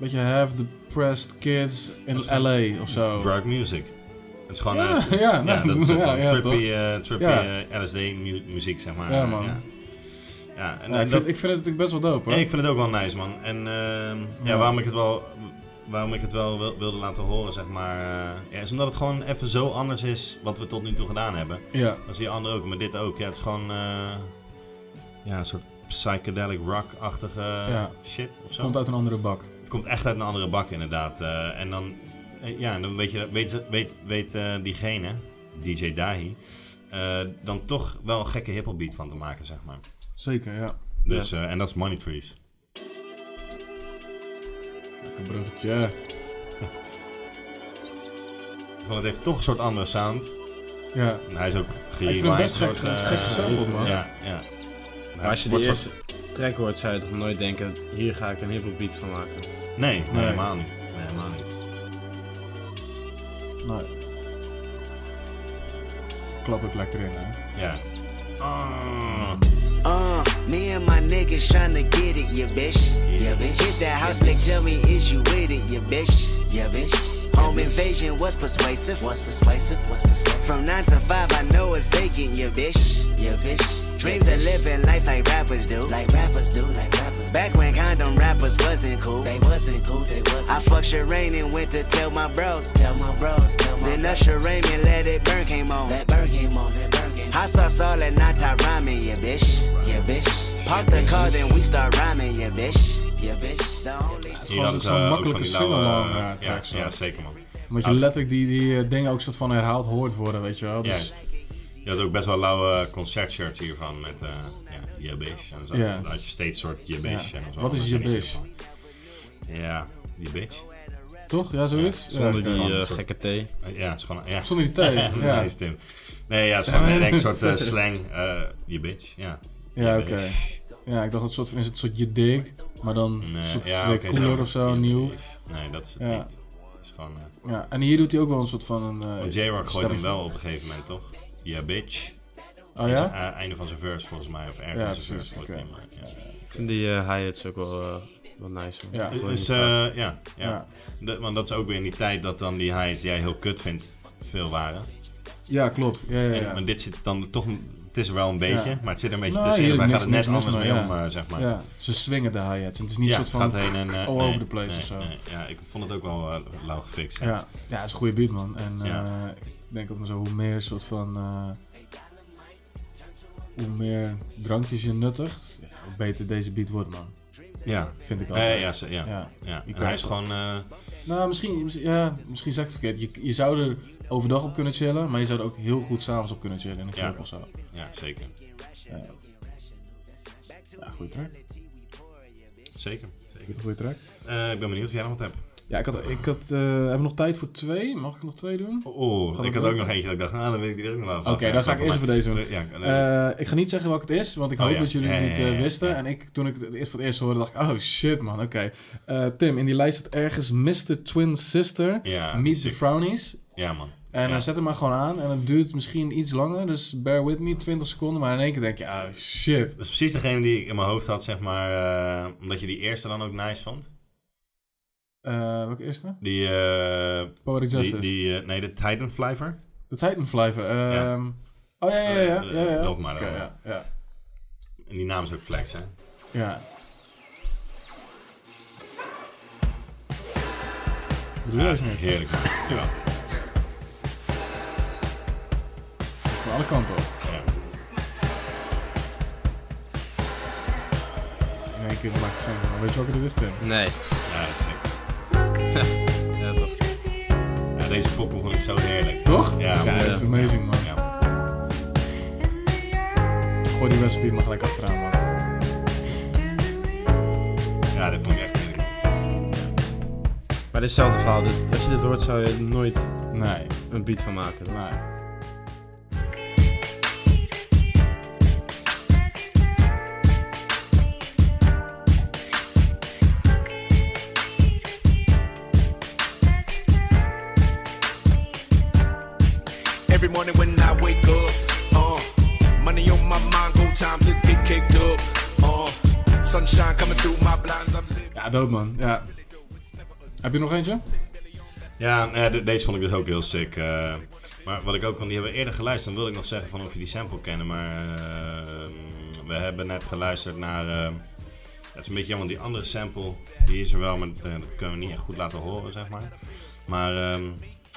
beetje half depressed kids Dat is in gewoon LA of zo. Drug music. Het is gewoon Ja, eh, ja, ja, nou, dat is soort ja, van ja, trippy, toch? eh, trippy Ja. eh, LSD mu- muziek, zeg maar. Ja, Eh, man. Ja, Ja, en, Ja, eh, dat- ik, vind, ik vind het natuurlijk best wel dope hoor. Nee, ik vind het ook wel nice, man. En ehm, ja, Ja. waarom ik het wel, waarom ik het wel wil- wilde laten horen, zeg maar, eh, ja, is omdat het gewoon even zo anders is wat we tot nu toe gedaan hebben. Ja. Dat is die andere ook, maar dit ook. Ja, het is gewoon eh, ja, een soort psychedelic rock-achtige Ja. eh, shit of zo. Komt uit een andere bak. Het komt echt uit een andere bak, inderdaad. Eh, en dan, eh, ja, en dan weet, je, weet, ze- weet, weet eh, diegene, DJ Dahi, eh, dan toch wel een gekke hiphop beat van te maken, zeg maar. Zeker, ja. Dus, eh, en dat is Money Trees. Lekker bruggetje. <laughs> Want het heeft toch een soort andere sound. Ja. En hij is ook Ik vind gerewind. hem best soort, gek- eh, gek gesampled, man. Ja, ja. Maar als je die Wordt soort- eerste track hoort, zou je toch nooit denken, hier ga ik een hiphop beat van maken. Nee, nee, helemaal niet. Nee, helemaal niet. Nee. Klap ik lekker in, hè? Ja. Uh, me and my niggas tryna get it, you bitch. Yeah, bitch. Hit that house, they tell me is you with it, you bitch. Yeah, bitch. Home invasion was persuasive. Was persuasive. Was persuasive. From nine to five, I know it's vacant, you bitch. Yeah, bitch. Dreams of living life like rappers do. Like rappers do. Like rappers. Back when condom rappers wasn't cool. They wasn't cool. They wasn't. I fucked Shireen and went to tell my bros. Tell my bros. Tell my then Usher Raymond and let it burn came on. That burn came on. That burn came on. Hot sauce all and not ramen, yeah, bitch. Yeah, bitch. Park the car, then we start rhyming, yeah, bitch. Yeah, bitch. The only. Zie je, dat is zo'n eh, ook van makkelijke die single, lauwe... man, ja, ja, track zo. ja, zeker man. Omdat je Ja, letterlijk die, die eh, dingen ook soort van herhaald hoort worden, weet je wel. Dus- Juist. Je had ook best wel lauwe concertshirts hiervan met eh ja, je bitch en zo. Ja. Dan had je steeds soort je bitch Ja. en zo. Wat is Maar je ken ik bitch? hiervan. Ja, je bitch. Toch? Ja, zoiets? Ja, zonder oké. die, Gewoon eh, een soort- Gekke thee. Eh, Ja, het is gewoon... Ja. <laughs> Zonder die thee, ja. nice, Tim. Nee, ja, het is gewoon Ja. ik denk, een <laughs> soort eh, slang. eh, je bitch, ja. Ja, Je oké. bitch. Ja, ik dacht dat soort van is het een soort je dig, maar dan Nee, soort ja, weer oké, cooler zo. of zo, nieuw. Nee, dat is het Ja. niet. Het is gewoon... eh, Ja, en hier doet hij ook wel een soort van een. eh, want J-Rock gooit hem stemmetje. wel op een gegeven moment, toch? Ja, bitch. Oh, Dat is ja? het, eh, Einde van zijn verse, volgens mij. Of ergens Ja, in zijn precies, verse. wordt oké. hij hem, eh, ja. Ik vind die eh hi-hats ook wel, eh, wel nice. man. Het Hoor je is, niet eh, vaak. ja, ja. Ja. Dat- want dat is ook weer in die tijd dat dan die highs die jij heel kut vindt, veel waren. Ja, klopt. Ja, ja, En- ja. maar dit zit dan toch, het is er wel een beetje, Ja. maar het zit er een beetje Nou, tussen. hier Wij niks- gaan het net niks mis anders mee om, ja. eh, zeg maar. Ja, ze swingen de hi-hats. Het is niet Ja, een soort van gaat heen en, eh, all nee, over the place nee, of zo. nee. ja, ik vond het ook wel eh, lauw gefixt. hè. Ja, ja, het is een goede beat, man. En Ja. eh, ik denk ook maar zo, hoe meer soort van... eh, hoe meer drankjes je nuttigt, ja, hoe beter deze beat wordt, man. Ja. Vind ik Eh, altijd. ja, ze- ja. Ja. die En kan hij is ook. gewoon, eh, Nou, misschien, misschien- ja, misschien zeg ik het verkeerd. Je, je zou er overdag op kunnen chillen, maar je zou er ook heel goed s'avonds op kunnen chillen in een Ja. club of zo. Ja, zeker. Ja. Ja, goede track. Zeker. Vind je het een goede track? Eh, ik ben benieuwd of jij nog wat hebt. Ja, ik had, ik had, eh, hebben we nog tijd voor twee? Mag ik nog twee doen? Oh, ik Gaat dat had ook lukken? nog eentje dat ik dacht, nou, dan weet ik die er ook nog wel Oké, dan ga ik eerst even deze doen. Ja, Eh, ik ga niet zeggen welke het is, want ik Oh, hoop ja. dat jullie Ja, het ja, niet ja, eh, ja, wisten. En ik, toen ik het eerst voor het eerst hoorde, dacht ik, oh shit man, oké. Eh, Tim, in die lijst staat ergens Mr. Twin Sister, Ja, die Meet is the sick. Frownies. Ja, man. En dan zet hem maar gewoon aan en het duurt misschien iets langer, dus bear with me, 20 seconden. Maar in één keer denk je, oh shit. Dat is precies degene die ik in mijn hoofd had, zeg maar, eh, omdat je die eerste dan ook nice vond. Eh, welke eerste? Die, eh Poetic die, Justice. die eh, nee, de Titan Flyver. De Titan Flyver. ehm, Oh ja, ja, ja. ja, ja, ja. Eh, Loop maar Oké, dan. ja, ja. En die naam is ook Flex, hè? Ja. Wat doe Ja, je deze net? heerlijk. man. Jawel. Van alle kanten op. Ja. In één keer maakt het zin van, weet je welke dit is, Tim? Nee. Ja, zeker. <laughs> ja, toch. Ja, deze poppen vond ik zo heerlijk. Toch? Ja, man. dat is amazing, man. Ja, Gooi die recipe maar gelijk achteraan, man. Ja, dat vond ik echt heerlijk. Maar dit is hetzelfde verhaal. Dit, als je dit hoort, zou je er nooit Nee, een beat van maken. toch? nee. morning when I wake up. Uh, money on my mind, go time to get caked up. Uh, sunshine coming through my blinds. I'm Ja, dope man. Ja. Heb je nog eentje? Ja, eh, de- deze vond ik dus ook heel sick. eh. maar wat ik ook, want die hebben we eerder geluisterd, dan wilde ik nog zeggen van of je die sample kennen. Maar eh, we hebben net geluisterd naar. eh, het is een beetje jammer, want die andere sample die is er wel, maar eh, dat kunnen we niet echt goed laten horen, zeg maar. Maar ehm,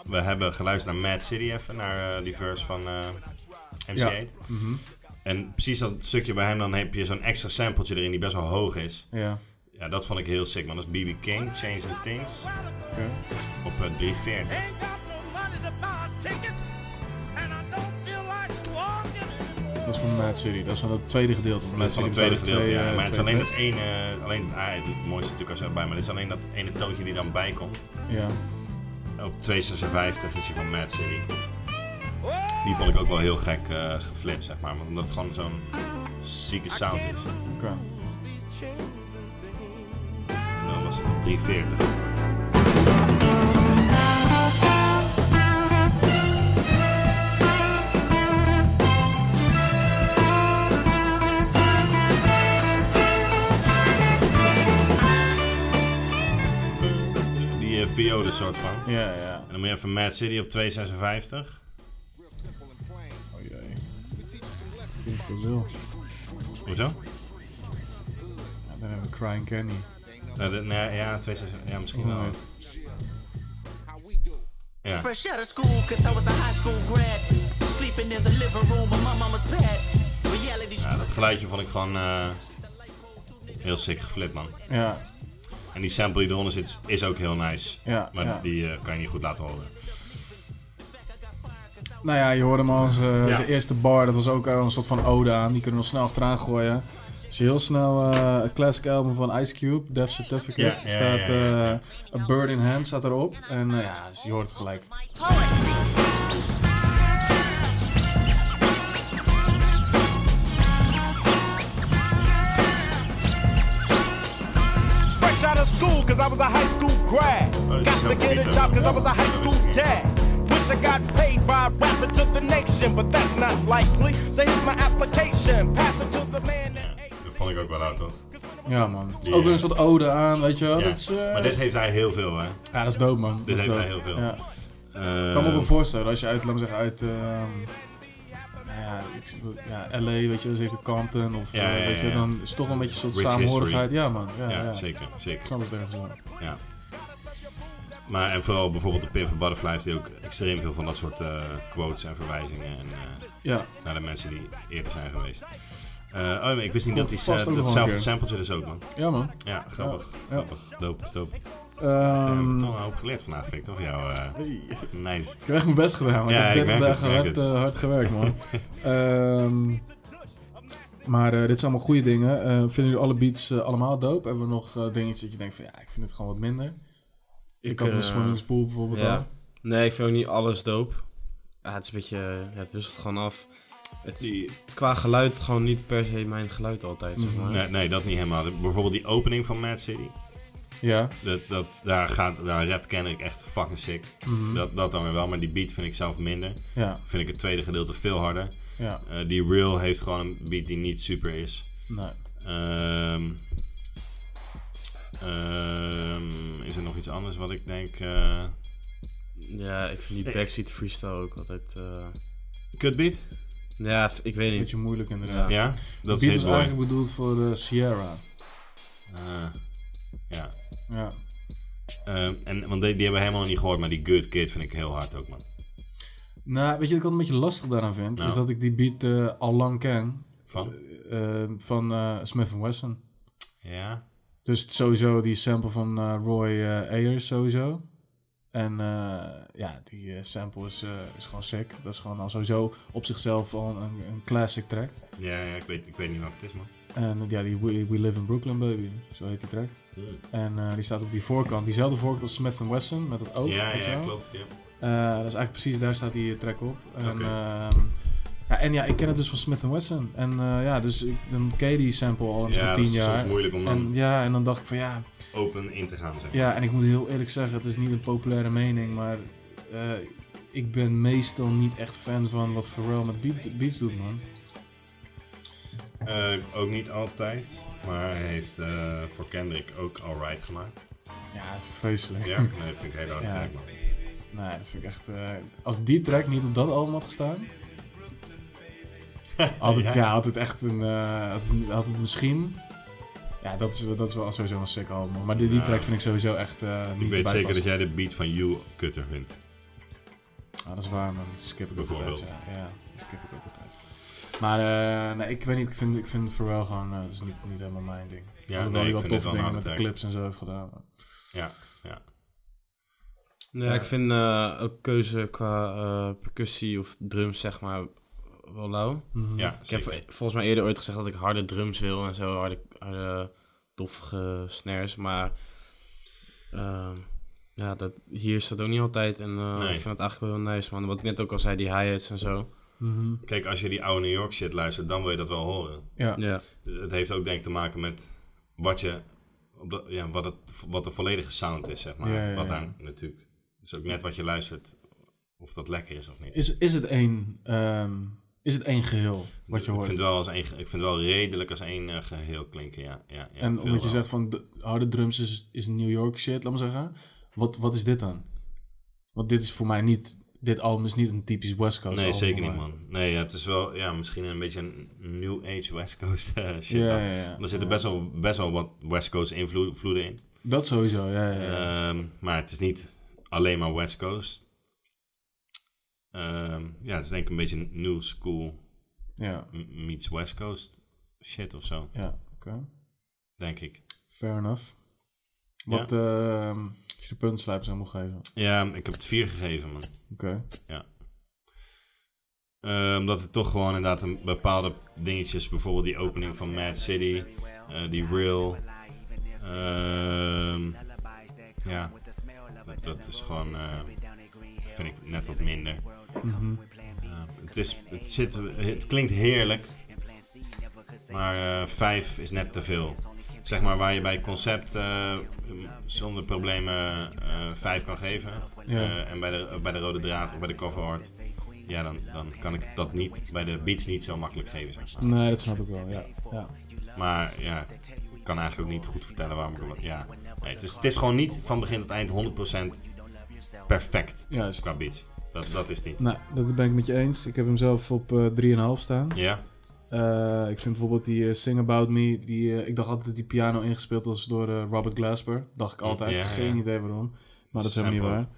we hebben geluisterd naar Mad City even, naar eh, die verse van eh MC8. Ja. Mhm. En precies dat stukje bij hem, dan heb je zo'n extra sampletje erin die best wel hoog is. Ja. Ja, dat vond ik heel sick, man. Dat is BB King, Change the Things. Op eh, 340. Dat is van Mad City. Dat is van het tweede gedeelte. Maar het is van het tweede gedeelte, ja. eh, Maar het is alleen dat één. ene... Alleen, ah, het, het mooiste natuurlijk als je erbij... Maar het is alleen dat ene toontje die dan bijkomt. Ja. Op 256 is hij van Mad City. Die vond ik ook wel heel gek eh, geflipt, zeg maar. Omdat het gewoon zo'n zieke sound is. Oké. Um, En dan was het op 340. Die eh, viode soort van. Ja, ja. En dan moet je even Mad City op 256. Hoezo? Ja, dan hebben we Crying Oh. Candy. Eh, de- nee, ja, 256. Ja, misschien wel. Ja. Fresh out of school, cause I was a high school grad. Sleeping in the living room on my mama's pad. Reality Ja, dat geluidje vond ik gewoon eh, heel sick geflipt, man. Ja. En die sample die eronder zit is ook heel nice. Ja, maar ja. die eh, kan je niet goed laten horen. Nou ja, je hoorde hem al, zijn Ja. zijn eerste bar, dat was ook al een soort van ode aan. Die kunnen we nog snel achteraan gooien. Dus heel snel eh een classic album van Ice Cube, Death Certificate. Ja, ja, staat ja, ja, eh, A Bird in Hand staat erop. En eh, ja, dus je hoort het gelijk. Fresh out of school, cause I was a high school grad. Uh, Got to get a job, cause I was a high school dad. Wish I got paid by rapping to the nation, but that's not likely. So here's my application, pass it to the man. that- Dat vond ik ook wel oud, toch? Ja, man. Die, Ook weer eh, een soort ode aan, weet je wel. ja. Dat is, eh, maar dit heeft hij heel veel, hè? Ja, dat is dope, man. Dit Dat is heeft hij heel dope. veel. Ja. Eh, Ik kan me ook wel voorstellen, als je uit, laat maar zeggen, uit... ehm, nou ja, ik, ja, LA, weet je, zeker Compton of... Ja, eh, ja, weet ja, je, ja. dan is het toch wel een beetje een soort Rich saamhorigheid. history. Ja, man. Ja, Ja, ja, zeker, zeker. Ik snap het ergens wel. Ja. Maar en vooral bijvoorbeeld de Pimper Butterfly heeft hij ook extreem veel van dat soort eh, quotes en verwijzingen en, eh, Ja. naar de mensen die eerder zijn geweest. Eh, oh, maar ik wist niet Komt dat die, vast ook nog wel een datzelfde keer. sampletje dus ook, man. Ja, man. Ja, grappig. Ja, ja. Grappig. Dope, dope. Ehm, Daar heb ik toch een hoop geleerd vandaag, Vic, toch? Jou, eh, Nice. Ik heb echt mijn best gedaan. want Ja, ik heb ik merk 30 het, dagen ik merk hard, het. eh, hard gewerkt, <laughs> man. Ehm, maar eh, dit zijn allemaal goede dingen. Eh, vinden jullie alle beats eh, allemaal dope? Hebben we nog eh, dingetjes dat je denkt van ja, ik vind het gewoon wat minder? Ik, had mijn eh, swimmingspool bijvoorbeeld ja. al. Nee, ik vind ook niet alles doop. Ja, het is een beetje... Ja, het wisselt gewoon af. Het, is Qua geluid gewoon niet per se mijn geluid altijd, zeg eh, maar. Nee, nee, dat niet helemaal. Bijvoorbeeld die opening van Mad City. Ja. Dat, dat, daar, gaat, daar rapt Kendrick echt fucking sick. Mhm. Dat, dat dan weer wel, maar die beat vind ik zelf minder. Ja. Vind ik het tweede gedeelte veel harder. Ja. Eh, die Real heeft gewoon een beat die niet super is. Nee. Ehm, ehm, is er nog iets anders wat ik denk... eh, Ja, ik vind die backseat freestyle ook altijd... eh Kutbeat? Ja, v- ik weet niet. Beetje moeilijk inderdaad. Ja, dat De is beat was Hitboy. eigenlijk bedoeld voor eh, Sierra. eh, ja. Ja. Ehm, en, want die, die hebben we helemaal niet gehoord, maar die Good Kid vind ik heel hard ook, man. Nou, weet je wat ik altijd een beetje lastig daaraan vind? Nou. Is dat ik die beat eh, al lang ken. Van? Eh, eh, van eh, Smith Wesson. Ja. Dus sowieso die sample van eh, Roy eh Ayers sowieso. En eh, ja, die eh, sample is, eh, is gewoon sick. Dat is gewoon al sowieso op zichzelf al een, een classic track. Ja, ja ik, weet, ik weet niet wat het is, man. En eh, ja, die We, We Live in Brooklyn Baby, zo heet die track. Hmm. En eh, die staat op die voorkant, diezelfde voorkant als Smith Wesson met dat oog. Ja, weet je ja, wel. klopt, ja. Eh, dat is eigenlijk precies, daar staat die eh, track op. En, Oké. ehm, ja, en ja, ik ken het dus van Smith Wesson. En eh, ja, dus ik, dan ken je die sample al Ja, ja, dat tien is jaar. soms moeilijk om dan- En, ja, en dan dacht ik van ja, Open in te gaan, zeg maar. ja, en ik moet heel eerlijk zeggen, het is niet een populaire mening, maar eh, ik ben meestal niet echt fan van wat Pharrell met beat- beats doet, man. Eh, ook niet altijd, maar hij heeft eh, voor Kendrick ook Alright gemaakt. Ja, vreselijk. Ja, nee, vind ik heel hard <laughs> Ja. track, man. Nee, dat vind ik echt... eh, als die track niet op dat album <laughs> had gestaan... Altijd, ja. Ja. had het echt een... eh, had, het- had het misschien... Ja, dat is, dat is wel sowieso een sick album. Maar die, die Ja. track vind ik sowieso echt eh, niet Ik weet erbij zeker dat jij passen. de beat van You kutter vindt. Ah, dat is waar, man. Dat skip ik ook Bijvoorbeeld. altijd. Ja, ja dat skip ik ook altijd. Maar eh, nee, ik weet niet. Ik vind, ik vind Pharrell gewoon... eh, dat is niet, niet helemaal mijn ding. Ja, Hoewel nee, hij ik wel vind toffe het wel een dingen harde met de track. clips en zo heeft gedaan. maar- Ja, ja. Ja, ik vind eh, ook keuze qua eh, percussie of drums, zeg maar, wel lauw. Mhm. Ja, ik heb zeker. volgens mij eerder ooit gezegd dat ik harde drums wil en zo, harde, harde doffige snares. Maar ehm, ja, dat, hier is dat ook niet altijd. En eh, Nee. ik vind het eigenlijk wel heel nice, man. Wat ik net ook al zei, die hi-hats en zo. Mhm. Kijk, als je die oude New York shit luistert, dan wil je dat wel horen. Ja. Ja. Dus het heeft ook denk ik te maken met wat je... Op de, ja, wat, het, wat de volledige sound is, zeg maar. Ja, ja, Wat ja. daar natuurlijk... Het is ook net wat je luistert, of dat lekker is of niet. Is, is, het één, ehm, is het één geheel wat je Ik hoort? vind, het wel als één, ge- ik vind het wel redelijk als één eh, geheel klinken, ja. ja, ja en veel omdat je wel. zegt van de harde drums is, is New York shit, laat maar zeggen. Wat, wat is dit dan? Want dit is voor mij niet... Dit album is niet een typisch West Coast Nee, album, zeker niet, maar- man. Nee, ja, het is wel ja, misschien een beetje een New Age West Coast eh, <laughs> shit. Ja, dan. ja, ja. Want Er zitten best wel, best wel wat West Coast invloed- invloeden in. Dat sowieso, ja. ja, ja. Ehm, maar het is niet alleen maar West Coast. Ehm, ja, het is denk ik een beetje een new school Ja. m- meets West Coast shit of zo, Ja, oké. denk ik. Fair enough. Ja. Wat ehm, als je de puntslijp zou moeten geven? Ja, ik heb het vier gegeven, man. Oké. Ja. Eh, omdat het toch gewoon inderdaad een bepaalde dingetjes, bijvoorbeeld die opening van Mad City, eh, die Real. ehm, ja, dat, dat is gewoon, eh, vind ik net wat minder. Mhm. Ja, Eh, het, is, het, zit, het klinkt heerlijk, maar eh, vijf is net te veel. Zeg maar waar je bij concept eh, zonder problemen eh, vijf kan geven. Ja. Eh, en bij de, bij de rode draad of bij de cover art. Ja, dan, dan kan ik dat niet bij de beats niet zo makkelijk geven. Zeg maar. Nee, dat snap ik wel, ja. ja. Maar ja, ik kan eigenlijk ook niet goed vertellen waarom ik hem- Ja. Nee, het, is, het is gewoon niet van begin tot eind 100% perfect Juist. qua beats. Dat, dat is het niet. Nou, dat ben ik met je eens. Ik heb hem zelf op eh, 3,5 staan. Ja. Eh, ik vind bijvoorbeeld die eh, Sing About Me. Die, eh, ik dacht altijd dat die piano ingespeeld was door eh, Robert Glasper. Dacht ik altijd. Ja, ja. Geen idee waarom. Maar dat is Sample. helemaal niet waar.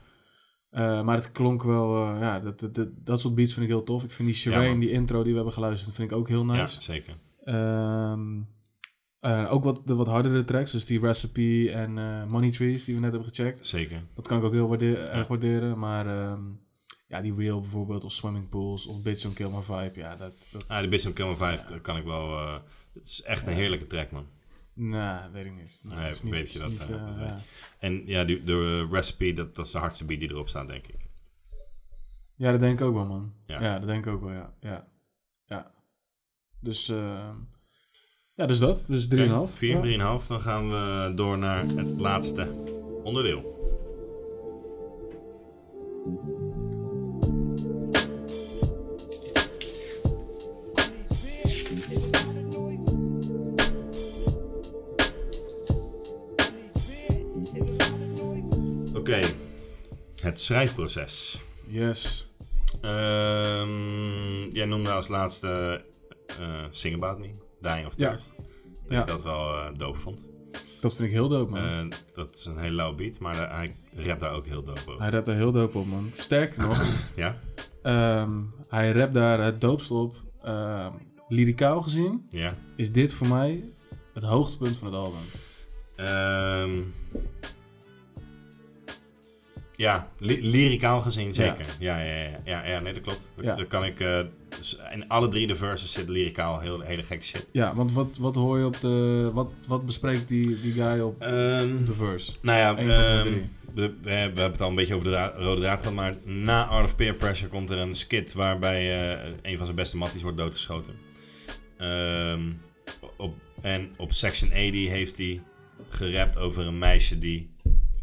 Eh, maar het klonk wel, eh, ja, dat, dat, dat, dat soort beats vind ik heel tof. Ik vind die Ja, Shireen, man. die intro die we hebben geluisterd, vind ik ook heel nice. Ja, zeker. Ehm, eh, ook wat, de wat hardere tracks, dus die Recipe en eh, Money Trees die we net hebben gecheckt. Zeker. Dat kan ik ook heel waarde- erg waarderen, maar ehm, ja, die Real bijvoorbeeld, of Swimming Pools, of Bitch Don't Kill My Vibe, ja, dat... dat Ah, de Bishop Kilmer 5 kan ik wel. eh, het is echt een heerlijke track, man. Nou, weet ik niet. Nee, dat is ik niet- weet dat je dat, is niet, eh, dat eh, weet. En ja, die, de eh, recipe, dat, dat is de hardste beat die erop staat, denk ik. Ja, dat denk ik ook wel, man. Ja, Ja. dat denk ik ook wel, ja. Ja. ja. Dus, ehm, ja, dus dat. Dus 3,5. 4, Ja. 3,5. Dan gaan we door naar het laatste onderdeel. Oké, het schrijfproces. Yes. Ehm, jij noemde als laatste eh, Sing About Me, Dying of Ja. Thirst. Dat Ja. ik dat wel eh doof vond. Dat vind ik heel dope, man. Eh, dat is een hele lauw beat, maar daar- hij rapt daar ook heel doof over. Hij rapt daar heel dope op, man. Sterker nog, <laughs> Ja? ehm, hij rapt daar het doopst op. Ehm lyricaal gezien Ja. is dit voor mij het hoogtepunt van het album. Ehm, ja, ly- lyricaal gezien zeker. Ja, ja, ja. ja, ja, ja, nee, dat klopt. Dat, Ja. dat kan ik... eh, dus in alle drie de verses zit lyricaal heel, hele gekke shit. Ja, want wat, wat hoor je op de... Wat, wat bespreekt die, die guy op Ehm, de verse? Nou ja, Eén tot en ehm, met drie. we, we hebben het al een beetje over de dra- rode draad gehad, maar na Art of Peer Pressure komt er een skit waarbij eh, een van zijn beste matties wordt doodgeschoten. Ehm, op, en op Section 80 heeft hij gerapt over een meisje die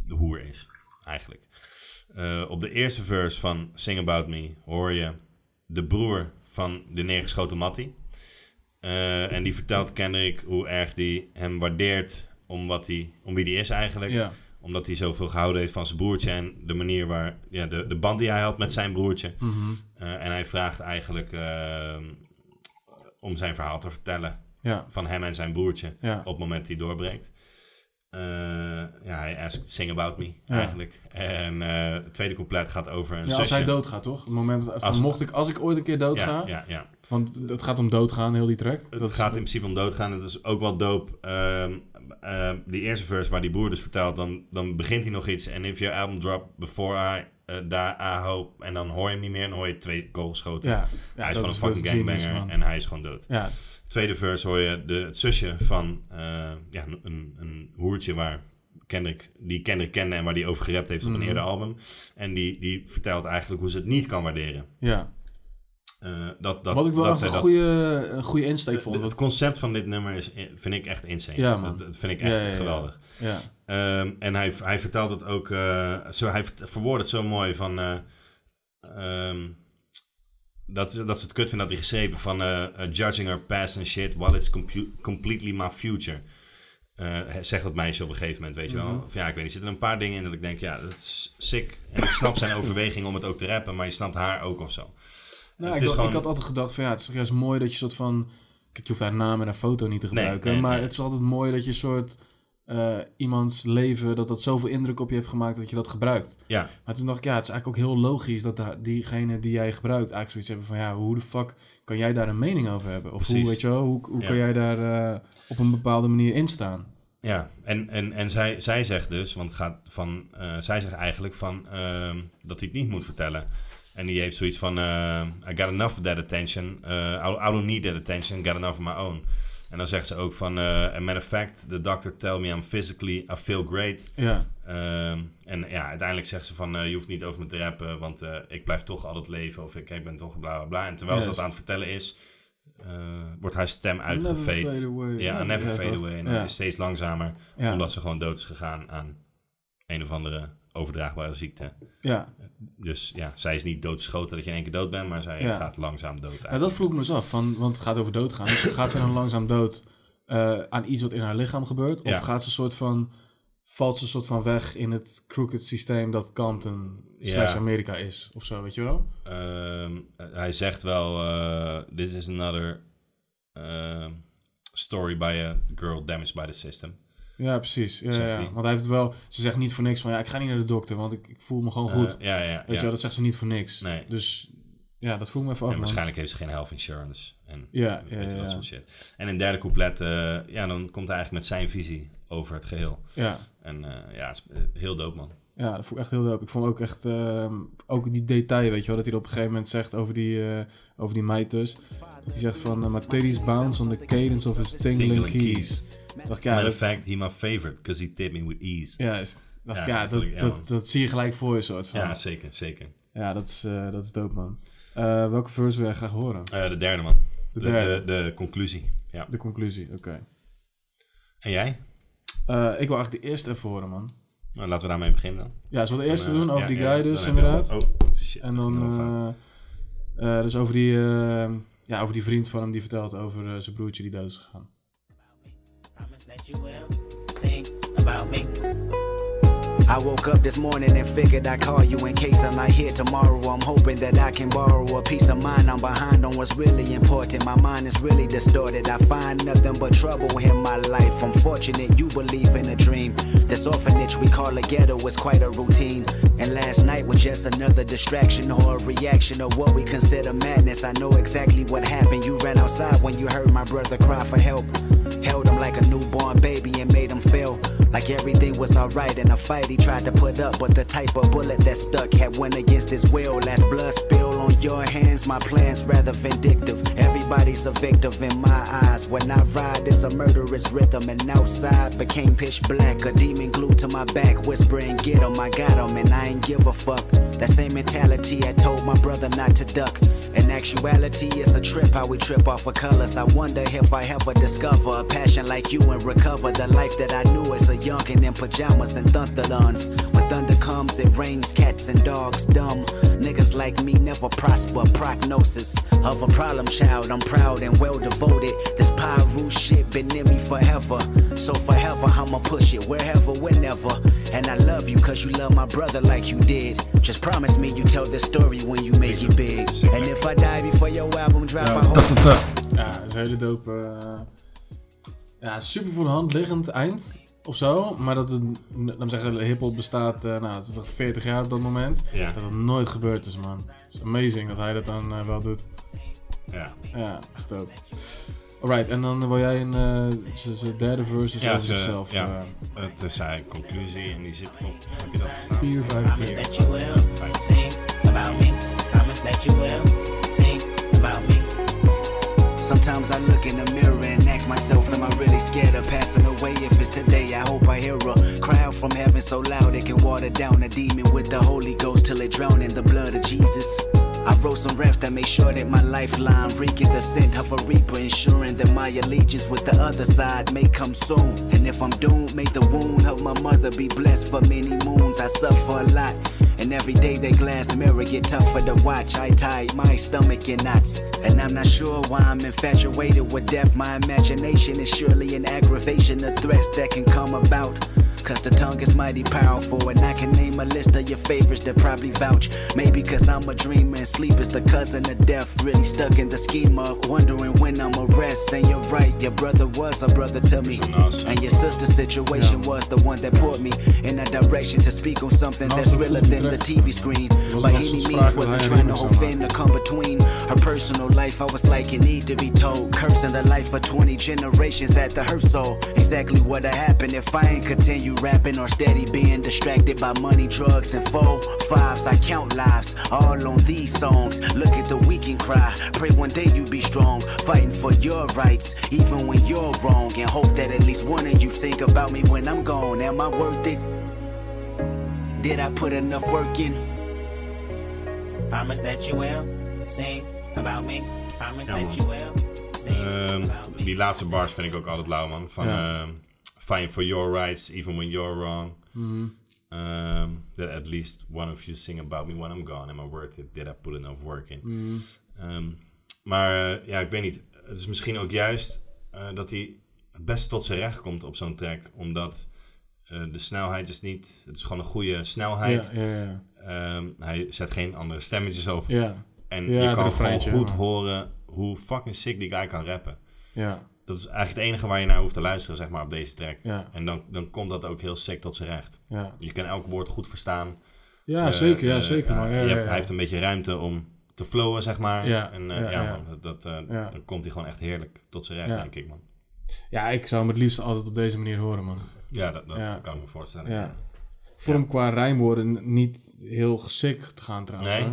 de hoer is, eigenlijk. Eh, op de eerste verse van Sing About Me hoor je de broer van de neergeschoten Mattie. Eh, en die vertelt Kendrick hoe erg hij hem waardeert om, wat hij, om wie hij is eigenlijk. Ja. Omdat hij zoveel gehouden heeft van zijn broertje en de manier waar, ja, de, de band die hij had met zijn broertje. Mhm. Eh, en hij vraagt eigenlijk eh, om zijn verhaal te vertellen Ja. van hem en zijn broertje Ja. op het moment dat hij doorbreekt. Eh, ja, hij asked Sing About Me Ja. eigenlijk. En eh, het tweede couplet gaat over een Ja, als zusje. hij doodgaat, toch? Het moment van, Als- mocht ik, als ik ooit een keer doodga. Ja, ja, ja. Want het gaat om doodgaan, heel die track. Het gaat in principe om doodgaan. Het is ook wel dope. Ehm, ehm, die eerste verse waar die broer dus vertelt, dan, dan begint hij nog iets. En if your album drop before I, eh, die, I hope. En dan hoor je hem niet meer en hoor je twee kogelschoten. Ja, ja, hij is dat gewoon is- een dat fucking is genius, gangbanger man. en hij is gewoon dood. Ja. Tweede verse hoor je de, het zusje van eh, ja, een- een, een hoertje waar Kendrick, die Kendrick kende en waar die over gerept heeft op een Mhm. eerder album. En die, die vertelt eigenlijk hoe ze het niet kan waarderen. Ja. Eh, dat, dat, Wat ik wel dat echt zij een dat- goede, een goede insteek vond. het concept van dit nummer is, vind ik echt insane. Ja, man. Dat, dat vind ik echt Ja, ja, ja. geweldig. Ja. Ehm, en hij, hij vertelt het ook... eh, zo, hij vert- verwoordt het zo mooi van... eh, ehm, dat, dat ze het kut vinden dat hij geschreven van... eh, eh, judging her past and shit while it's compu- completely my future. Eh, zegt dat meisje op een gegeven moment, weet je wel. Mhm. Of ja, ik weet niet, er zitten een paar dingen in dat ik denk... Ja, dat is sick. En ik snap <laughs> zijn overweging om het ook te rappen, maar je snapt haar ook of zo. Nou, Het ik, is dacht- gewoon- ik had altijd gedacht van ja, het is toch juist mooi dat je soort van... Kijk, je hoeft haar naam en haar foto niet te Nee, gebruiken. nee, maar nee. het is altijd mooi dat je soort eh, iemands leven, dat dat zoveel indruk op je heeft gemaakt dat je dat gebruikt. Ja. Maar toen dacht ik, ja, het is eigenlijk ook heel logisch dat da- diegene die jij gebruikt eigenlijk zoiets hebben van ja, hoe de fuck kan jij daar een mening over hebben? Of hoe, Precies. weet je wel, hoe, hoe Ja. kan jij daar eh, op een bepaalde manier in staan? Ja, en, en, en zij, zij zegt dus, want het gaat van, eh, zij zegt eigenlijk van ehm, dat hij het niet moet vertellen. En die heeft zoiets van, ehm, I got enough of that attention, Eh, I, I don't need that attention, got enough of my own. En dan zegt ze ook van, eh a matter of fact, the doctor tell me I'm physically, I feel great. Ja. Ehm, en ja, uiteindelijk zegt ze van, eh, je hoeft niet over me te rappen, want eh, ik blijf toch altijd leven. Of ik, ik ben toch bla bla bla. En terwijl ze Juist. dat aan het vertellen is, eh, wordt haar stem Never uitgeveed. fade away. Ja, Ja, never ja, fade toch? away. Nou, En dan Ja. is steeds langzamer, Ja. omdat ze gewoon dood is gegaan aan een of andere overdraagbare ziekte. Ja. Dus ja, zij is niet doodgeschoten dat je in één keer dood bent, maar zij Ja. gaat langzaam dood. Ja, dat vroeg ik me eens af, van, want het gaat over doodgaan. Dus gaat <laughs> zij dan langzaam dood eh, aan iets wat in haar lichaam gebeurt? Of Ja. gaat ze een soort van, valt ze een soort van weg in het crooked systeem dat Compton Ja. slash Amerika is? Of zo, weet je wel? Ehm, hij zegt wel, eh, this is another ehm, story by a girl damaged by the system. Ja, precies. Ja, Zegt ja. hij. Want hij heeft wel, ze zegt niet voor niks van, ja, ik ga niet naar de dokter, want ik, ik voel me gewoon Eh, goed. ja, ja, weet ja. je wel, dat zegt ze niet voor niks. Nee. Dus ja, dat vroeg me even af. en man. waarschijnlijk heeft ze geen health insurance. En Ja, ja, weet je, ja, dat ja. soort shit. En in het derde couplet, eh, ja, dan komt hij eigenlijk met zijn visie over het geheel. Ja. En eh, ja, het is, eh, heel dope, man. Ja, dat vond ik echt heel dope. Ik vond ook echt, ehm, ook die detail, weet je wel, dat hij er op een gegeven moment zegt over die, eh, over die meid dus. Dat hij zegt van, eh, my titties bounce on the cadence of his tingling, keys. Dacht ik, ja, Matter dat, of fact, he my favorite, because he tipped me with ease. Juist. Dacht ik, ja, vond dat, ik- man. dat, dat zie je gelijk voor je soort van. Ja, zeker, zeker. Ja, dat is, eh, dat is dope, man. Eh, welke verse wil jij graag horen? Eh, de derde, man. Eh, De De, derde. de, de conclusie. Ja. De conclusie, oké. En jij? Eh, ik wil eigenlijk de eerste even horen, man. Nou, laten we daarmee beginnen dan. Ja, zullen we de Dan, eerste eh, doen over ja, die ja, guy dan dus, heb je al- inderdaad. Oh, shit. en dan, eh, eh, dus over die, eh, ja, over die vriend van hem die vertelt over eh, zijn broertje die dood is gegaan. Promise that you will sing about me. I woke up this morning and figured I'd call you in case I'm not here tomorrow. I'm hoping that I can borrow a piece of mind. I'm behind on what's really important. My mind is really distorted. I find nothing but trouble in my life. I'm fortunate you believe in a dream. This orphanage we call a ghetto is quite a routine. And last night was just another distraction or a reaction of what we consider madness. I know exactly what happened. You ran outside when you heard my brother cry for help. Held him like a newborn baby and made him feel like everything was alright in a fight he tried to put up, but the type of bullet that stuck had went against his will. Last blood spill on your hands, my plans rather vindictive. Everybody's a victim in my eyes. When I ride, it's a murderous rhythm, and outside became pitch black. A demon glued to my back, whispering, Get him, I got him, and I ain't give a fuck. That same mentality I told my brother not to duck. In actuality, it's a trip how we trip off of colors. I wonder if I ever discover a passion like you and recover the life that I knew as a youngin' in pajamas and thunderlons. When thunder comes, it rains cats and dogs dumb. Niggas like me never prosper. Prognosis of a problem child. I'm proud and well devoted. This Pyru shit been in me forever. So forever, I'ma push it wherever, whenever. And I love you cause you love my brother like you did. Just promise me you tell this story when you make it big. And if I die before your album drop, I hope. Ja, dat is een hele dope. eh, ja, super voor de hand liggend eind of zo. Maar dat het, laat me zeggen, hip-hop bestaat, eh nou, dat is toch 40 jaar op dat moment. Ja. Dat het nooit gebeurd is, man. Het is amazing dat hij dat dan eh, wel doet. Ja. Ja, is dope. Alright, en dan wil jij een eh, z- z- derde verse Ja, over ze- zichzelf. ja. eh, het is haar conclusie en die zit op. Heb je dat staan? Vier, vijf, Vier. twee. that you will sing about me. Promise that you will sing about me. Sometimes I look in the mirror and ask myself, am I really scared of passing away? If it's today, I hope I hear a cry out from heaven so loud it can water down a demon with the Holy Ghost till it drown in the blood of Jesus. I wrote some raps that made sure that my lifeline reeking the scent of a reaper, ensuring that my allegiance with the other side may come soon. And if I'm doomed, may the wound of my mother be blessed for many moons. I suffer a lot, and every day that glass mirror get tougher to watch. I tie my stomach in knots, and I'm not sure why I'm infatuated with death. My imagination is surely an aggravation of threats that can come about. Cause the tongue is mighty powerful, and I can name a list of your favorites that probably vouch. Maybe cause I'm a dreamer and sleep is the cousin of death. Really stuck in the schema, wondering when I'ma rest. And you're right, your brother was a brother to me. And your sister's situation was the one that put me in a direction to speak on something that's realer than the TV screen. was By een afspraak any means, met haar wasn't trying to remix, offend to come between her personal life. I was like, it need to be told. Cursing the life of 20 generations at the Herzog. Exactly what happened if I ain't continue rapping or steady being distracted by money, drugs, and four fives. I count lives all on these songs. Look at the weekend cry. Pray one day you be strong, fighting for your rights, even when you're wrong. And hope that at least one of you think about me when I'm gone. Am I worth it? Did I put enough work in? Promise that you will sing about me. Promise Ja, that man. you will. Ehm, die laatste bars vind ik ook altijd lauw, man. Van Ja. ehm, Fighting for your rights, even when you're wrong. Mhm. Ehm, that at least one of you sing about me when I'm gone. Am I worth it? Did I put enough work in? Mhm. Ehm, maar eh, ja, ik weet niet. Het is misschien ook juist eh, dat hij het best tot zijn recht komt op zo'n track. Omdat eh, de snelheid is niet... Het is gewoon een goede snelheid. Ja, ja, ja. Ehm, hij zet geen andere stemmetjes op. Ja. En Ja, je het kan gewoon refreintje, goed ja. horen hoe fucking sick die guy kan rappen. Ja. Dat is eigenlijk het enige waar je naar hoeft te luisteren, zeg maar, op deze track. Ja. En dan, dan komt dat ook heel sick tot zijn recht. Ja. Je kan elk woord goed verstaan. Ja, Eh, zeker, ja, eh, zeker, maar ja, je ja, hebt- ja. Hij heeft een beetje ruimte om te flowen, zeg maar. Ja, En eh, ja, ja, ja. man, dat, dat, eh, Ja. dan komt hij gewoon echt heerlijk tot zijn recht, Ja. denk ik, man. Ja, ik zou hem het liefst altijd op deze manier horen, man. Ja, dat- dat kan ik me voorstellen, ja. Ik vond hem qua rijmwoorden niet heel gesikt gaan trouwens. Nee? hè?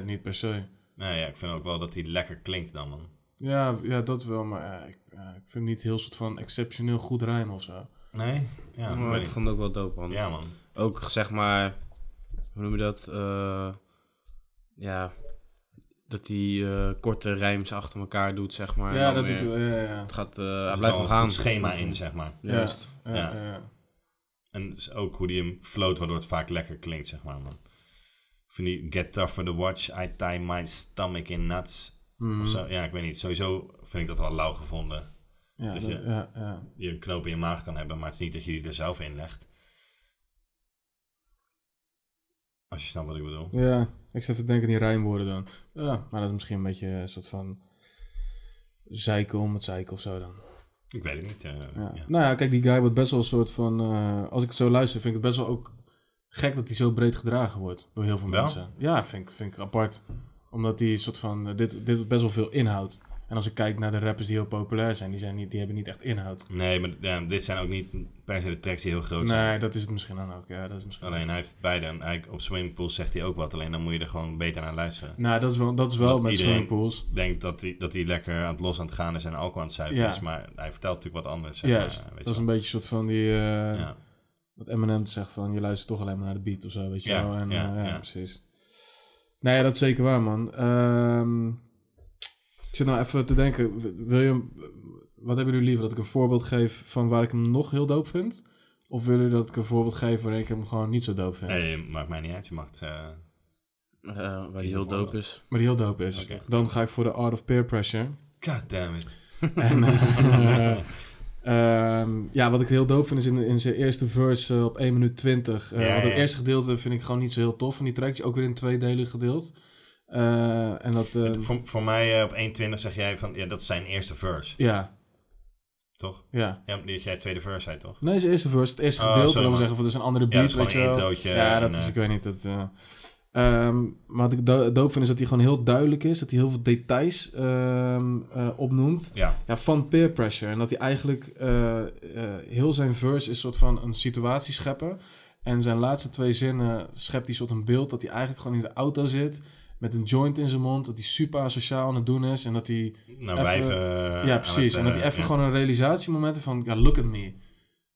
Nee, niet per se. Nou ja, ik vind ook wel dat hij lekker klinkt dan, man. Ja, ja dat wel, maar ja, ik, ja, ik vind hem niet heel soort van exceptioneel goed rijmen of zo. Nee? Ja, maar ik vond het ook wel dope, man. Ja, man. Ook zeg maar, hoe noem je dat? Eh, ja, dat hij eh, korte rijms achter elkaar doet, zeg maar. Ja, En dan dat doet weer- hij wel, ja, ja, ja. Het gaat, eh, Er hij zit blijft wel nog een gaan. goed schema in, zeg maar. Ja, Juist. ja, ja, ja. En het is ook hoe die hem float, waardoor het vaak lekker klinkt, zeg maar, man. Ik vind die Get Tough for the Watch, I Tie My Stomach in Nuts. Mhm. Of zo. Ja, ik weet niet. Sowieso vind ik dat wel lauw gevonden. Ja, dat dat- je, ja, ja. je een knoop in je maag kan hebben, maar het is niet dat je die er zelf in legt. Als je snapt wat ik bedoel. Ja, ik zat te denken aan die rijmwoorden dan. Ja, maar dat is misschien een beetje een soort van zeiken om het zeiken of zo dan. Ik weet het niet. eh, Ja. ja. Nou ja, kijk, die guy wordt best wel een soort van... eh, als ik het zo luister, vind ik het best wel ook gek dat hij zo breed gedragen wordt door heel veel Wel? mensen. Ja, vind, ik- vind ik apart. Omdat hij een soort van... eh, dit, dit best wel veel inhoud. En als ik kijk naar de rappers die heel populair zijn, die, zijn niet, die hebben niet echt inhoud. Nee, maar ja, dit zijn ook niet per se de tracks die heel groot zijn. Nee, dat is het misschien dan ook. Ja, dat is misschien... Alleen hij heeft beide. En Hij, op Swimmingpool zegt hij ook wat, alleen dan moet je er gewoon beter naar luisteren. Nou, dat is wel- dat is wel Want met iedereen swimmingpools. denkt dat hij, dat hij lekker aan het los aan het gaan is en alcohol aan het zuipen Ja. is, maar hij vertelt natuurlijk wat anders. zeg maar, Juist, weet je dat is wel. een beetje een soort van die... eh, Wat Eminem zegt van, je luistert toch alleen maar naar de beat of zo, weet je Ja, wel. En, ja, eh, ja, ja. precies. Nou ja, dat is zeker waar, man. Ehm, ik zit nou even te denken. w- Wil je, hem- wat hebben jullie liever? Dat ik een voorbeeld geef van waar ik hem nog heel doop vind? Of willen jullie dat ik een voorbeeld geef waarin ik hem gewoon niet zo doop vind? Nee, maakt mij niet uit. Je mag het... eh, Eh, waar die kiezen heel voor dope wel. is. Maar die heel doop is. Dan ga ik voor de Art of Peer Pressure. God damn it. <laughs> En, eh, ehm, ja, wat ik heel doop vind is in, in zijn eerste verse eh, op 1 minuut 20. eh, Ja, want het ja. eerste gedeelte vind ik gewoon niet zo heel tof van die trackje. Ook weer in twee delen gedeeld. Eh, en dat... eh, voor, voor mij eh, op 1.20 zeg jij van... Ja, dat is zijn eerste verse. ja. Toch? Ja. Ja, maar die had jij tweede verse uit, toch? Nee, zijn eerste verse. Het eerste Oh, gedeelte, sorry, dan man. zeggen van, dus een andere Ja, beat, dat is weet je gewoon wel. een introotje Ja, dat en, is, eh, ik weet niet, dat... eh, ehm, maar wat ik do- doop vind is dat hij gewoon heel duidelijk is. Dat hij heel veel details ehm, eh, opnoemt. Ja. van peer pressure. En dat hij eigenlijk eh, eh, heel zijn verse is soort van een situatie scheppen. En zijn laatste twee zinnen schept hij soort een beeld dat hij eigenlijk gewoon in de auto zit. Met een joint in zijn mond. Dat hij super asociaal aan het doen is. En dat hij... Naar even- wijven, eh, Ja, aan precies. het, en dat eh, hij even ja. gewoon een realisatiemoment heeft van... Ja, look at me.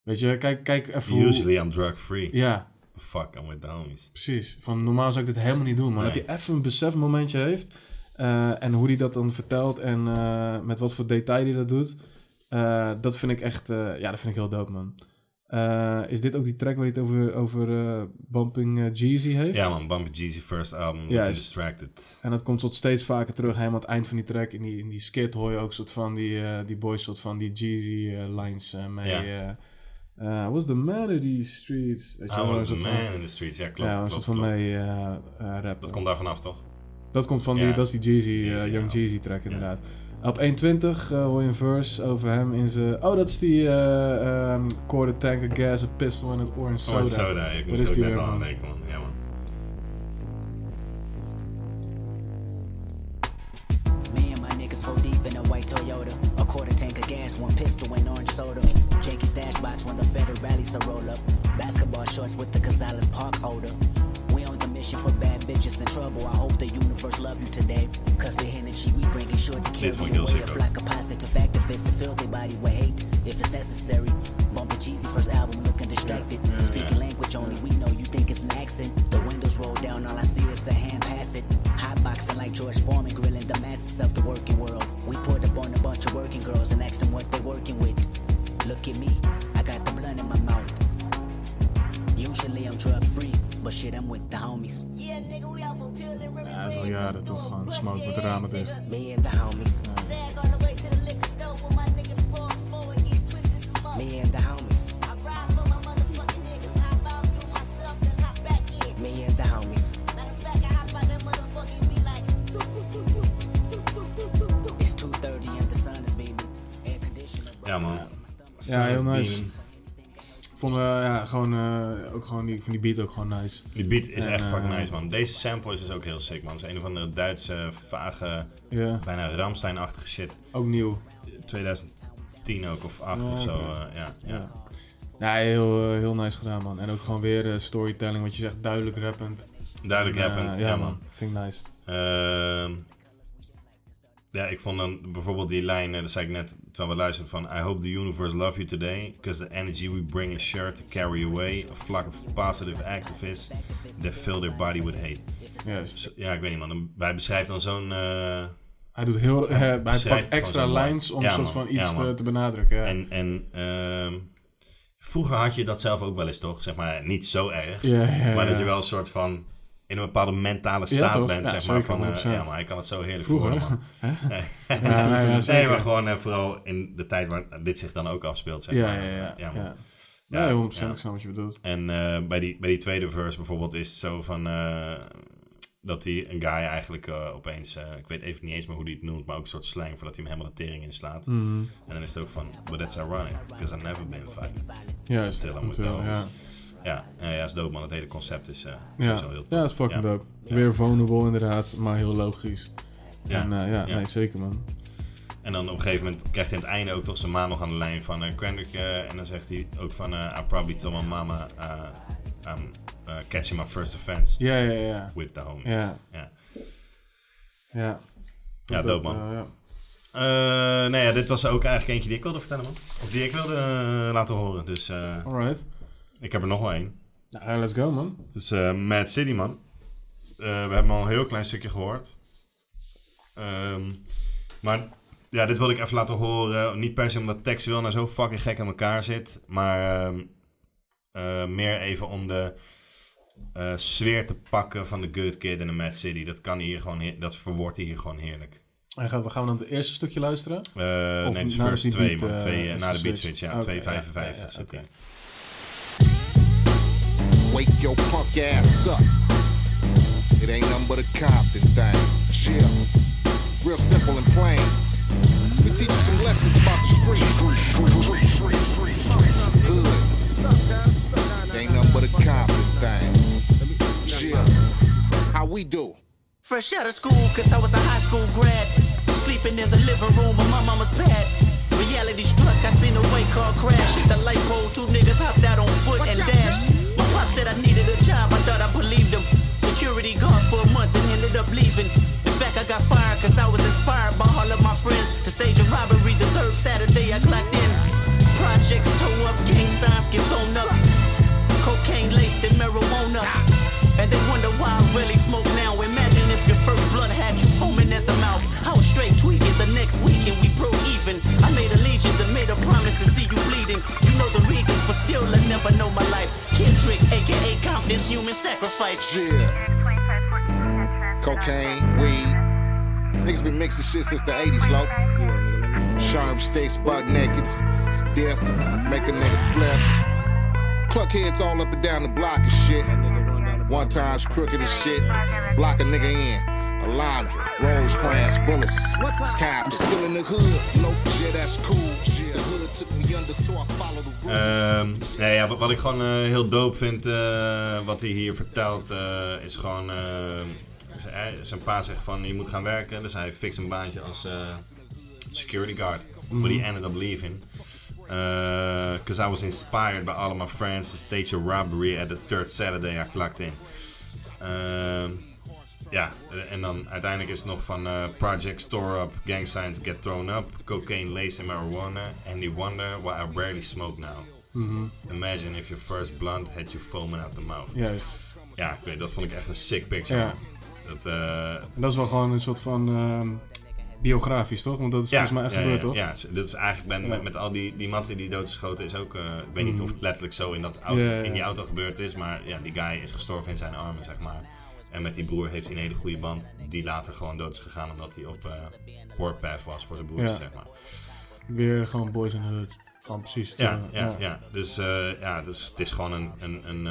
Weet je, kijk, kijk even hoe- Usually I'm drug free. Ja. Fuck, I'm with the homies. Precies. Van normaal zou ik dit helemaal niet doen. Maar dat Nee. hij even een besefmomentje heeft. eh, en hoe hij dat dan vertelt en eh, met wat voor detail hij dat doet. eh, dat vind ik echt, eh, ja, dat vind ik heel dope, man. Eh, is dit ook die track waar hij het over, over eh, Bumping eh, Jeezy heeft? Ja man, Bumpy Jeezy first album, Ja, Looking is- Distracted. En dat komt tot steeds vaker terug. Helemaal aan het eind van die track. In die, in die skit hoor je ook soort van die, eh, die boys soort van die Jeezy eh, lines eh, mee. Ja. eh, eh, I was the man in the streets. Weet je I wel, was een Ah, the soort van- man in the streets. Ja, klopt, Ja, een klopt, soort van klopt. mee eh, eh, rappen. Dat komt daar vanaf, toch? Dat komt van die, Ja. dat is die Jeezy, eh, Young Jeezy track inderdaad. Op 1.20 eh, hoor je een verse over hem in zijn... Oh, dat is die eh ehm quarter tank of gas, a pistol en een orange soda. Orange Oh, Soda, ik Wat moest er is ook die net weer, al aan man? denken man. Ja man. Me and my niggas four deep in a white Toyota. A quarter tank of gas, one pistol, and orange soda. Janky stash box when the federal rallies are roll up. Basketball shorts with the Gonzalez Park holder. We on the mission for bad bitches in trouble. I hope the universe love you today. Cause the energy we bring is sure to kill This one you. kills Away it, a though. flock of positive activists and fill their body with hate if it's necessary. Bumpin' cheesy first album, looking distracted. Speaking language only we know you think it's an accent. The windows roll down, all I see is a hand pass it. Hot boxing like George Foreman, grilling the masses of the working world. We pulled up on a bunch of working girls and asked them what they working with. Look at me, I got the blunt in my mouth. Usually I'm drug free, but shit, I'm with the homies. Ja, dat is al jaren toch gewoon smoke met de ramen dicht. Me and the homies. Me and the homies. Me and the homies. It's 2:30 and the sun is beaming. Air conditioner. Ja man. Ja, heel Sun is nice. beaming. Vond eh, ja, gewoon, eh, ook gewoon die, van die beat ook gewoon nice. Die beat is En, echt fucking eh, nice man. Deze sample is dus ook heel sick man. Het is een of andere Duitse, vage, Ja. bijna Ramstein-achtige shit. Ook nieuw. 2010 ook of 8 Ja, of zo. oké. eh, ja, ja. Nee, heel, eh, heel nice gedaan, man. En ook gewoon weer eh, storytelling, wat je zegt, duidelijk rappend. Duidelijk En, eh, rappend, ja, ja, man. man. Vind ik nice. Ehm, ja, ik vond dan bijvoorbeeld die lijn, eh, dat zei ik net terwijl we luisterden, van I hope the universe love you today, because the energy we bring is sure to carry away a flock of positive activists that fill their body with hate. Juist. Ja, ik weet niet man, dan- hij beschrijft dan zo'n... eh, Hij doet heel, eh, hij beschrijft pakt gewoon extra zo'n lijn. lines om Ja, soort man. van Ja, iets eh, man. te, te benadrukken. Ja. En, en ehm, vroeger had je dat zelf ook wel eens, toch? Zeg maar, niet zo erg. Ja, ja, maar dat ja. je wel een soort van in een bepaalde mentale Ja, staat toch? bent, Ja, zeg maar. zeker, Van, eh, 100%. ja, maar ik kan het zo heerlijk Vroeger, worden, man. <laughs> hè? Nee. Ja, nee, ja, nee, zeker. maar gewoon eh, vooral in de tijd waar dit zich dan ook afspeelt, zeg Ja, maar. ja, ja, man. ja. Ja, 100%, ja. ik snap wat je bedoelt. En eh, bij, die, bij die tweede verse bijvoorbeeld is het zo van... eh, dat hij een guy eigenlijk eh, opeens... eh, ik weet even niet eens meer hoe hij het noemt... maar ook een soort slang voordat hij hem helemaal de tering inslaat. Mhm. En dan is het ook van... But that's ironic, because I've never been violent. Juist, Until I'm with until, the homies." ja. Ja, eh, ja, is dope man. Het hele concept is eh Ja, sowieso heel tof. ja dat is fucking dope. Weer vulnerable inderdaad, maar heel logisch. Ja. En eh, ja, Ja. nee, zeker man. En dan op een gegeven moment krijgt hij aan het einde ook toch zijn ma nog aan de lijn van eh Kendrick. eh, en dan zegt hij ook van eh I probably told my mama eh, I'm eh, catching my first offense. Ja, ja, ja. With the homies. Ja. ja. Ja, Ja, dope man. eh, ja. Eh, nee, ja, dit was ook eigenlijk eentje die ik wilde vertellen man. Of die ik wilde eh, laten horen. Dus eh, Alright. ik heb er nog wel één. Nou, let's go man. Dus eh, Mad City man. Eh, we hebben al een heel klein stukje gehoord. Ehm, maar ja, dit wilde ik even laten horen. Niet per se omdat textueel nou zo fucking gek aan elkaar zit. Maar ehm, eh, meer even om de eh, sfeer te pakken van de Good Kid en de Mad City. Dat, kan hier gewoon, heer- dat verwoordt hier gewoon heerlijk. En gaan we, gaan we dan het eerste stukje luisteren? Eh, nee, het is nadat verse die 2, beat, maar eh, twee, eh, is na de beat geswitcht? switch. Ja, Oké, 2,55 ja, ja, zit oké. hij. Wake your punk ass up. It ain't nothing but a Compton thing. Chill. Real simple and plain. We teach you some lessons about the street. Hood. Ain't nothing but a Compton thing. Chill. How we do? Fresh out of school, cause I was a high school grad. Sleeping in the living room on my mama's pad. Reality struck, I seen a white car crash. Hit the light pole, two niggas hopped out on foot and dashed. My pop said I needed a job, I thought I believed him. Security guard for a month and ended up leaving. In fact, I got fired cause I was inspired by all of my friends. To stage a robbery the third Saturday I clocked in. Projects tow up, gang signs get thrown up. Cocaine laced in marijuana. And they wonder why I really smoke now. Imagine if your first blunt had you foaming at the mouth. I was straight tweaking the next weekend, we broke even. I made allegiance and made a promise to see you bleeding. You know the reasons, but still I never know my life. Kendrick, aka Compton's human sacrifice. Cocaine, weed. Niggas been mixing shit since the 80s, low. Sharm steaks, buck nakeds. Death, make a nigga flip. Cluck heads all up and down the block and shit. One time's crooked and shit. Block a nigga in. Alondra, Rosecrans, bullets. Sky, I'm still in the hood. No shit, that's cool. Shit, the hood took me under, so I followed the Ehm, nee, ja, wat, wat ik gewoon eh, heel dope vind, eh, wat hij hier vertelt, eh, is gewoon... eh, z- eh, zijn pa zegt van, je moet gaan werken. Dus hij fixt een baantje als eh, security guard. But he Mhm. ended up leaving. Because I was inspired by all of my friends to stage a robbery at the third Saturday I clocked in. Ehm, ja, en dan uiteindelijk is het nog van eh, Project Store Up, Gang Signs Get Thrown Up, Cocaine, Lace and Marijuana. And you wonder why I barely smoke now. Mhm. Imagine if your first blunt had you foaming out the mouth. Juist. Ja, ik weet, dat vond ik echt een sick picture. Ja. man. Dat, eh, En dat is wel gewoon een soort van ehm, biografisch, toch? Want dat is volgens mij echt ja, gebeurd, ja, toch? Ja, dat is eigenlijk ben, Ja. met, met al die, die matten die doodgeschoten is ook. eh, ik weet niet Mhm. of het letterlijk zo in, dat auto, Ja, ja, ja. in die auto gebeurd is, maar ja, die guy is gestorven in zijn armen, zeg maar. En met die broer heeft hij een hele goede band, die later gewoon dood is gegaan omdat hij op eh warpath was voor zijn broertje, Ja. zeg maar. Weer gewoon Boys in the Hood. Gewoon precies. het, Ja, eh, ja, ja. Dus, eh, ja, dus het is gewoon een, een, een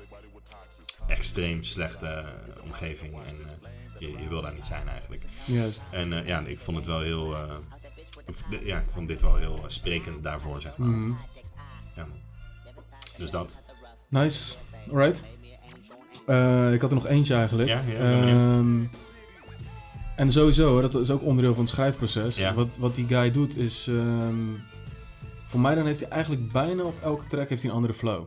eh, extreem slechte eh, omgeving. En eh, je, je wil daar niet zijn eigenlijk. Juist. En eh, ja, ik vond het wel heel. eh, of, de- ja, ik vond dit wel heel eh, sprekend daarvoor, zeg maar. Mhm. Ja, man. Dus dat. Nice. Alright. Eh, ik had er nog eentje eigenlijk. Ja, ja, ben benieuwd. Ehm, en sowieso, hè, dat is ook onderdeel van het schrijfproces. Ja. Wat, wat die guy doet is... ehm, voor mij dan heeft hij eigenlijk bijna op elke track heeft hij een andere flow.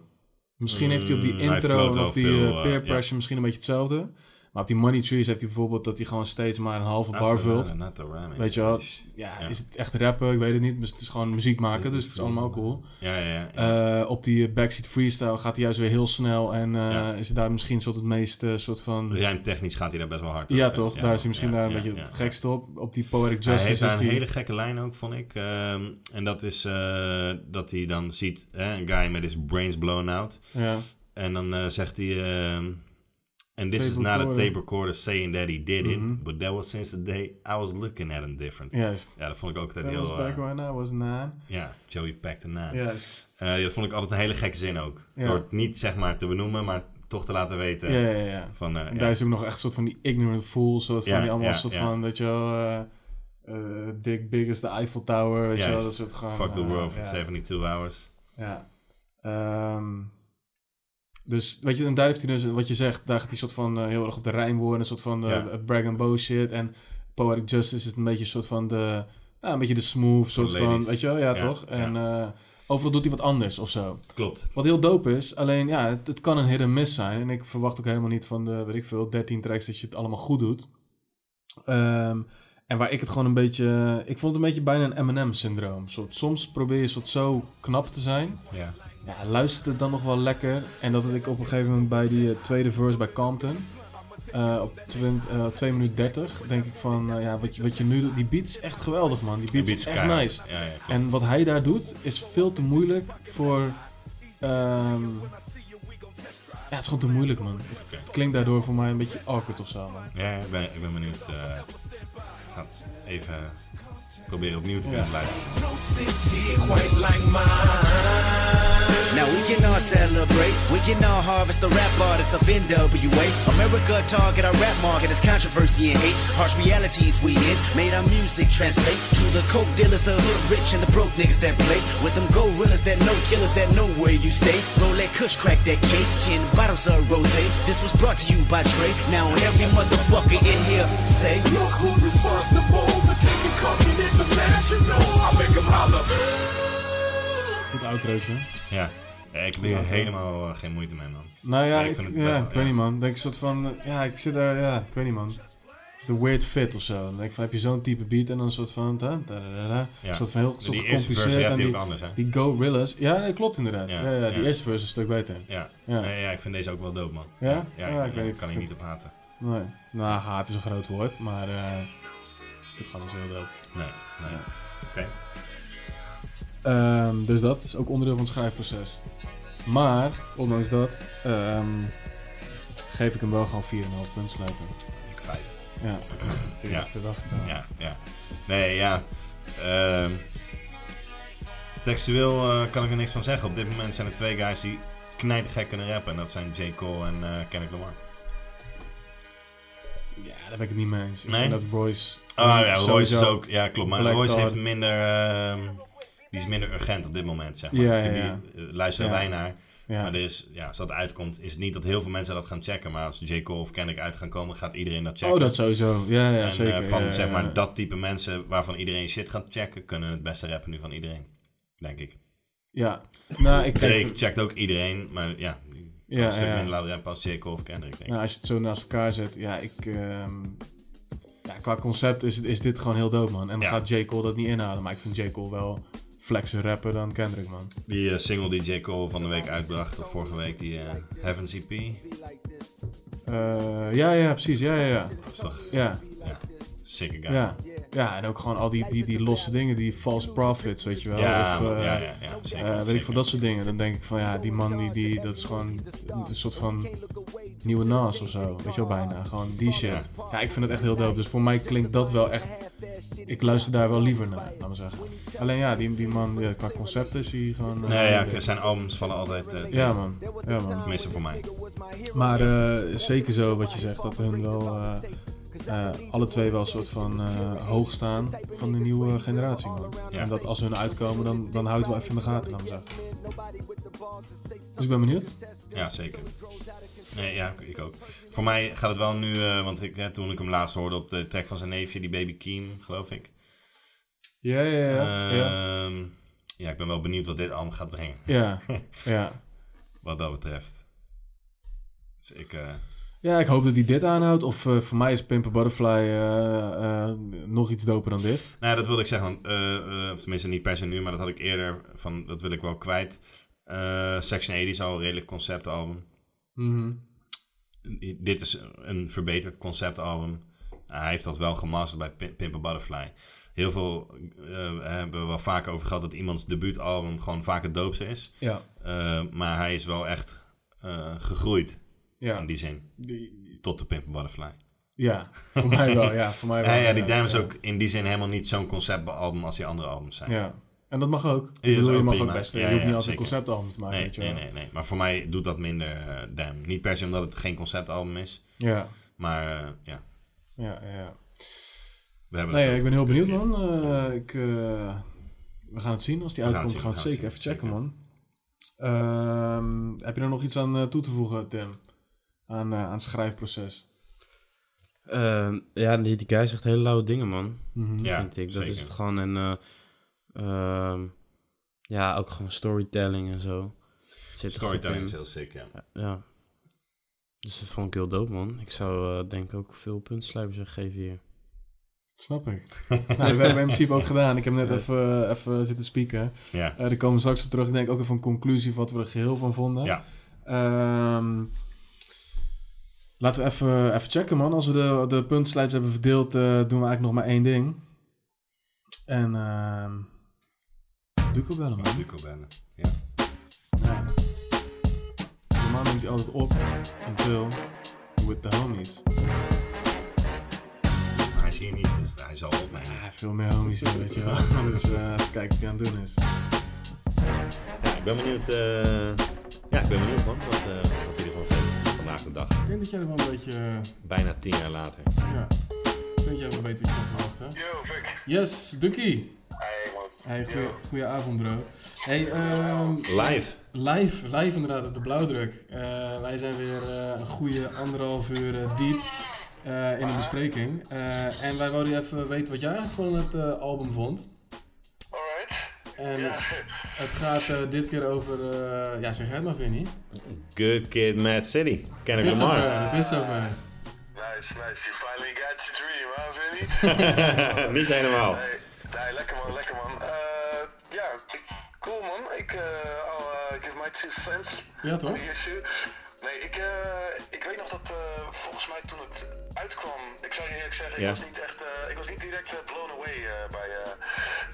Misschien heeft hij op die Mm, hij intro float en wel op die veel, eh, eh, peer ja. pressure misschien een beetje hetzelfde. Maar op die money trees heeft hij bijvoorbeeld dat hij gewoon steeds maar een halve That's bar the- vult. not the rhyming. Weet je wel, s- ja, Ja. is het echt rappen? Ik weet het niet. Dus het is gewoon muziek maken, dus het is allemaal cool. Ja, ja, ja. Eh, op die eh, backseat freestyle gaat hij juist weer heel snel en eh, is het daar misschien soort het meest eh, soort van... Rijmtechnisch gaat hij daar best wel hard Ja, op, eh, toch? ja, daar is hij misschien ja, daar een ja, beetje ja, het ja. gekste op. Op die Poetic Justice hij heeft is daar een die- hele gekke lijn ook, vond ik. Ehm, en dat is eh, dat hij dan ziet hè, een guy met his brains blown out. Ja. En dan eh, zegt hij... ehm And this Tape is not a recorder. tape recorder saying that he did it. Mhm. But that was since the day I was looking at him different. Juist. Ja, dat vond ik ook altijd That was heel... eh, back when I was nine. ja, Joey Pack de naam. Juist. Eh, ja, dat vond ik altijd een hele gekke zin ook. Ja. Door het niet zeg maar te benoemen, maar toch te laten weten. ja, ja, ja. Van, eh, En ja. daar is ook nog echt een soort van die ignorant fool, soort Ja, van die allemaal ja, soort ja. van, weet je wel, eh, eh, Dick Big is the Eiffel Tower, weet je wel, Juist. dat soort gewoon... Fuck the eh, world for ja. 72 hours. Ja. Ehm, dus, weet je, en daar heeft hij dus, wat je zegt, daar gaat hij soort van eh, heel erg op de rijm worden. Een soort van eh, Ja. brag and bow shit. En Poetic Justice is een beetje een soort van de, nou, een beetje de smooth soort van, ladies. weet je wel, ja, Ja, toch? En eh, overal doet hij wat anders of zo. Klopt. Wat heel dope is, alleen ja, het, het kan een hit and miss zijn. En ik verwacht ook helemaal niet van de, weet ik veel, 13 tracks dat je het allemaal goed doet. Ehm, en waar ik het gewoon een beetje... Ik vond het een beetje bijna een M&M-syndroom. Soms probeer je soort zo knap te zijn. Ja. Ja, luistert het dan nog wel lekker. En dat had ik op een gegeven moment bij die eh, tweede verse bij Compton. eh, op 20, eh, 2 minuten 30 denk ik van, eh, ja, wat je, wat je nu doet, die beat is echt geweldig man. Die beat, beat is is echt keihard. nice. Ja, ja, klopt. en wat hij daar doet is veel te moeilijk voor, ehm, ja, het is gewoon te moeilijk man. Het, het klinkt daardoor voor mij een beetje awkward of zo man. Ja, ik ben, ik ben benieuwd. eh, ik ga even proberen opnieuw te kunnen luisteren. Now we can all celebrate. We can all harvest the rap artists of NWA. America target our rap market is controversy and hate. Harsh realities we in. Made our music translate to the coke dealers, the hood rich, and the broke niggas that play. With them gorillas that know killers that know where you stay. Roll that kush, crack that case. Ten bottles of rose. This was brought to you by Dre. Now every motherfucker in here say, Look who's responsible for taking culture international. I make them holler. Goed outrootje. Ja. Ja, ik heb hier helemaal eh, geen moeite mee, man. Nou ja, Maar ik, vind het ja, best wel- ik weet niet man. Denk ik soort van, eh, ja, ik zit daar, ja, ik weet niet man. Het een weird fit of zo. Dan denk ik van, heb je zo'n type beat en dan een soort van, da, da, da, da, da. Ja. Een soort van heel Die soort eerste versie gecompliceerd had en hij die, ook anders, hè? die gorillas. Ja, dat klopt inderdaad. Ja, Ja, ja, die ja. eerste verse is een stuk beter. Ja. Ja. Nee, ja, ik vind deze ook wel dope, man. Ja? Ja, Ja, ik, ik weet het. kan hier niet op haten. Nee. Nou, haat is een groot woord, maar eh dit gaat niet zo heel dood. Nee, nee. Oké. Ehm, dus dat is ook onderdeel van het schrijfproces. Maar, ondanks dat, ehm, geef ik hem wel gewoon 4,5 punten sluiten. Ik 5. Ja, <clears throat> Ja. dat dacht ik wel. Ja, ja. Nee, ja. Ehm, textueel eh, kan ik er niks van zeggen. Op dit moment zijn er twee guys die knijtergek kunnen rappen. En dat zijn J. Cole en eh Kendrick Lamar. Ja, daar ben ik het niet mee eens. Ik Nee? vind dat Royce... Ah ja, sowieso- Royce is ook... Ja, klopt. Maar Black Royce Card. heeft minder... ehm, die is minder urgent op dit moment, zeg maar. Ja, ja, Die ja. eh, luisteren Ja. wij naar. Ja. Maar er is, ja, als dat uitkomt, is het niet dat heel veel mensen dat gaan checken. Maar als J. Cole of Kendrick uit gaan komen, gaat iedereen dat checken. Oh, dat sowieso. Ja, ja, en, eh, zeker. van Ja, ja, zeg ja. maar dat type mensen waarvan iedereen shit gaat checken, kunnen het beste rappen nu van iedereen. Denk ik. Ja. Nou, ik Drake denk... checkt ook iedereen, maar ja, Ja, ja een stuk ja. minder laat rappen als J. Cole of Kendrick. Denk ik. Nou, als je het zo naast elkaar zet, ja, ik... ehm, ja, qua concept is, het- is dit gewoon heel dope, man. En dan Ja. gaat J. Cole dat niet inhalen. Maar ik vind J. Cole wel flexer rapper dan Kendrick, man. Die eh, single die J. Cole van de week uitbracht, of vorige week, die eh Heaven's EP. Eh, ja, ja, precies. Ja, ja, ja. is toch- Ja. Ja, sicker guy. Ja. ja, en ook gewoon al die, die, die losse dingen, die false profits, weet je wel. Ja, of, eh, ja, ja, ja, zeker, eh, weet ik zeker. veel, dat soort dingen. Dan denk ik van, ja, die man, die, die, dat is gewoon een soort van nieuwe Nas of zo. Weet je wel, bijna. Gewoon die shit. Ja. ik vind het echt heel dope. Dus voor mij klinkt dat wel echt... Ik luister daar wel liever naar, laat maar zeggen. Alleen ja, die, die man, ja, qua concept is hij gewoon... eh, Nee, ja, zijn albums vallen altijd. eh, Ja, man. Ja, man. Tenminste voor mij. Maar eh, zeker zo wat je zegt, dat hun wel eh, eh, alle twee wel een soort van eh, hoog staan van de nieuwe generatie. Man. En dat als hun uitkomen, dan, dan houdt het wel even in de gaten. laat maar zeggen. Dus ik ben benieuwd. Ja, zeker. Nee, ja, ik- ik ook. Voor mij gaat het wel nu, eh, want ik, hè, toen ik hem laatst hoorde op de track van zijn neefje, die Baby Keem, geloof ik. Ja, ja, ja. ja. Ehm, ja, ik ben wel benieuwd wat dit album gaat brengen. Ja, ja. wat dat betreft. Dus ik, eh, Ja, ik hoop dat hij dit aanhoudt. Of eh, voor mij is Pimper Butterfly eh, eh, nog iets doper dan dit. nou ja, dat wilde ik zeggen. Want, eh, eh, of tenminste, niet per se nu, maar dat had ik eerder van, dat wil ik wel kwijt. Eh, Section 80 is al een redelijk conceptalbum. Mhm. Dit is een verbeterd conceptalbum. Hij heeft dat wel gemasterd bij Pim- Pimp a Butterfly. Heel veel eh, hebben we wel vaker over gehad dat iemands debuutalbum gewoon vaak het doopste is. Ja. Eh, maar hij is wel echt eh, gegroeid. Ja. In die zin. Die- Tot de Pimp a Butterfly. Ja, voor mij wel, ja, voor mij wel, <laughs> ja, ja, die ja, Dam is ja. ook in die zin helemaal niet zo'n conceptalbum als die andere albums zijn. Ja. En dat mag ook. Ik Ja, dat is bedoel, je mag prima. ook best. Ja, je hoeft ja, niet altijd zeker. een conceptalbum te maken. Nee, weet je nee, wel. nee, nee. Maar voor mij doet dat minder eh Dam. Niet per se omdat het geen conceptalbum is. Ja. Maar eh, ja, Ja, ja, ja. we hebben Nee, het over. ik ben heel benieuwd, man. Eh, ik, eh, we gaan het zien. Als die We gaan het uitkomt, zien, gaan we we gaan het zeker even checken, man. Ehm, heb je er nog iets aan eh, toe te voegen, Tim? Aan, eh, aan het schrijfproces? Ehm, ja, die, die guy zegt hele lauwe dingen, man. Mhm. Ja, vind ik. Dat zeker. is het gewoon. En eh, ehm, ja, ook gewoon storytelling en zo. Zit er Storytelling goed is in. heel sick, ja. Ja. Dus dat vond ik heel dope, man. Ik zou eh, denk ik ook veel puntsluipers geven <laughs> hier. Snap ik. <laughs> nou, dat hebben we in principe ook gedaan. Ik heb net Ja. even, eh, even zitten spieken. Ja. Eh, daar komen we straks op terug. Ik denk ook even een conclusie van wat we er geheel van vonden. Ja. Ehm, Laten we even, even checken, man. Als we de, de puntslijps hebben verdeeld, eh, doen we eigenlijk nog maar één ding. En ehm Duco bellen, man. Duco bellen, ja. Normaal neemt hij altijd op. Until with the homies. Maar hij is hier niet, dus hij zal opnemen. Ja, veel meer homies hier, weet je wel. <laughs> Dus eh, even kijken wat hij aan het doen is. Ja, ik ben benieuwd. eh, ja, ik ben benieuwd man, wat, eh wat jullie ervan vindt vandaag de dag. Ik denk dat jij er wel een beetje... eh, Bijna tien jaar later. ja. Ik denk dat jij wel weet wie je kan verwachten. Yes, Ducky. Hey, goeie, goeie avond, bro. Hey, ehm, Live. Live, live inderdaad, op de blauwdruk. Eh, wij zijn weer eh, een goede anderhalf uur eh, diep eh, in een bespreking. Eh, en wij wilden even weten wat jij eigenlijk van het eh, album vond. En het gaat eh, dit keer over, eh, ja zeg jij het maar Vinnie. Good Kid, Mad City. Ken Het ik is hem zover, maar. het is zover. Nice, nice. You finally got your dream, huh, Vinny? Mm-hmm. <laughs> <laughs> Niet helemaal. Nee, nee, lekker man, lekker man. Eh, ja, ik- cool man. Ik, eh I'll eh, give my two cents. Ja, toch? Yes, you. Nee, ik, eh, ik weet nog dat eh, volgens mij toen het uitkwam, ik zou je eerlijk zeggen, Ja. ik was niet echt, eh, ik was niet direct eh, blown away eh, bij, eh,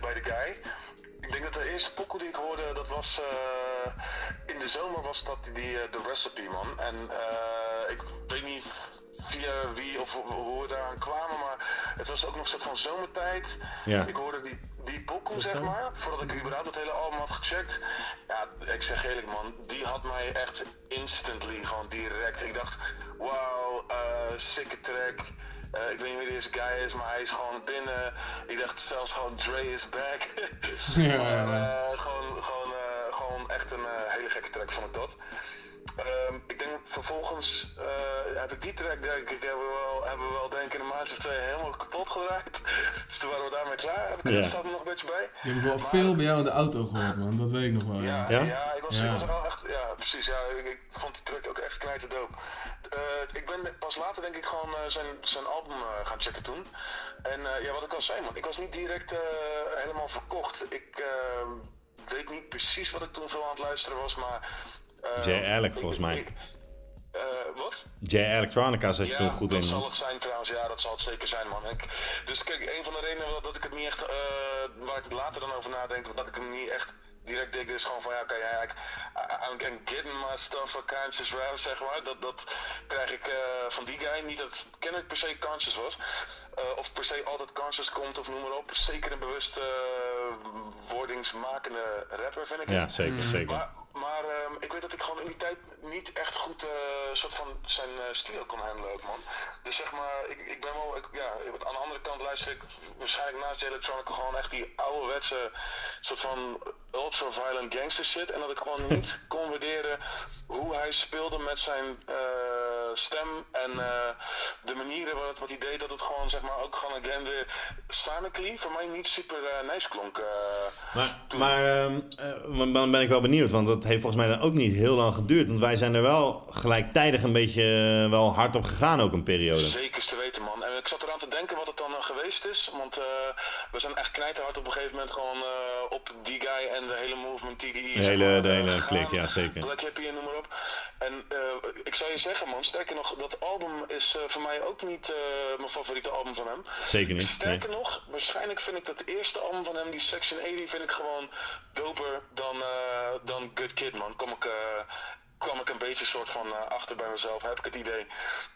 bij de guy. Ik denk dat de eerste pokoe die ik hoorde, dat was eh, in de zomer was dat die eh, The Recipe man. En eh, ik weet niet via wie of ho- hoe we daaraan kwamen, maar het was ook nog een soort van zomertijd. Ja. Ik hoorde die, die pokoe, zeg maar, voordat ik überhaupt het hele album had gecheckt. Ja, ik zeg eerlijk man, die had mij echt instantly, gewoon direct. Ik dacht, wauw, eh sikke track. Eh, ik weet niet wie deze guy is, maar hij is gewoon binnen. Ik dacht zelfs gewoon Dre is back. Ja. Maar, eh, gewoon, gewoon, eh, gewoon echt een eh, hele gekke track vond ik dat. Ehm, ik denk vervolgens eh, heb ik die track denk ik hebben we wel, hebben we wel denk ik in een maand of twee helemaal kapot gedraaid. dus toen waren we daarmee klaar. Heb ik Ja. er staat er nog een beetje bij. Die heb ik wel veel bij jou in de auto gehoord man, dat weet ik nog wel. Ja, ja? ik was, ik was wel echt, ja precies, ja, ik, ik vond die track ook echt knijter dope. Eh, ik ben pas later denk ik gewoon eh, zijn, zijn album eh, gaan checken toen. En eh, ja, wat ik al zei man, ik was niet direct eh, helemaal verkocht. Ik eh, weet niet precies wat ik toen veel aan het luisteren was, maar... eh, Jay Alec volgens mij. eh, wat? Jay Electronica zat je toen goed in. dat zal man. het zijn trouwens, ja, dat zal het zeker zijn, man. Ik, dus kijk, een van de redenen dat, dat ik het niet echt, eh, waar ik later dan over nadenk, dat ik hem niet echt direct denk, is gewoon van, ja, oké, ja, ik, I- I'm, I'm getting my stuff for conscious rap, zeg maar. Dat, dat krijg ik eh, van die guy, niet dat Kendrick per se conscious was, eh, of per se altijd conscious komt, of noem maar op. Zeker een bewust eh, wordingsmakende rapper, vind ik Ja, het. Mm. zeker, zeker. Maar, maar ehm, ik weet dat ik gewoon in die tijd niet echt goed eh, soort van zijn eh stilo kon handelen ook, man. Dus zeg maar, ik, ik ben wel, ik- ja, aan de andere kant luister ik waarschijnlijk naast de electronica gewoon echt die ouderwetse soort van ultra-violent gangster shit. En dat ik gewoon niet kon waarderen hoe hij speelde met zijn eh, stem en eh, de manieren wat, wat hij deed, dat het gewoon zeg maar ook gewoon again weer sonically voor mij niet super eh, nice klonk. eh. Maar, maar ehm, eh, maar dan ben ik wel benieuwd, want dat heeft volgens mij dan ook niet heel lang geduurd. Want wij zijn er wel gelijktijdig een beetje eh, wel hard op gegaan ook een periode. Zeker te weten, man. En ik zat eraan te denken wat het dan eh, geweest is. Want eh, we zijn echt knijterhard op een gegeven moment gewoon eh, op die guy en de hele movement die eh, die De is. hele, de hele klik, ja zeker. Black Hippie en noem maar op. En eh, ik zou je zeggen, man, sterker nog, dat album is eh, voor mij ook niet eh, mijn favoriete album van hem. Zeker niet, nee. Sterker nog, waarschijnlijk vind ik dat eerste album van hem, die Section 80, vind ik gewoon doper dan, eh, dan Good Kid, man. Kom ik, eh, kwam ik een beetje soort van eh, achter bij mezelf, heb ik het idee.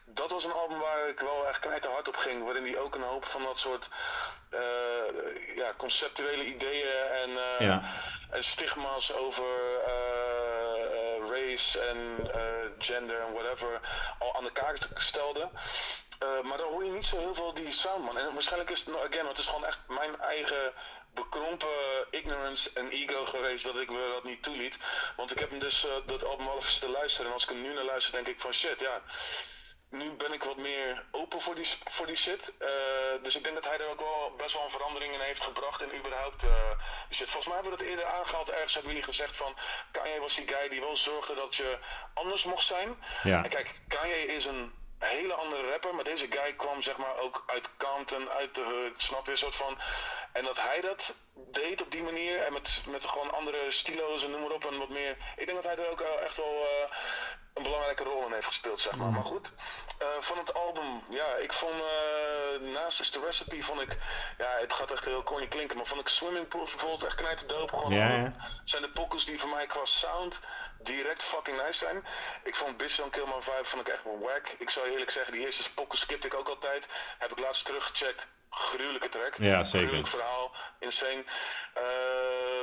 Dat was een album waar ik wel echt knijterhard op ging, waarin hij ook een hoop van dat soort eh, ja, conceptuele ideeën en, eh, Ja. en stigma's over eh, eh, race en eh, gender en whatever al aan de kaak stelde. Eh, maar dan hoor je niet zo heel veel die sound, man. En waarschijnlijk is het, nou, again, het is gewoon echt mijn eigen bekrompen ignorance en ego geweest dat ik me dat niet toeliet. Want ik heb hem dus eh, dat album half te luisteren. En als ik hem nu naar luister, denk ik van shit, ja. Nu ben ik wat meer open voor die, voor die shit. Eh, dus ik denk dat hij er ook wel best wel een verandering in heeft gebracht. En überhaupt eh, die shit. Volgens mij hebben we dat eerder aangehaald. Ergens hebben jullie gezegd van Kanye was die guy die wel zorgde dat je anders mocht zijn. Ja. En kijk, Kanye is een hele andere rapper, maar deze guy kwam zeg maar ook uit Compton, uit de hood, snap je, een soort van... En dat hij dat deed op die manier en met, met gewoon andere stilo's en noem maar op en wat meer... Ik denk dat hij er ook eh, echt wel eh, een belangrijke rol in heeft gespeeld, zeg maar. Maar goed, eh, van het album, ja, ik vond eh, naast Is The Recipe, vond ik, ja, het gaat echt heel corny klinken, maar vond ik Swimming Pools bijvoorbeeld echt knijterdoop. Gewoon Ja, alle- ja. zijn de pokkels die voor mij qua sound direct fucking nice zijn. Ik vond Bitch Don't Kill My Vibe vond ik echt wel whack. Ik zou eerlijk zeggen, die eerste pokkels skipte ik ook altijd. Heb ik laatst teruggecheckt. Gruwelijke track. Ja, zeker. Gruwelijk verhaal. Insane. Eh,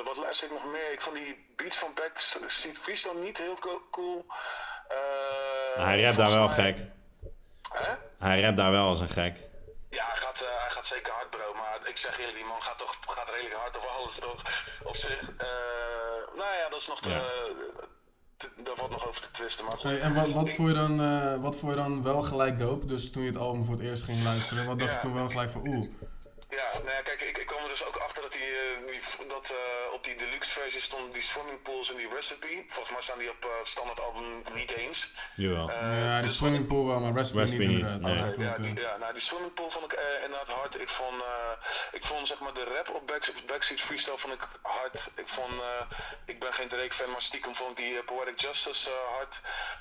wat luister ik nog meer? Ik vond die beats van Back Seat Freestyle niet heel co- cool. eh, Maar hij rapt daar wel gek. Hij rapt daar wel als een gek. Ja, hij gaat, eh, hij gaat zeker hard, bro. Maar ik zeg eerlijk, die man gaat toch gaat redelijk hard over alles, toch? Op zich. Eh, nou ja, dat is nog te, te- daar wordt nog over te twisten. Maar goed. Hey, en wat, wat, vond je dan, eh, wat vond je dan wel gelijk dope? Dus toen je het album voor het eerst ging luisteren, wat dacht je toen wel gelijk van oeh? Ja, nou ja, kijk, ik, ik kwam er dus ook achter dat, die, eh, die v- dat eh, op die deluxe versie stonden die swimming pools en die recipe. Volgens mij staan die op eh, het standaard album niet eens. Eh, dus- Jawel. ja, de swimming pool wel, maar Raspberry niet inderdaad. Ja, ja, klopt, die, ja, nou, die swimming pool vond ik eh, inderdaad hard. Ik vond, eh, ik vond zeg maar de rap op Backseat, Backseat Freestyle vond ik hard. Ik vond, eh, ik ben geen Drake fan, maar stiekem vond ik die eh, Poetic Justice eh, hard.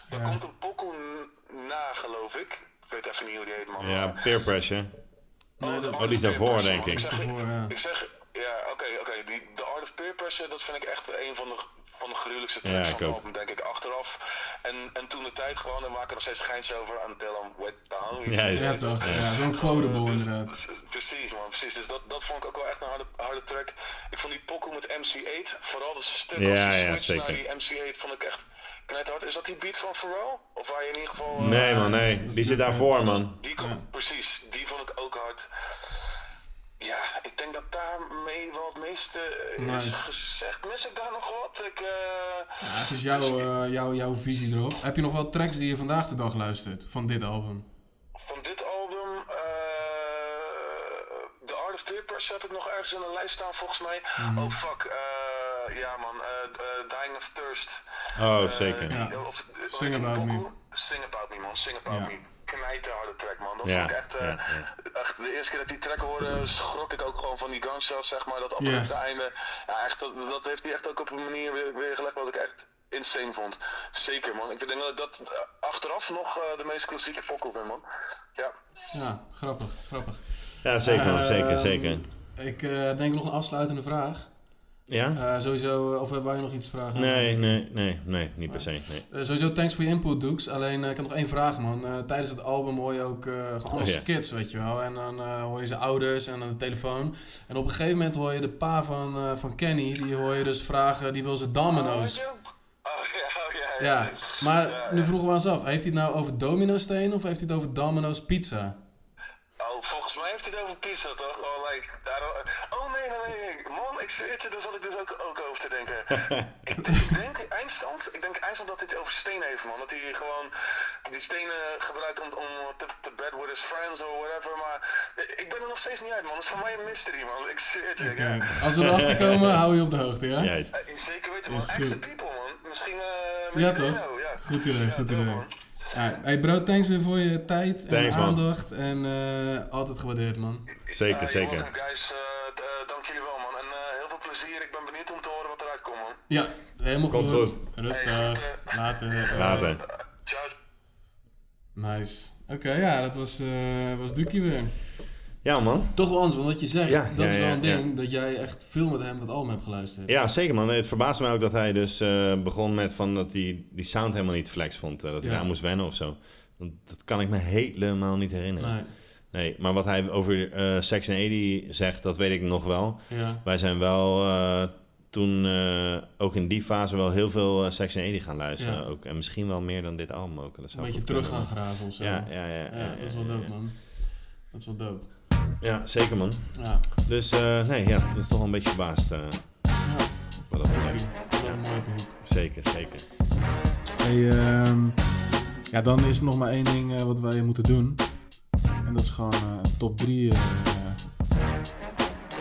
Er komt een pokoe n- na, geloof ik. Ik weet even niet hoe die heet, man. Ja, peer pressure. Nee, Oh, die is daarvoor, denk Ik ik. zeg, ik zeg ja, oké, oké. Die The Art of Peer Pressure, dat vind ik echt een van de, van de gruwelijkste Ja, tracks ik van het ook. album, denk ik, achteraf. En, en toen de tijd gewoon, en maken er nog steeds geins over aan Dylan Wet Down. ja, ja toch, ja, zo'n quotable Dus- inderdaad. Precies, man, precies. Dus dat, dat vond ik ook wel echt een harde, harde track. Ik vond die pokoe met MC8, vooral dat stuk als Ja, die ja, switch naar die zeker. MC8 vond ik echt knetterhard. Is dat die beat van Pharrell? Of waar je in ieder geval... eh, Nee, man, nee. Die zit daarvoor, man. die kon- Precies, die vond ik ook hard. Ja, ik denk dat daarmee wel het meeste eh, is Nice. gezegd. Mis ik daar nog wat? Ik, eh, Ja, het is jouw, eh, jouw, jouw visie erop. Heb je nog wel tracks die je vandaag de dag luistert van dit album? van dit album, eh, The Art of Peer Pressure heb ik nog ergens in een lijst staan volgens mij. Mhm. Oh fuck, eh, ja man, eh, d- eh, Dying of Thirst. Oh, Eh, zeker. die- Ja. of- eh, Sing About Me. Sing About Me man, Sing About Ja. Me. Knijten harde track man, dat Ja, vond ik echt, eh, ja, echt... De eerste keer dat ik die track hoorde, schrok ik ook gewoon van die gunshots zeg maar. Dat op Ja. het einde, ja, echt, dat, dat heeft hij echt ook op een manier weer, weergelegd wat ik echt insane vond. Zeker man, ik denk dat ik dat eh, achteraf nog eh, de meest klassieke fokkel ben man. Ja. Ja, grappig, grappig. Ja, zeker, Ehm, zeker, zeker. Ik eh, denk nog een afsluitende vraag. Ja? Eh, sowieso, eh, of hebben wij nog iets vragen? Nee, nee, nee, nee, niet per se. Nee. Eh, sowieso thanks voor je input, Doeks. Alleen eh, ik heb nog één vraag, man. Eh, tijdens het album hoor je ook eh gewoon alles Oh, ja. kids, weet je wel. En dan eh, hoor je zijn ouders en dan de telefoon. En op een gegeven moment hoor je de pa van, eh, van Kenny, die hoor je dus vragen, die wil zijn domino's. ja, maar nu vroegen we ons af, heeft hij het nou over domino's stenen of heeft hij het over domino's pizza? Oh, volgens mij heeft hij het over pizza toch? Oh, like, I don't- oh nee, nee, nee, nee. Man, ik zweer het je, daar zat ik dus ook, ook over te denken. ik, denk- ik denk eindstand, ik denk eindstand dat hij het over stenen heeft, man. Dat hij gewoon die stenen gebruikt om, om te, te bed with his friends or whatever. Maar eh, ik ben er nog steeds niet uit, man. Dat is voor mij een mystery, man. Ik zweer het je. ik- Kijk, als we erachter komen, hou je op de hoogte, ja? Eh, Zeker weten, man. Is Ask the goed. people, man. Misschien... eh Ja, Mickey toch? Dino, ja. Goed idee, goed idee. Ja, hey bro, thanks weer voor je tijd en Thanks, man. aandacht. En eh, altijd gewaardeerd, man. Zeker, zeker. Ja, helemaal Komt goed. goed. Rustig. Later. Later. Nice. Oké, ja, dat was, eh was Dukie weer. Ja, man. Toch wel anders, want wat je zegt, Ja, dat ja, is wel ja, een ja. ding, dat jij echt veel met hem dat album hebt geluisterd. Ja, zeker man. Het verbaasde mij ook dat hij dus eh, begon met van dat hij die sound helemaal niet flex vond. eh, dat hij Ja. daar moest wennen of zo. Want dat kan ik me helemaal niet herinneren. Nee. Nee, maar wat hij over eh Section 80 zegt, dat weet ik nog wel. Ja. Wij zijn wel eh, toen eh, ook in die fase wel heel veel eh, Section 80 gaan luisteren. Ja. Ook. En misschien wel meer dan dit album ook. Dat zou Een beetje goed terug gaan kunnen, man. graven of zo. Ja, ja, ja. ja, dat is ja, wel ja, dope, ja. man. Dat is wel dope. Ja, zeker man. Ja. Dus eh, nee, ja, het is toch wel een beetje verbaasd. eh, Wat dat betreft. Dat is wel mooi, toch? Zeker, zeker. Hey, ehm, ja, dan is er nog maar één ding eh, wat wij moeten doen. En dat is gewoon eh, een top 3. die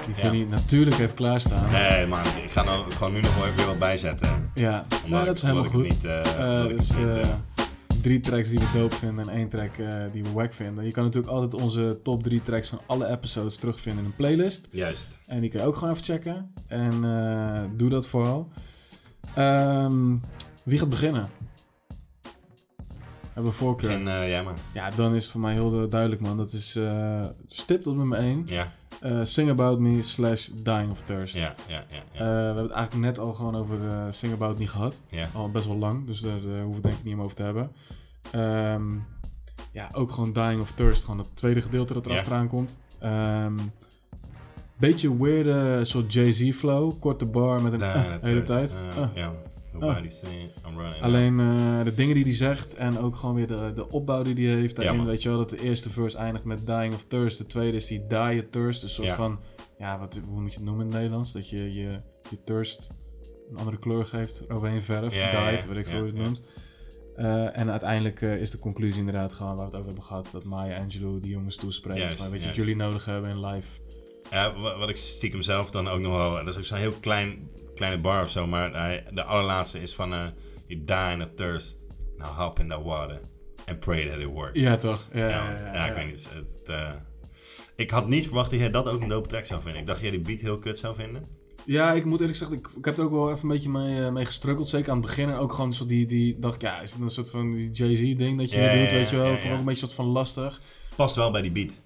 Ja. Vinnie natuurlijk heeft klaarstaan. Nee man, ik ga nou gewoon nu nog wel weer wat bijzetten. Ja, Omdat nou, dat ik- is helemaal omdat goed. ik het niet, eh, Eh, omdat ik dus het niet, eh, eh, drie tracks die we dope vinden en één track eh, die we wack vinden. Je kan natuurlijk altijd onze top drie tracks van alle episodes terugvinden in een playlist. Juist. En die kun je ook gewoon even checken. En eh, doe dat vooral. Ehm, wie gaat beginnen? hebben voorkeur. En eh, jij maar. Ja, dan is het voor mij heel duidelijk, man. Dat is eh stipt op nummer 1. Ja. Sing About Me slash Dying of Thirst. Ja, ja, ja, Eh, we hebben het eigenlijk net al gewoon over eh, Sing About Me gehad. Ja. Al best wel lang, dus daar eh, hoeven we het denk ik niet meer over te hebben. Ehm, ja, ook gewoon Dying of Thirst. Gewoon het tweede gedeelte dat er Ja. achteraan komt. Ehm, beetje weirde soort Jay-Z flow. Korte bar met een Ja, eh, dat de hele is, tijd. eh, Ah. ja. Nobody say I'm running. Alleen eh, de dingen die hij zegt en ook gewoon weer de, de opbouw die hij heeft. Daarin Ja, man. weet je wel dat de eerste verse eindigt met Dying of Thirst. De tweede is die Die a Thirst. Een soort Ja. van, ja, wat, hoe moet je het noemen in het Nederlands? Dat je je, je thirst een andere kleur geeft, overheen verf, Ja, ja, died, ja, weet ik veel ja, hoe je het ja. noemt. Eh, en uiteindelijk eh, is de conclusie inderdaad gewoon waar we het over hebben gehad. Dat Maya Angelou die jongens toespreekt. Juist, van, weet je, wat juist. jullie nodig hebben in life. Ja, wa- wat ik stiekem zelf dan ook nog wel. Dat is ook zo'n heel klein, kleine bar of zo. Maar hij- de allerlaatste is van. eh you die in a thirst. Now hop in that water. And pray that it works. Ja, toch? Ja, ja, man. ja, ja, ik ja. weet niet. Het, eh, ik had niet verwacht dat jij dat ook een dope track zou vinden. Ik dacht dat jij die beat heel kut zou vinden. Ja, ik moet eerlijk zeggen, ik, ik heb er ook wel even een beetje mee, eh, mee gestrukkeld. Zeker aan het begin. En ook gewoon zo die, die dacht ik, ja, is het een soort van die Jay-Z-ding dat je Ja, doet, ja, ja, weet je wel? ja, Vond ik ja. ook een beetje soort van lastig. Past wel bij die beat.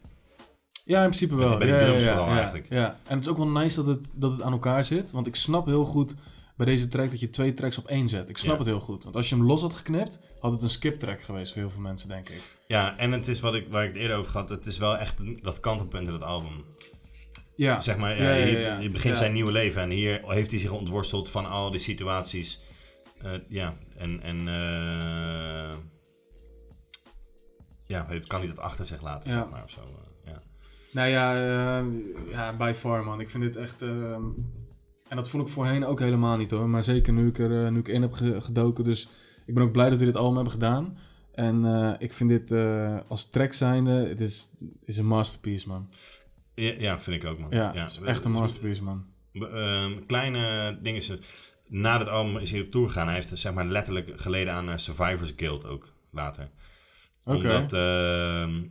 Ja, in principe Met wel. die- bij die ja, ja, drums ja, vooral ja, eigenlijk. Ja. En het is ook wel nice dat het, dat het aan elkaar zit. Want ik snap heel goed bij deze track dat je twee tracks op één zet. Ik snap Ja. het heel goed. Want als je hem los had geknipt, had het een skip-track geweest voor heel veel mensen, denk ik. Ja, en het is wat ik, waar ik het eerder over had. Het is wel echt een- dat kantelpunt in het album. Ja. Zeg maar, ja, Ja, ja, hier- ja. hier begint Ja. zijn nieuwe leven. En hier heeft hij zich ontworsteld van al die situaties. Eh, ja, en... en eh, ja, heeft- kan hij dat achter zich laten, Ja. zeg maar, of zo. eh, Ja. Nou ja, eh, ja, by far man. Ik vind dit echt... ehm, en dat vond ik voorheen ook helemaal niet hoor. Maar zeker nu ik, er, eh, nu ik in heb ge- gedoken. Dus ik ben ook blij dat we dit allemaal hebben gedaan. En eh, ik vind dit eh, als track zijnde... Het is, is een masterpiece man. Ja, ja, vind ik ook, man. Ja, het is echt een Dus- masterpiece man. B- ehm, kleine dingen. is het- Na dit album is hij op tour gegaan. Hij heeft zeg maar letterlijk geleden aan eh, Survivors Guild ook later. Oké. Omdat ehm,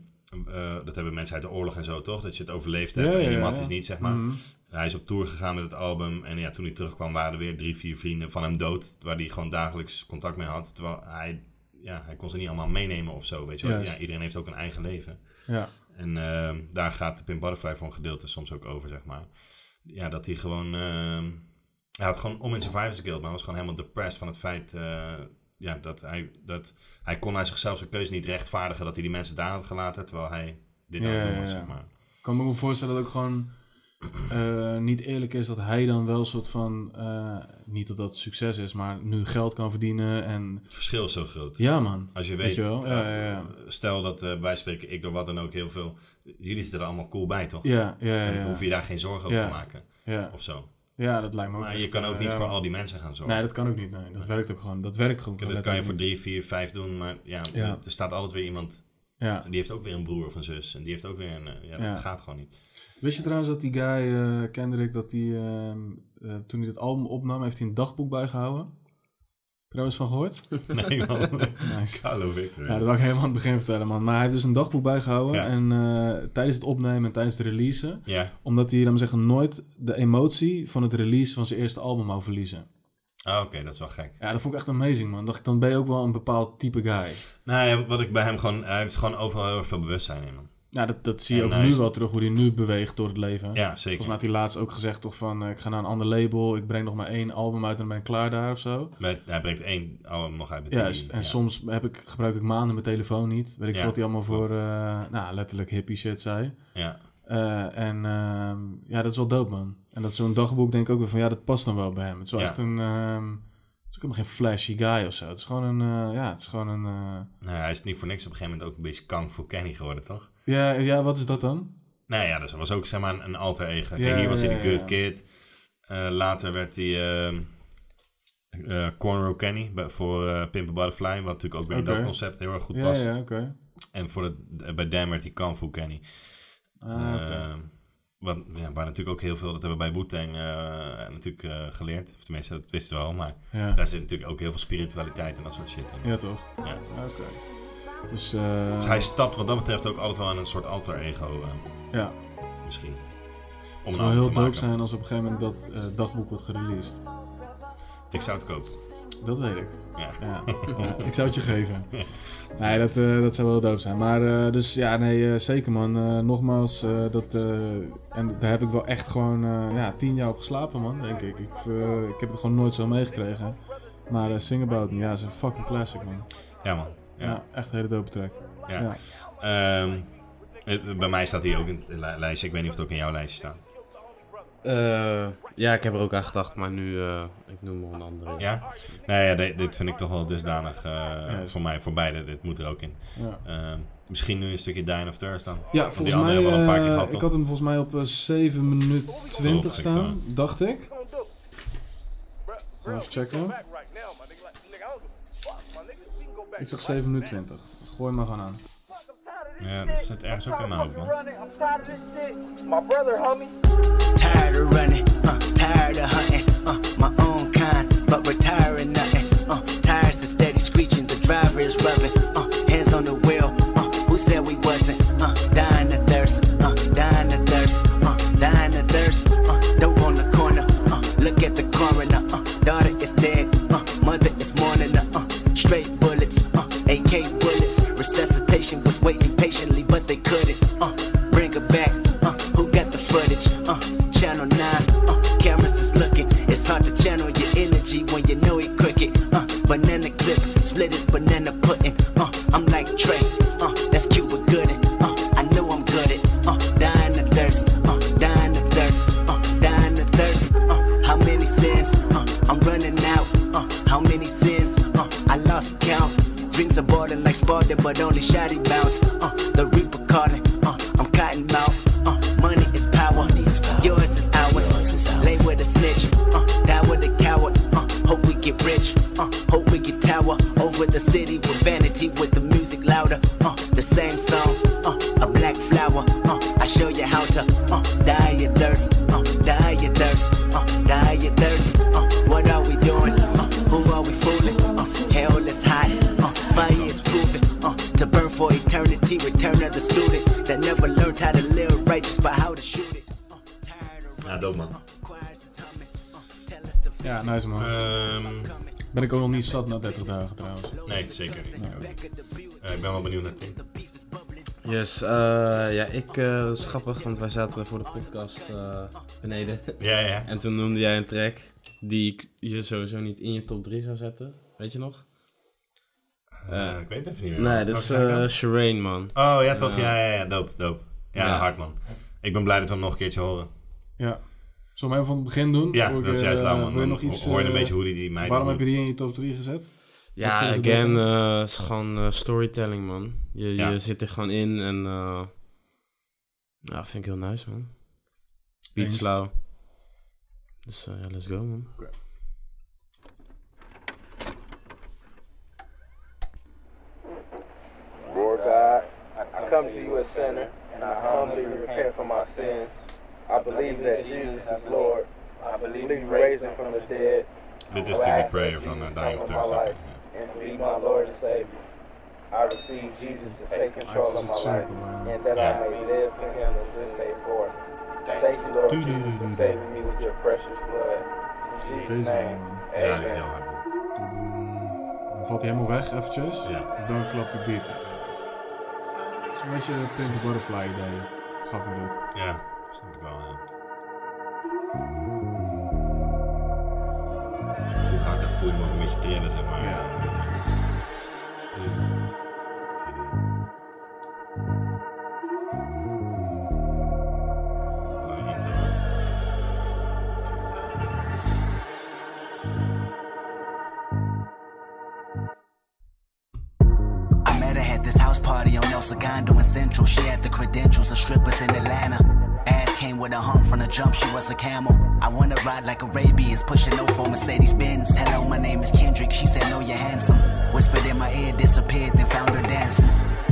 eh, dat hebben mensen uit de oorlog en zo toch? Dat je het overleefd hebt Ja, ja, en iemand ja. is niet, zeg maar. Mhm. Hij is op tour gegaan met het album. En ja, toen hij terugkwam waren er weer drie, vier vrienden van hem dood. Waar hij gewoon dagelijks contact mee had. Terwijl hij, ja, hij kon ze niet allemaal meenemen of zo. Weet je wel. Juist. Ja, iedereen heeft ook een eigen leven. Ja. En ehm, daar gaat de Pim Butterfly voor een gedeelte soms ook over, zeg maar. Ja, dat hij gewoon... ehm, hij had gewoon om in Survivors Guild, maar hij was gewoon helemaal depressed van het feit... eh, ja, dat hij, dat hij kon aan zichzelf zijn keuze niet rechtvaardigen dat hij die mensen daar had gelaten, terwijl hij dit aan het doen was, zeg maar. Ik kan me ook voorstellen dat het ook gewoon eh, niet eerlijk is dat hij dan wel een soort van... eh, niet dat dat succes is, maar nu geld kan verdienen en... Het verschil is zo groot. Ja, man. Als je Weet weet, je wel? Ja, eh, ja, ja. stel dat eh, wij spreken, ik door wat dan ook heel veel... Jullie zitten er allemaal cool bij, toch? Ja, ja, ja, En ja. hoef je daar geen zorgen over Ja, te maken, ja. of zo. Ja, dat lijkt me ook Maar echt, je kan ook eh, niet ja, voor man. al die mensen gaan zorgen. Nee, dat kan ook niet. Nee, dat werkt ook gewoon. Dat werkt gewoon. Ja, dat kan je voor drie, vier, vijf doen, maar ja, Ja. er staat altijd weer iemand. Ja. Die heeft ook weer een broer of een zus. En die heeft ook weer een. eh, Ja, dat Ja. gaat gewoon niet. Wist je trouwens dat die guy, eh, Kendrick, dat hij toen hij dit album opnam, heeft hij een dagboek bijgehouden? Heb je daar wel eens van gehoord? <laughs> Nee, man. Nice. Carlo Victor. Ja, dat wil ik helemaal aan het begin vertellen, man. Maar hij heeft dus een dagboek bijgehouden. En eh, tijdens het opnemen en tijdens het releasen. Ja. Omdat hij, laat maar zeggen, nooit de emotie van het release van zijn eerste album wou verliezen. Ah, Oké, dat is wel gek. Ja, dat vond ik echt amazing, man. Dacht ik, dan ben je ook wel een bepaald type guy. Nou ja, wat ik bij hem gewoon. Hij heeft gewoon overal heel erg veel bewustzijn in. Man. Nou, dat, dat zie je En ook hij nu is- wel terug, hoe hij nu beweegt door het leven. Ja, zeker. Volgens mij had hij laatst ook gezegd toch van... eh, ik ga naar een ander label, ik breng nog maar één album uit en dan ben ik klaar daar of zo. Maar hij brengt één oh, album nog uit met Juist, die- en soms heb ik, gebruik ik maanden mijn telefoon niet. Weet ik Ja, veel wat hij allemaal voor, eh, nou, letterlijk hippie shit zei. Ja. Eh, en ehm, ja, dat is wel dope, man. En dat zo'n dagboek denk ik ook weer van... Ja, dat past dan wel bij hem. Het is wel Ja. echt een... ehm, het is ook helemaal geen flashy guy of zo. Het is gewoon een... eh, ja, het is gewoon een... eh, Nou, hij is niet voor niks op een gegeven moment ook een beetje kang voor Kenny geworden, toch? ja, ja, wat is dat dan? Nou ja, dat was ook zeg maar een, een alter ego. Ja, Kijk, hier was hij ja, de good ja. kid. Eh, later werd hij ehm eh, Cornrow Kenny bij- voor eh Pimp a Butterfly. Wat natuurlijk ook bij Oké. dat concept heel erg goed Ja, past. ja, oké. En voor het, eh, bij Dan werd hij Kung Fu Kenny. Ah, oké. Ehm, want, ja, waar natuurlijk ook heel veel, dat hebben we bij Wu-Tang eh, natuurlijk eh, geleerd. Of tenminste, dat wisten we al. Maar Ja. daar zit natuurlijk ook heel veel spiritualiteit en dat soort shit in. Ja, toch? Ja. Oké. Dus, eh, Dus hij stapt wat dat betreft ook altijd wel in een soort alter ego. eh, Ja. Misschien. Het Om zou een heel heel nou te dope maken. zijn als op een gegeven moment dat eh, dagboek wordt gereleased. Ik zou het kopen. dat weet ik. <laughs> Ja. Ja, ik zou het je geven. Nee, dat, eh, dat zou wel dope zijn. Maar eh, dus ja, nee, eh, zeker man. Eh, nogmaals, eh, dat, eh, en daar heb ik wel echt gewoon eh, ja, tien jaar op geslapen man, denk ik. Ik, eh, ik heb het gewoon nooit zo meegekregen. Maar eh, Sing About Me, ja, is een fucking classic man. Ja, man. Ja, Ja. echt een hele dope track. Ja. Ehm, het- bij mij staat hij ook in het li- lijstje. Ik weet niet of het ook in jouw lijstje staat. Eh, ja, ik heb er ook aan gedacht, maar nu, eh, ik noem nog een andere. Ja? Nou ja, dit, dit vind ik toch wel dusdanig eh, Juist. voor mij, voor beide. Dit moet er ook in. Ja. Ehm, misschien nu een stukje Dine of Thirst dan. Ja, Want die volgens andere mij, hebben we al een paar keer eh, gehad, ik toch? had hem volgens mij op eh, 7 minuten 20 Toch, ik staan, dacht ik. Even checken. Ik zag 7 minuten 20. Gooi maar gewoon aan. Ja, dat zit ergens ook in mijn hoofd, man. My brother, homie. Tired of running, uh, tired of hunting, uh, my own kind, but retiring nothing. Uh, tires are steady screeching, the driver is rubbing, uh, hands on the wheel. Uh, who said we wasn't? Uh, dying of thirst, uh, dying of thirst, uh, dying of thirst. Uh, dope on the corner, uh, look at the coroner. Uh, daughter is dead, uh, mother is mourning her. Uh, straight bullets, uh, AK bullets. Resuscitation was waiting patiently, but they couldn't. Uh, bring her back. Uh, who got the footage? Uh, channel 9, uh, cameras is looking. It's hard to channel your energy when you know it crooked. Uh, banana clip, split is banana pudding. Uh, I'm like Trey, uh, that's Cuba Gooding. Uh, I know I'm good at uh, dying of thirst, uh, dying of thirst, uh, dying of thirst. Uh, how many sins? Uh, I'm running out. Uh, how many sins? Uh, I lost count. Dreams are boarding like Spartan, but only shoddy bounce. Uh, the Reaper calling. Uh, I'm cotton mouth. Uh, money is power. Yours is ours. Lay with a snitch. Uh, die with a coward. Uh, hope we get rich. Uh, hope we get tower over the city with vanity, with the music louder. Uh, the same song. Uh, a black flower. Uh, I show you how to uh, die your thirst. Uh, die your thirst. Uh, die your thirst. Uh, what are we doing? Uh, who are we fooling? Uh, hell is hot. Uh, fire is proven. Uh, to burn for eternity. Return of the student that never learned how to live righteous, but how to shoot it. Uh, Ja, dope, man. Ja, nice man. Ehm, ben ik ook nog niet zat na 30 dagen trouwens. Nee, zeker niet. Ik, ook niet. Eh, ik ben wel benieuwd naar Tim. Yes, eh, ja, ik, eh, dat is grappig, want wij zaten voor de podcast eh, beneden. Ja, ja. <laughs> En toen noemde jij een track die ik je sowieso niet in je top 3 zou zetten. Weet je nog? Eh, ik weet het even niet meer. Nee, man. dat Oh, is staat eh dat? Shireen, man. Oh ja, toch? Ja, ja, ja. Dope, dope. Ja, Ja. hard, man. Ik ben blij dat we hem nog een keertje horen. Ja. Zullen we hem even van het begin doen? Ja, Voor ik, dat is juist eh, lauw, man. wil je Dan nog iets, ho- hoor je een eh, beetje hoe die- die meid Waarom heb je ontmoet. die in je top 3 gezet? Ja, Wat vond je again, ervan? eh, het is gewoon eh, storytelling, man. Je, Ja. je zit er gewoon in en... eh ja, vind ik heel nice, man. Beat Eens. slow. Dus eh, ja, let's go, man. Lord God, I, I come to you a sinner, and I humbly repent for my sins. I believe that Jesus is Lord. I believe He raised Him from the dead. Dit is de Big Prayer van uh, Dying of Thirst. oké. and to be my Lord and Savior. I receive Jesus to take control of my life, and that I may live for Him in this day forth. Thank you, Lord Jesus, for saving me with your precious blood. In Jesus' Bezig, name, man. Ja, dit is heel hard. Dan valt hij helemaal weg, eventjes. Dan klapt die beat. Een beetje een Pink Butterfly idee. Gaf me dit. Ja, snap ik wel, ja. Als je hem goed hard hebt, voel je hem ook een beetje trillen, zeg maar. I met her at this house party on El Segundo in Central. She had the credentials of strippers in Atlanta. Ass came with a hump from the jump, she was a camel. I wanna ride like Arabians, pushing no for Mercedes Benz. Hello, my name is Kendrick. She said, No, you're handsome. Whispered in my ear, disappeared, then found her dancing.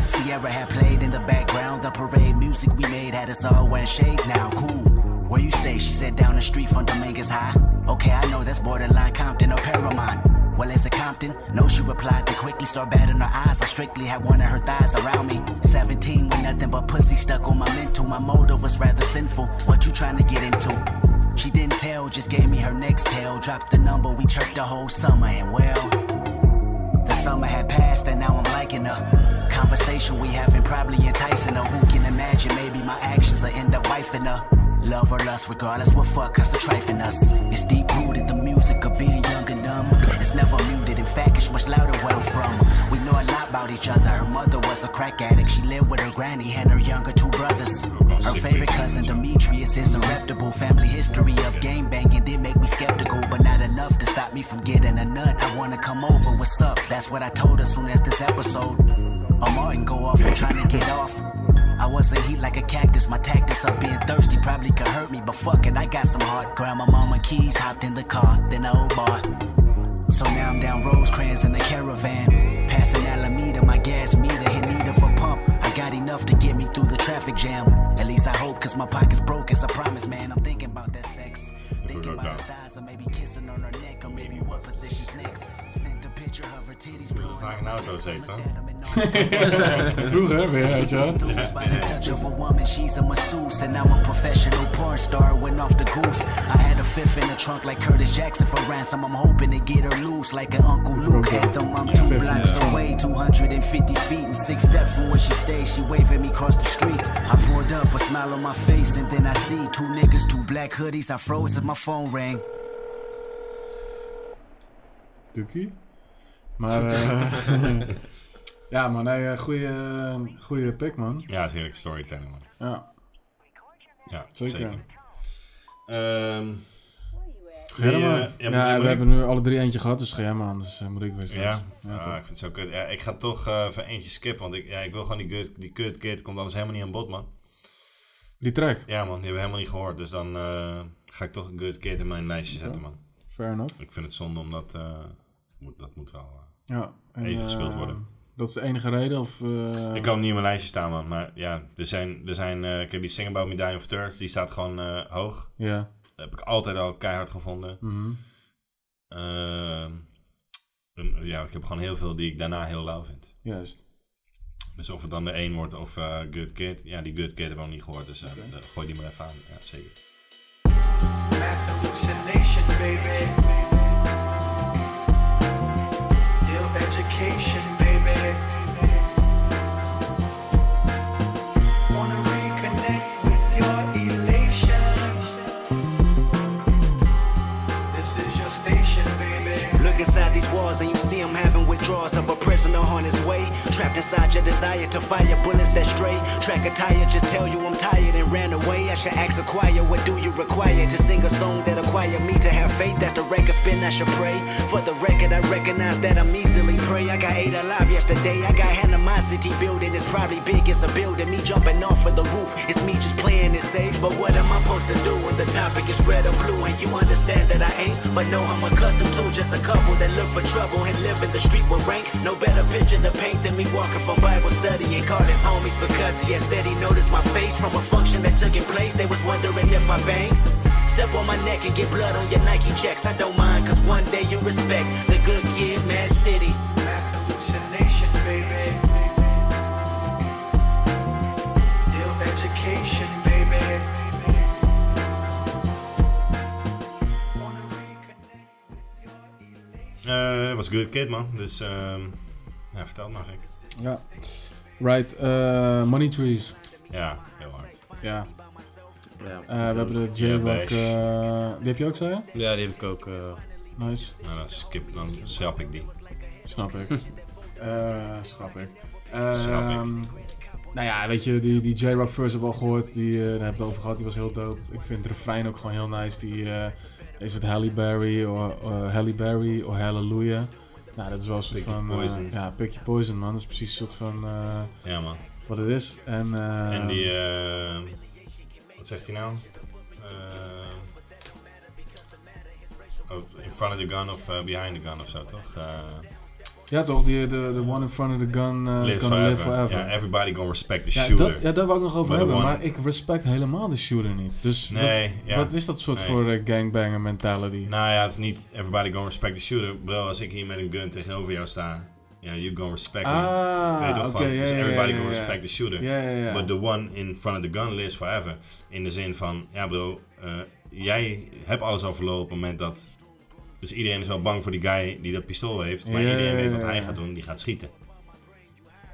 Sierra had played in the background. The parade music we made had us all wearing shades now. Cool. Where you stay? She said, Down the street from Dominguez High. Okay, I know that's borderline Compton or Paramount. Well, is it Compton? No, she replied. Then quickly start batting her eyes. I strictly had one of her thighs around me. 17 with nothing but pussy stuck on my mental. My motive was rather sinful. What you trying to get into? She didn't tell, just gave me her next tale. Dropped the number, we chirped the whole summer, and well, the summer had passed, and now I'm liking her. Conversation we having probably enticing her. Who can imagine? Maybe my actions will end up wifing her. Love or lust, regardless what fuck, cause the trife in us. It's deep rooted, the music of being young and dumb. It's never muted, in fact, it's much louder where I'm from. We know a lot about each other. Her mother was a crack addict, she lived with her granny and her younger two brothers. Her favorite cousin, Demetrius, is a reputable family history of game banging. Did make me skeptical, but not enough to stop me from getting a nut. I wanna come over, what's up? That's what I told her soon as this episode. A Martin go off and trying to get off. I wasn't heat like a cactus. My tactics of being thirsty probably could hurt me, but fuck it, I got some heart. Grandma, mama, keys, hopped in the car, then I old bar. So now I'm down Rosecrans in the caravan. Passing Alameda, my gas meter hit need of a pump. I got enough to get me through the traffic jam. At least I hope, cause my pocket's broke as I promise, man. I'm thinking about that sex. Thinking about her thighs, or maybe kissing on her neck, or maybe what position's next. Sent a picture of her titties Dat ga ik een auto zetten. <laughs> Vroeger, weer uit, ja. by the touch of a woman. She's a masseuse, and I'm a professional porn star. Went off the goose. I had a fifth in the trunk like Curtis Jackson for ransom. I'm hoping to get her loose like an Uncle Luke anthem. I'm two blocks away, 250 feet, and six steps from where she stays. She waving me across the street. I pulled up, a smile on my face, and then I see two niggas, two black hoodies. I froze as my phone rang. Doekie. <laughs> Maar, eh, ja, man, nee, eh, goeie, eh, goeie pick, man. Ja, heerlijk storytelling. man. Ja. Ja, Zeker. zeker. Ehm, Ga die, jij dan eh, maar. ja, moet- moet ja, we ik- hebben nu alle drie eentje gehad, dus ga jij maar anders. eh, moet ik weer straks. Ja, Ja, Ah, toch. ik vind het zo kut. Ja, ik ga toch eh even eentje skippen, want ik, ja, ik wil gewoon die, good, die kut kid, komt anders helemaal niet aan bod, man. Die track? Ja, man, die hebben we helemaal niet gehoord, dus dan eh, ga ik toch een good kid in mijn lijstje zetten, man. Fair enough. Ik vind het zonde, omdat eh, moet, dat moet wel eh, Ja, en, even gespeeld eh, worden. Dat is de enige reden, of... eh, Ik kan hem niet in mijn lijstje staan, man. Maar ja, er zijn... Er zijn eh, ik heb die Sing About Me Die of Thirds, die staat gewoon eh, hoog. Ja. Dat heb ik altijd al keihard gevonden. Mhm. Ehm, en, ja, ik heb gewoon heel veel die ik daarna heel lauw vind. Juist. Dus of het dan de één wordt of eh, Good Kid. Ja, die Good Kid hebben we nog niet gehoord, dus eh, eh, gooi die maar even aan. Ja, zeker. Mass hallucination, baby. Ill education, baby. Wanna reconnect with your elations. This is your station, baby. Look inside these walls and you see I'm having withdrawals of a prisoner on his way. Trapped inside your desire to fire bullets that stray. Track a tire, just tell you I'm tired and ran away. I should ask a choir, what do you require to sing a song that acquire me to have faith? That's the record spin, I should pray. For the record, I recognize that I'm easily prey. I got eight alive yesterday. I got animosity building, it's probably big as a building. Me jumping off of the roof, it's me just playing it safe. But what am I supposed to do when the topic is red or blue? And you understand that I ain't, but no, I'm accustomed to just a couple that look for trouble and live in the street with rank. No better picture to paint than me walking from Bible study and called his homies because he had said he noticed my face from a function that took in place. They was wondering if I banged. Step on my neck and get blood on your Nike checks. I don't mind, cause one day you respect the good kid, Mad City. Mass hallucination, baby. Ill education, baby. Eh, was Good Kid, man. Dus ehm ja, vertel het maar, Vic. Ja. Right, eh, Money Trees. Ja, heel hard. Ja. Ja. Eh, we hebben de J-Rock. eh, die heb je ook, zei je? Ja, die heb ik ook. eh. Nice. Nou, dan, skip, dan schrap ik die. Snap <laughs> ik. Eh schrap ik. Ehm, Schrap ik. Nou ja, weet je, die, die J-Rock verse hebben we al gehoord. Die, eh daar hebben we het over gehad. Die was heel dope. Ik vind het refrein ook gewoon heel nice. Die, eh, is het Halle Berry of eh Halle Berry of Hallelujah? Nou, dat is wel een soort Pick your van... eh, poison. ja, Pick Your Poison, man. Dat is precies een soort van... eh, Ja, man. Wat het is. En, eh, en die... eh, wat zegt hij nou? Eh, of in front of the gun of eh, behind the gun of zo, toch? Eh, Ja, toch? Die, de, de one in front of the gun eh, is live gonna forever. live forever. Ja, everybody gonna respect the Ja, shooter. dat, ja, daar wou ik nog over But the hebben, one- maar ik respect helemaal de shooter niet. Dus Nee, wat, ja. wat is dat soort Nee. voor eh, gangbanger mentality? Nou ja, het is niet everybody gonna respect the shooter. Bro, als ik hier met een gun tegenover jou sta, ja, you gonna respect me. Ah, Weet je toch oké, gewoon? ja, Dus ja, ja, everybody ja, gonna ja. respect the shooter. Ja, ja, ja. But the one in front of the gun lives forever. In de zin van, ja bro, eh, jij hebt alles al verloren op het moment dat... Dus iedereen is wel bang voor die guy die dat pistool heeft. Maar Ja, iedereen weet wat ja, hij ja. gaat doen, die gaat schieten.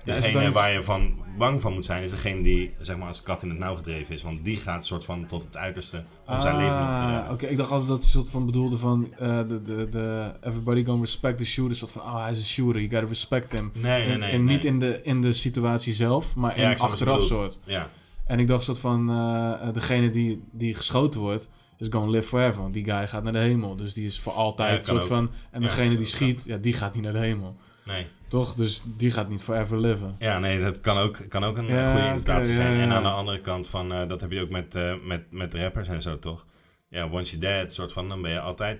Ja, is Degene het dan- waar je van bang van moet zijn, is degene die zeg maar, als kat in het nauw gedreven is. Want die gaat soort van tot het uiterste om zijn leven nog te redden. Ah, Oké, ik dacht altijd dat hij soort van bedoelde van eh, de, de, de everybody gonna respect the shooter. Soort van, oh, hij is een shooter, you gotta respect him. Nee, nee, En- nee, En nee. niet in de, in de situatie zelf, maar Ja, in ik snap wat je achteraf bedoelt. soort. Ja. En ik dacht soort van, eh, eh, degene die, die geschoten wordt, is gonna live forever. Want die guy gaat naar de hemel, dus die is voor Ja, altijd kan soort ook. van. En Ja, degene die schiet, ja, die gaat niet naar de hemel. Nee. Toch? Dus die gaat niet forever leven. Ja, nee, dat kan ook, kan ook een Ja, goede oké, interpretatie ja, zijn. En ja. aan de andere kant, van, eh, dat heb je ook met, eh, met, met rappers en zo, toch? Ja, once you're dead, soort van, dan ben je altijd...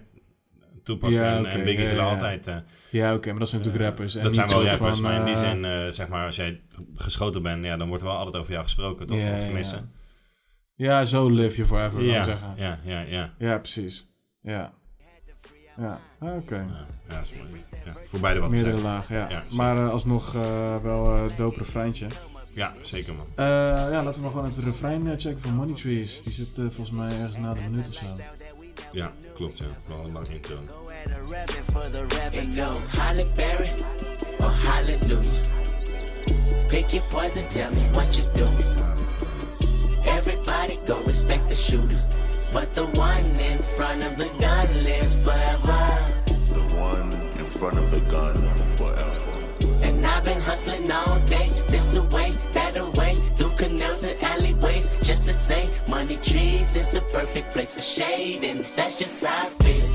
Tupac Ja, en, oké, en Biggie ja, zullen ja. altijd... eh, Ja, oké, maar dat zijn natuurlijk rappers. En dat zijn niet wel soort rappers, van, maar in die eh, zin, eh, zeg maar, als jij geschoten bent, ja, dan wordt er wel altijd over jou gesproken, toch? Ja, of ja, tenminste... ja. Ja, zo live je forever, Ja, ja, zeggen. ja, ja, ja. Ja, precies. Ja. Ja, ah, oké. Ja, is mooi. Ja, voor beide wat te Meerdere zeggen. lagen, ja. Ja, zeker. maar eh, alsnog eh, wel eh dope refreintje. Ja, zeker man. Eh, ja, laten we maar gewoon even de refrein eh, checken van Money Trees. Die zit eh, volgens mij ergens na de minuut of zo. Ja, klopt, ja. Wel een lang eh, intro. Go Holly Berry or Hallelujah. Pick your poison, tell me what you do. Everybody go respect the shooter. But the one in front of the gun lives forever. The one in front of the gun forever. And I've been hustling all day, this away, that away, through canals and alleyways, just to say, money trees is the perfect place for shade, and that's just how I feel.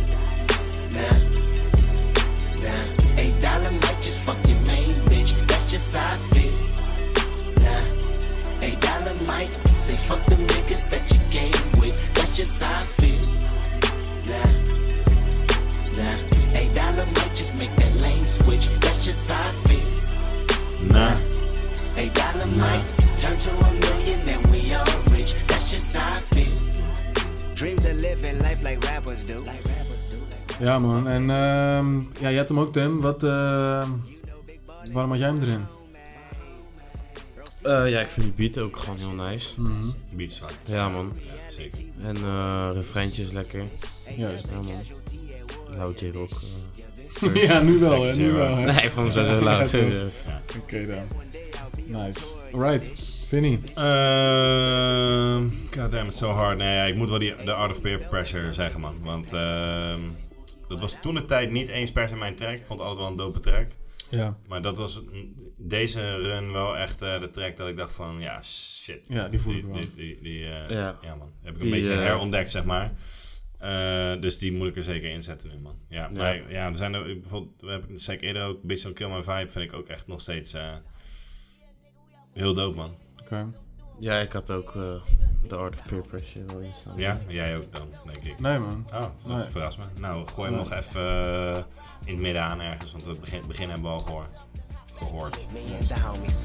Nah, nah, eight dollar might just fuck your main bitch, that's just how I feel. Nah, eight dollar might say fuck the niggas that you game with, that's just how I feel. Nah. Nah, eight dollar might just make that lane switch. That's just how I feel. Nah, Eight dollar might turn to a million and we all rich. That's just how I feel. Dreams of living life like rappers do. Ja, man. En ehm, ja, jij hebt hem ook, Tim. Wat, eh, waarom had jij hem erin? Eh, ja, ik vind die beat ook gewoon heel nice. Mhm. Beats hard. Ja, man. Ja, zeker. En eh refreintje is lekker. Juist. Ja, man. Loud J-Rock. <laughs> ja, nu wel, hè. Nu wel, hè. Nee, van eh, zo zo loud. Ja, zo- toch? zo. Oké dan. Nice. Alright, Vinny. Ehm, God damn it's so hard. Nee, ja, ik moet wel die, de Art of Peer Pressure zeggen, man. Want ehm, dat was toen de tijd niet eens per se mijn track. Ik vond het altijd wel een dope track. Ja. Maar dat was een- deze run wel echt eh, de track dat ik dacht van, ja, shit. Ja, die voel ik wel. Die, die, die, eh, ja. Ja. man. Heb ik een Die, beetje eh, herontdekt, zeg maar. Eh, dus die moet ik er zeker inzetten nu, man. Ja, Ja. Maar, ja er zijn er, ik- bijvoorbeeld, we hebben het zei ik eerder ook, Bitch Don't Kill My Vibe vind ik ook echt nog steeds eh, heel dope, man. Oké. <laughs> Ja, ik had ook eh, The Art of Peer Pressure wel in staan. Ja, jij ook dan, denk ik. Nee, man. Oh, dat Nee. verrast me. Nou, gooi hem Nee. nog even eh, in het midden aan ergens, want het begin, begin hebben we al gehoor- gehoord. Me and the homies.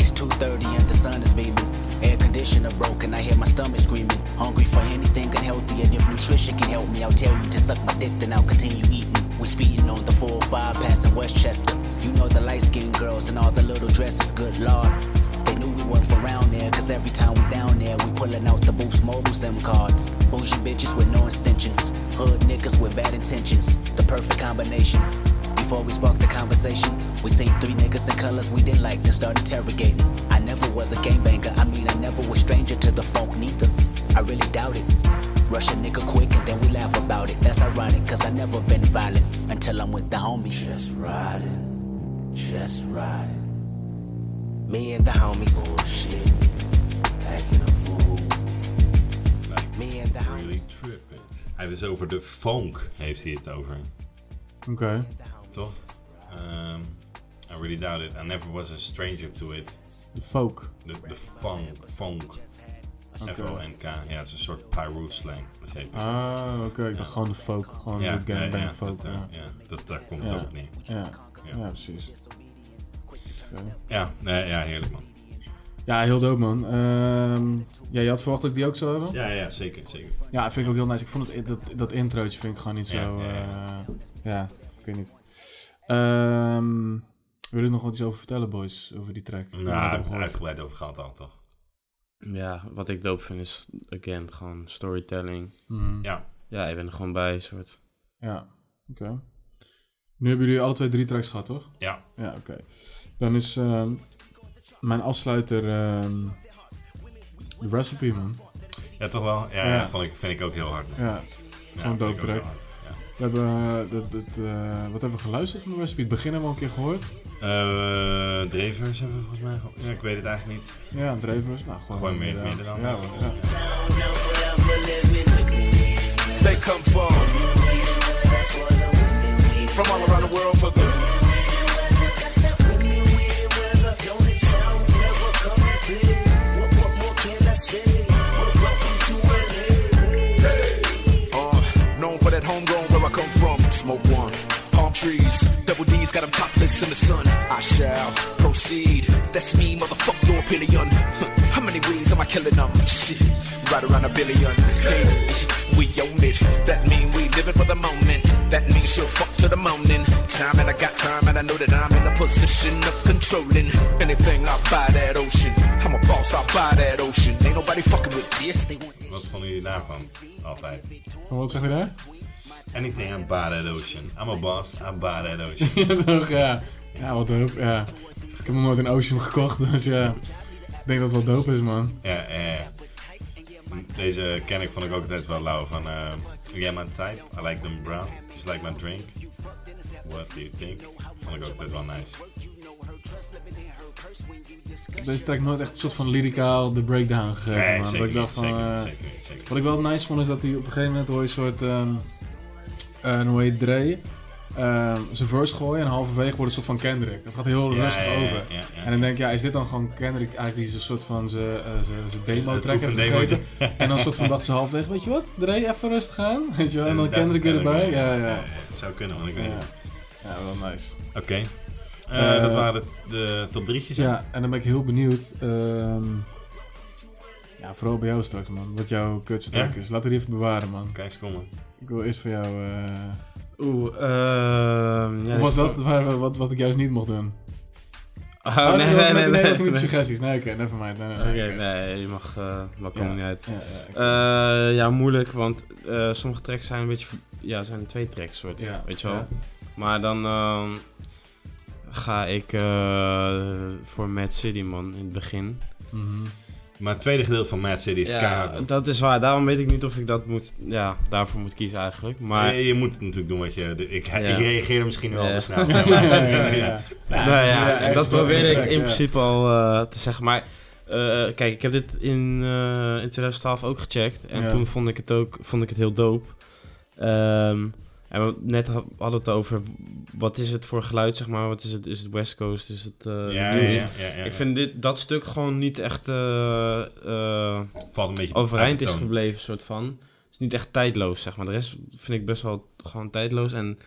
It's 2.30 and the sun is beaming. Air conditioner broke and I hear my stomach screaming. Hungry for anything unhealthy and if nutrition can help me, I'll tell you to suck my dick then I'll continue eating. We speeding on the 405 passing Westchester. You know the light skinned girls and all the little dresses, good lord. They knew we weren't from around there, cause every time we down there, we pulling out the boost mobile SIM cards. Bougie bitches with no extensions. Hood niggas with bad intentions. The perfect combination. Before we sparked the conversation, we seen three niggas in colors we didn't like, then started interrogating. I never was a gangbanger, I mean, I never was stranger to the funk, neither. I really doubt it. Rush a nigga quick and then we laugh about it. That's ironic, cause I never been violent until I'm with the homies. Just riding, just riding. Me and the homies. Bullshit, acting a fool. Me and the Really tripping. Hij heeft het over de funk, heeft hij het over. Oké. Toch? Ehm, I really doubt it. I never was a stranger to it. De folk. De, de funk. funk. Oké. F-O-N-K. Ja, het is een soort pyro slang, begreep ik. Ah, oké. Ik dacht gewoon de folk. Gewoon Ja, de ja, gangbang ja, folk. dat, eh, ja. ja, dat- daar komt ja. het op neer. Ja. Ja. precies. Oké. Ja, nee, ja, heerlijk man. Ja, heel dope, man. Ehm, ja, je had verwacht dat ik die ook zou hebben? Ja, ja, zeker, zeker. Ja, vind ik ook heel nice. Ik vond het, dat, dat introotje vind ik gewoon niet Ja, zo... ja, eh, ja. Ja, ik weet niet. Ehm wil je er nog wat iets over vertellen, boys? Over die track? Ik heb het Nou, gehoord. uitgebreid over gehad al, toch? Ja, wat ik doop vind is, again, gewoon storytelling. Mhm. Ja. Ja, ik ben er gewoon bij, soort. Ja, oké. Nu hebben jullie alle twee drie tracks gehad, toch? Ja. Ja, oké. Dan is ehm, mijn afsluiter ehm, The Recipe, man. Ja, toch wel? Ja, ja. vond ik, vind ik ook heel hard. Ja, gewoon vind ik dope ook heel track. hard, We hebben, eh, dat, dat, eh, wat hebben we geluisterd van The Recipe? Het begin hebben we al een keer gehoord. Eh Drevers hebben we volgens mij... ge- Ja, ik weet het eigenlijk niet. Ja, Drevers. Nou, gewoon Gooi meer, meer, meer dan. ja, They come from from all around the world for the Uh, known for that homegrown where I come from. Smoke one. Palm trees, double D's got them topless in the sun. I shall proceed. That's me, motherfuck your opinion. <laughs> Huh, How many ways am I killing them? Shit, right around a billion. Hey, we own it. That mean we living for the moment. That means she'll fuck to the morning. Time and I got time and I know that I'm in a position of controlling anything. I buy that ocean. I'm a boss. I buy that ocean. Ain't nobody fucking with this. They want Wat vonden jullie daarvan? Altijd. Van wat zeg je daar? <laughs> Anything about that ocean. I'm a boss, I'm about that ocean. <laughs> ja, toch, ja. Ja, wat dope, ja. Ik heb nog nooit een Ocean gekocht, dus ja. Ik denk dat het wel dope is, man. Ja, eh. Deze ken ik, vond ik ook altijd wel lauw. Van, eh yeah, my type. I like them brown. Just like my drink. What do you think? Vond ik ook altijd wel nice. Deze track nooit echt een soort van lyricaal de breakdown gegeven, Nee, man. zeker Dat ik niet, dacht van, zeker niet, eh, zeker niet, zeker niet. Wat ik wel nice vond, is dat hij op een gegeven moment hoor je een soort... ehm eh, hoe heet Dre? ehm, zijn verse gooien en halverwege wordt een soort van Kendrick. Dat gaat heel Ja, rustig ja, ja, over. ja, ja. en dan denk ik, ja, is dit dan gewoon Kendrick eigenlijk die zijn soort van zijn eh, zijn- zijn demo Het track heeft oefendemootje. gegeven? <laughs> en dan een soort van dacht ze halverwege, weet je wat, Dre, even rustig aan. Weet je wel, en dan Daar- Kendrick weer Kendrick erbij. weer. Ja, Ja, ja. ja, zou kunnen, want ik weet niet. Ja, wel nice. Oké. Eh, Eh, dat waren de, de top drietjes. hè? Ja, en dan ben ik heel benieuwd. ehm, ja, vooral bij jou straks, man. Wat jouw kutse Ja? track is. Laten we die even bewaren, man. Kijk eens, kom maar. Ik wil eerst voor jou... eh, Oeh, ehm ja, of was dit- dat waar, wat, wat ik juist niet mocht doen? Oh, dat nee, was nee, met, nee, nee, dat was nee. met de suggesties. Nee, oké, nevermind. Nee, nee, Oké, nee. nee, je mag, eh maar kom Ja, er niet uit. ja, Ja, ja, moeilijk, want eh, sommige tracks zijn een beetje, ja, zijn twee tracks soort, Ja, weet je wel. ja. Maar dan ehm, ga ik eh, voor Mad City man in het begin. Mhm. Maar het tweede gedeelte van Mad City is keihard. Ja, dat is waar. Daarom weet ik niet of ik dat moet, ja, daarvoor moet kiezen eigenlijk. Maar je, je moet het natuurlijk doen wat je... de- Ik, Ja. ik reageer misschien wel Ja. te snel. <laughs> maar- Ja, ja, ja, Ja. ja. Nou ja, echt dat wel probeer ik indirect, in ja. principe al eh, te zeggen. Maar eh, kijk, ik heb dit in, eh, in 2012 ook gecheckt. En Ja. toen vond ik het ook vond ik het heel dope. Ehm, en we net ha- hadden het over wat is het voor geluid, zeg maar. Wat is het? Is het West Coast? Is het. eh, Ja, New ja, York? ja, ja, ja. Ik vind dit, dat stuk gewoon niet echt. eh, eh, Valt een beetje uit overeind de is toon. gebleven, soort van. Het is niet echt tijdloos, zeg maar. De rest vind ik best wel gewoon tijdloos. En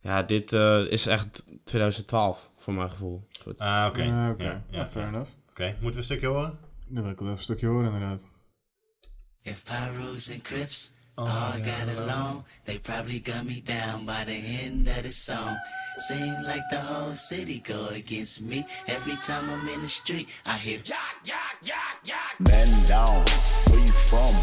ja, dit eh, is echt 2012 voor mijn gevoel. Soort. Ah, oké. Ah, oké. Ja, ja, Ah, fair ja. enough. Oké, moeten we een stukje horen? Dan wil ik wel even een stukje horen, inderdaad. If Pyros and Crips Oh, all got along, they probably got me down by the end of the song. Seem like the whole city go against me. Every time I'm in the street, I hear yak, yak, yak, yak. Man down, where you from,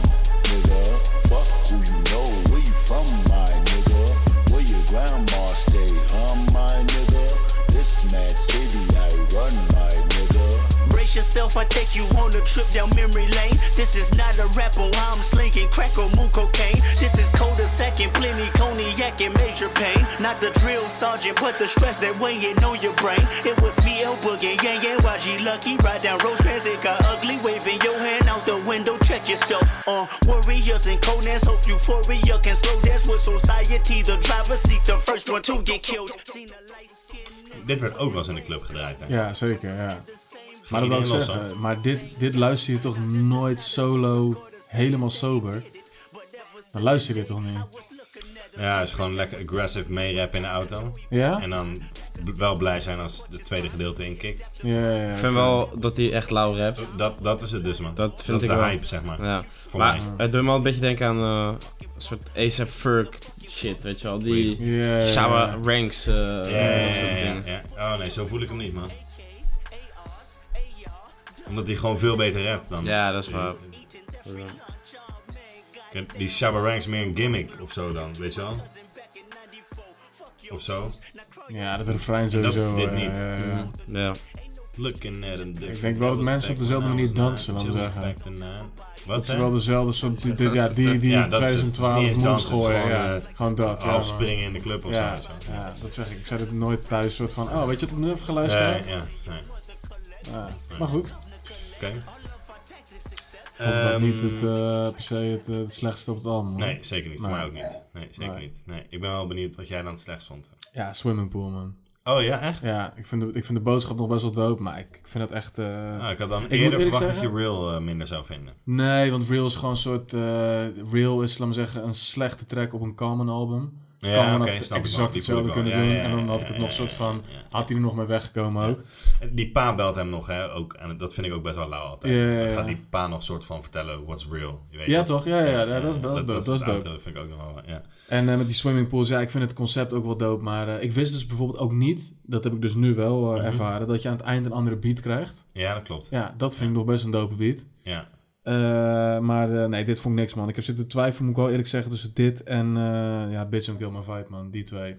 nigga? Fuck who you know, where you from, my nigga? Where your grandma stay, huh, my nigga? This mad city I run, my nigga. Brace yourself, I take you on a trip down memory lane. This is not a rapper, I'm slinking crack or moon cocaine. This is cold a second, plenty cognac and major pain. Not the drill sergeant, but the stress that weighing on your brain. It was me, El Boogie, Yang Yang, YG Lucky. Ride down Rosecrans, it got ugly. Waving your hand out the window, check yourself. Uh, warriors and conans, hope euphoria can slow dance with society. The driver seat, the first one to get killed. Dit werd ook wel eens in de club gedraaid, hè? Ja, zeker, ja. Maar dat iedereen wil ik los, zeggen, maar dit, dit luister je toch nooit solo, helemaal sober? Dan luister je dit toch niet? Ja, is gewoon lekker aggressive meerappen in de auto. Ja? En dan b- wel blij zijn als het tweede gedeelte inkikt. Ja, ja, ja, ik vind wel dat hij echt lauw rapt. Dat, dat is het dus, man. Dat vind Dat is ik de wel. hype, zeg maar. Ja. Voor maar mij. het doet me al een beetje denken aan eh, een soort ASAP Ferg shit, weet je wel. Die Ja, ja, ja. shower ranks. eh, Ja, dat soort ja, dingen. ja, ja. Oh nee, zo voel ik hem niet, man. Omdat hij gewoon veel beter rapt dan. Ja, dat is waar. Kijk, Die Shabba Ranks meer een gimmick of zo dan, weet je wel? Of zo. Ja, dat refrein En sowieso. Dat is dit eh, niet. ja. Ja. Looking at him Ik denk wel dat mensen op dezelfde manier dansen, laten we zeggen. Wat dat ze zijn? wel dezelfde soort, die, die- ja, die, die Ja, dat is het. Het is niet 2012 eens moves dansen, het is gooien. gewoon, ja. eh, gewoon dat. ja, afspringen maar- in de club of ja, zo, weet Ja, dat zeg ik. Ik zou dit nooit thuis soort van, oh, weet je wat ik nu heb geluisterd? Nee, heb? ja, nee. Ja, Maar goed. Oké. Vond ik dat Ehm, niet het, eh, per se het, eh, het slechtste op het album. hoor. Nee, zeker niet. Voor Maar- mij ook niet. Nee, zeker Nee. niet. Nee, ik ben wel benieuwd wat jij dan het slechtst vond. Ja, Swimming Pool, man. Oh ja, echt? Ja, ik vind de, ik vind de boodschap nog best wel dope, maar ik, ik vind dat echt... eh, Ah, ik had dan moet eerder eerlijk verwacht dat zeggen- je Real eh, minder zou vinden. Nee, want Real is gewoon een soort... eh, Real is, laat maar zeggen, een slechte track op een Common album. Ja, Common oké, had snap ik wel, exact die hetzelfde voel ik kunnen wel. doen. Ja, ja, en dan had ik ja, het ja, nog ja, soort van... Had hij er nog mee weggekomen ook. Die pa belt hem nog, hè? Ook, en dat vind ik ook best wel lauw altijd. Ja, ja, ja. Dan gaat die pa nog soort van vertellen what's real. Je weet Ja, het. toch? Ja, ja, ja, dat is- dat is dope, dat is het dope. oude, Dat vind ik ook nog wel, ja. En eh, met die swimmingpools, ja, ik vind het concept ook wel dope. Maar eh, ik wist dus bijvoorbeeld ook niet, dat heb ik dus nu wel eh, Mhm. ervaren, dat je aan het eind een andere beat krijgt. Ja, dat klopt. Ja, dat vind ik nog best een dope beat. Ja. Eh, maar eh, nee, dit vond ik niks, man. Ik heb zitten twijfelen, moet ik wel eerlijk zeggen, tussen dit en eh, ja, Bitch Don't Kill My Vibe, man. Die twee.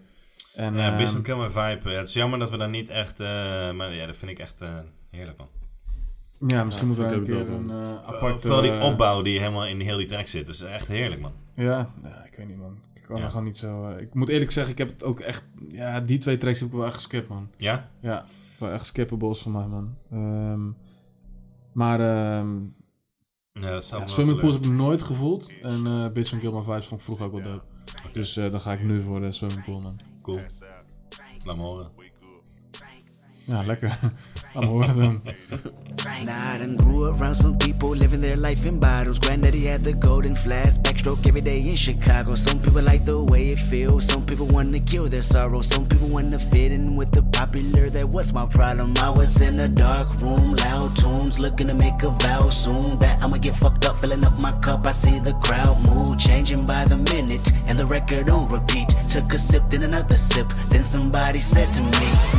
En, ja, ehm, Bishop Kill My Vibe. eh, Het is jammer dat we daar niet echt... eh, maar ja, dat vind ik echt eh, heerlijk, man. ja, misschien moeten we daar een vind ik ook keer dope, een man. eh, Eh, aparte... Vooral die eh, opbouw die helemaal in heel die track zit. Dat is echt heerlijk, man. Ja, ja, ik weet niet, man. Ik kan Ja. er gewoon niet zo... eh, ik moet eerlijk zeggen, ik heb het ook echt... Ja, die twee tracks heb ik wel echt geskipt, man. Ja? Ja, wel echt skippables van mij, man. Ehm, maar... ehm Ja, dat staat ja, me wel Swimming teleur. Pools heb ik nooit gevoeld. En eh Bitch on Kill My Vibes vond ik vroeger ook wel dope. Dus eh, dan ga ik nu voor de Swimming Pool, man. Cool. Laat me horen. Ja, lekker. <laughs> Laat me horen dan. Nah, I done grew around some people living their life in bottles. Granddaddy had the golden flask, backstroke every day in Chicago. Some people like the way it feels. Some people wanna kill their sorrow. Some people wanna fit in with the popular. That was my problem. I was in a dark room, loud tunes, looking to make a vow soon that I'ma get fucked up, filling up my cup. I see the crowd mood changing by the minute, and the record on repeat. Took a sip, then another sip. Then somebody said to me,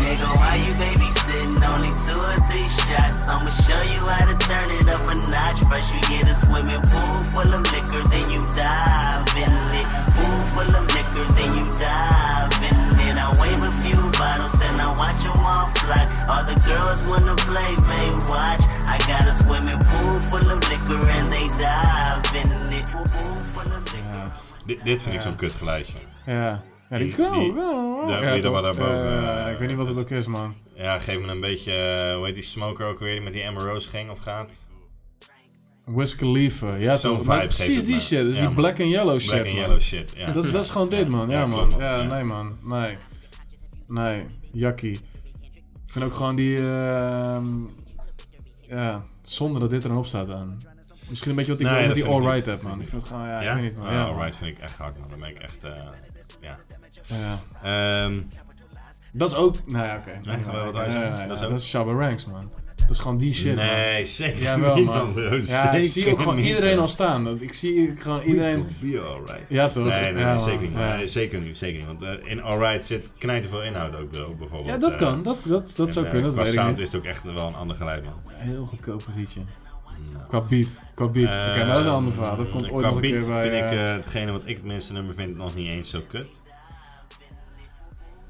Nigga, why you babysitting? Only two or three shots. I'ma show you how to turn it up a notch. First you get a swimming pool full of liquor, then you dive in it. Pool full of liquor, then you dive in it. I wave a few bottles, then I watch 'em all fly. All the girls wanna play, they watch. I got a swimming pool full of liquor, and they dive in it. Pool, pool full of liquor. Dit, dit vind ik Ja. zo'n kut geluidje. Ja. Ja, Die- die, die- daar- ja, die daar toch. wel daarboven, Eh, eh, ik weet niet wat het dat- ook is, man. Ja, geef me een beetje, eh, hoe heet die smoker ook weer, die met die Amber Rose ging of gaat? Wiz Khalifa, ja Zo'n toch? Maar vibe geeft Precies het die me. shit, dus Ja, die man. black and yellow Black shit. and man. yellow shit, ja. Dat, is- dat is gewoon dit man, ja, Ja, man. klopt, man. Ja, Ja. nee man, nee. Nee, Jackie. Ik vind ook gewoon die, ehm, ja, zonde dat dit er dan op staat aan. Misschien een beetje wat ik Nee, wil met dat die vind ik alright niet. heb man. Ik vind het gewoon, ja, ja? ik weet niet man. Ah, ja, man. alright vind ik echt hard, man. Dan ben ik echt, eh, ja. Ja. Ehm, Dat is ook, nou ja oké. Nee, gaan we wat wij Ja, zeggen? ja, ja, Dat Dat is is, ook- Shabba Ranks man. Dat is gewoon die shit. man. Nee, zeker Jawel, niet, man. man. Ja, ik zie ook Zeker gewoon niet, iedereen joh. al staan. Dat- Ik zie gewoon iedereen... We will be alright. Ja, toch? Nee, nee, nee, Ja, man. zeker niet. man. Ja. Nee, zeker niet, zeker niet. Want eh, in alright zit knijten veel inhoud ook, bro, bijvoorbeeld. Ja, dat eh, kan. Dat- dat- dat en, zou eh, kunnen, dat qua weet ik sound niet. is het ook echt wel een ander geluid, man. Heel goedkoop liedje. Qua beat. Qua beat. Oké, nou, dat is een ander verhaal. Dat komt Eh, ooit qua nog een beat keer bij... vind ik eh, eh, hetgene wat ik het minste nummer vind nog niet eens zo kut.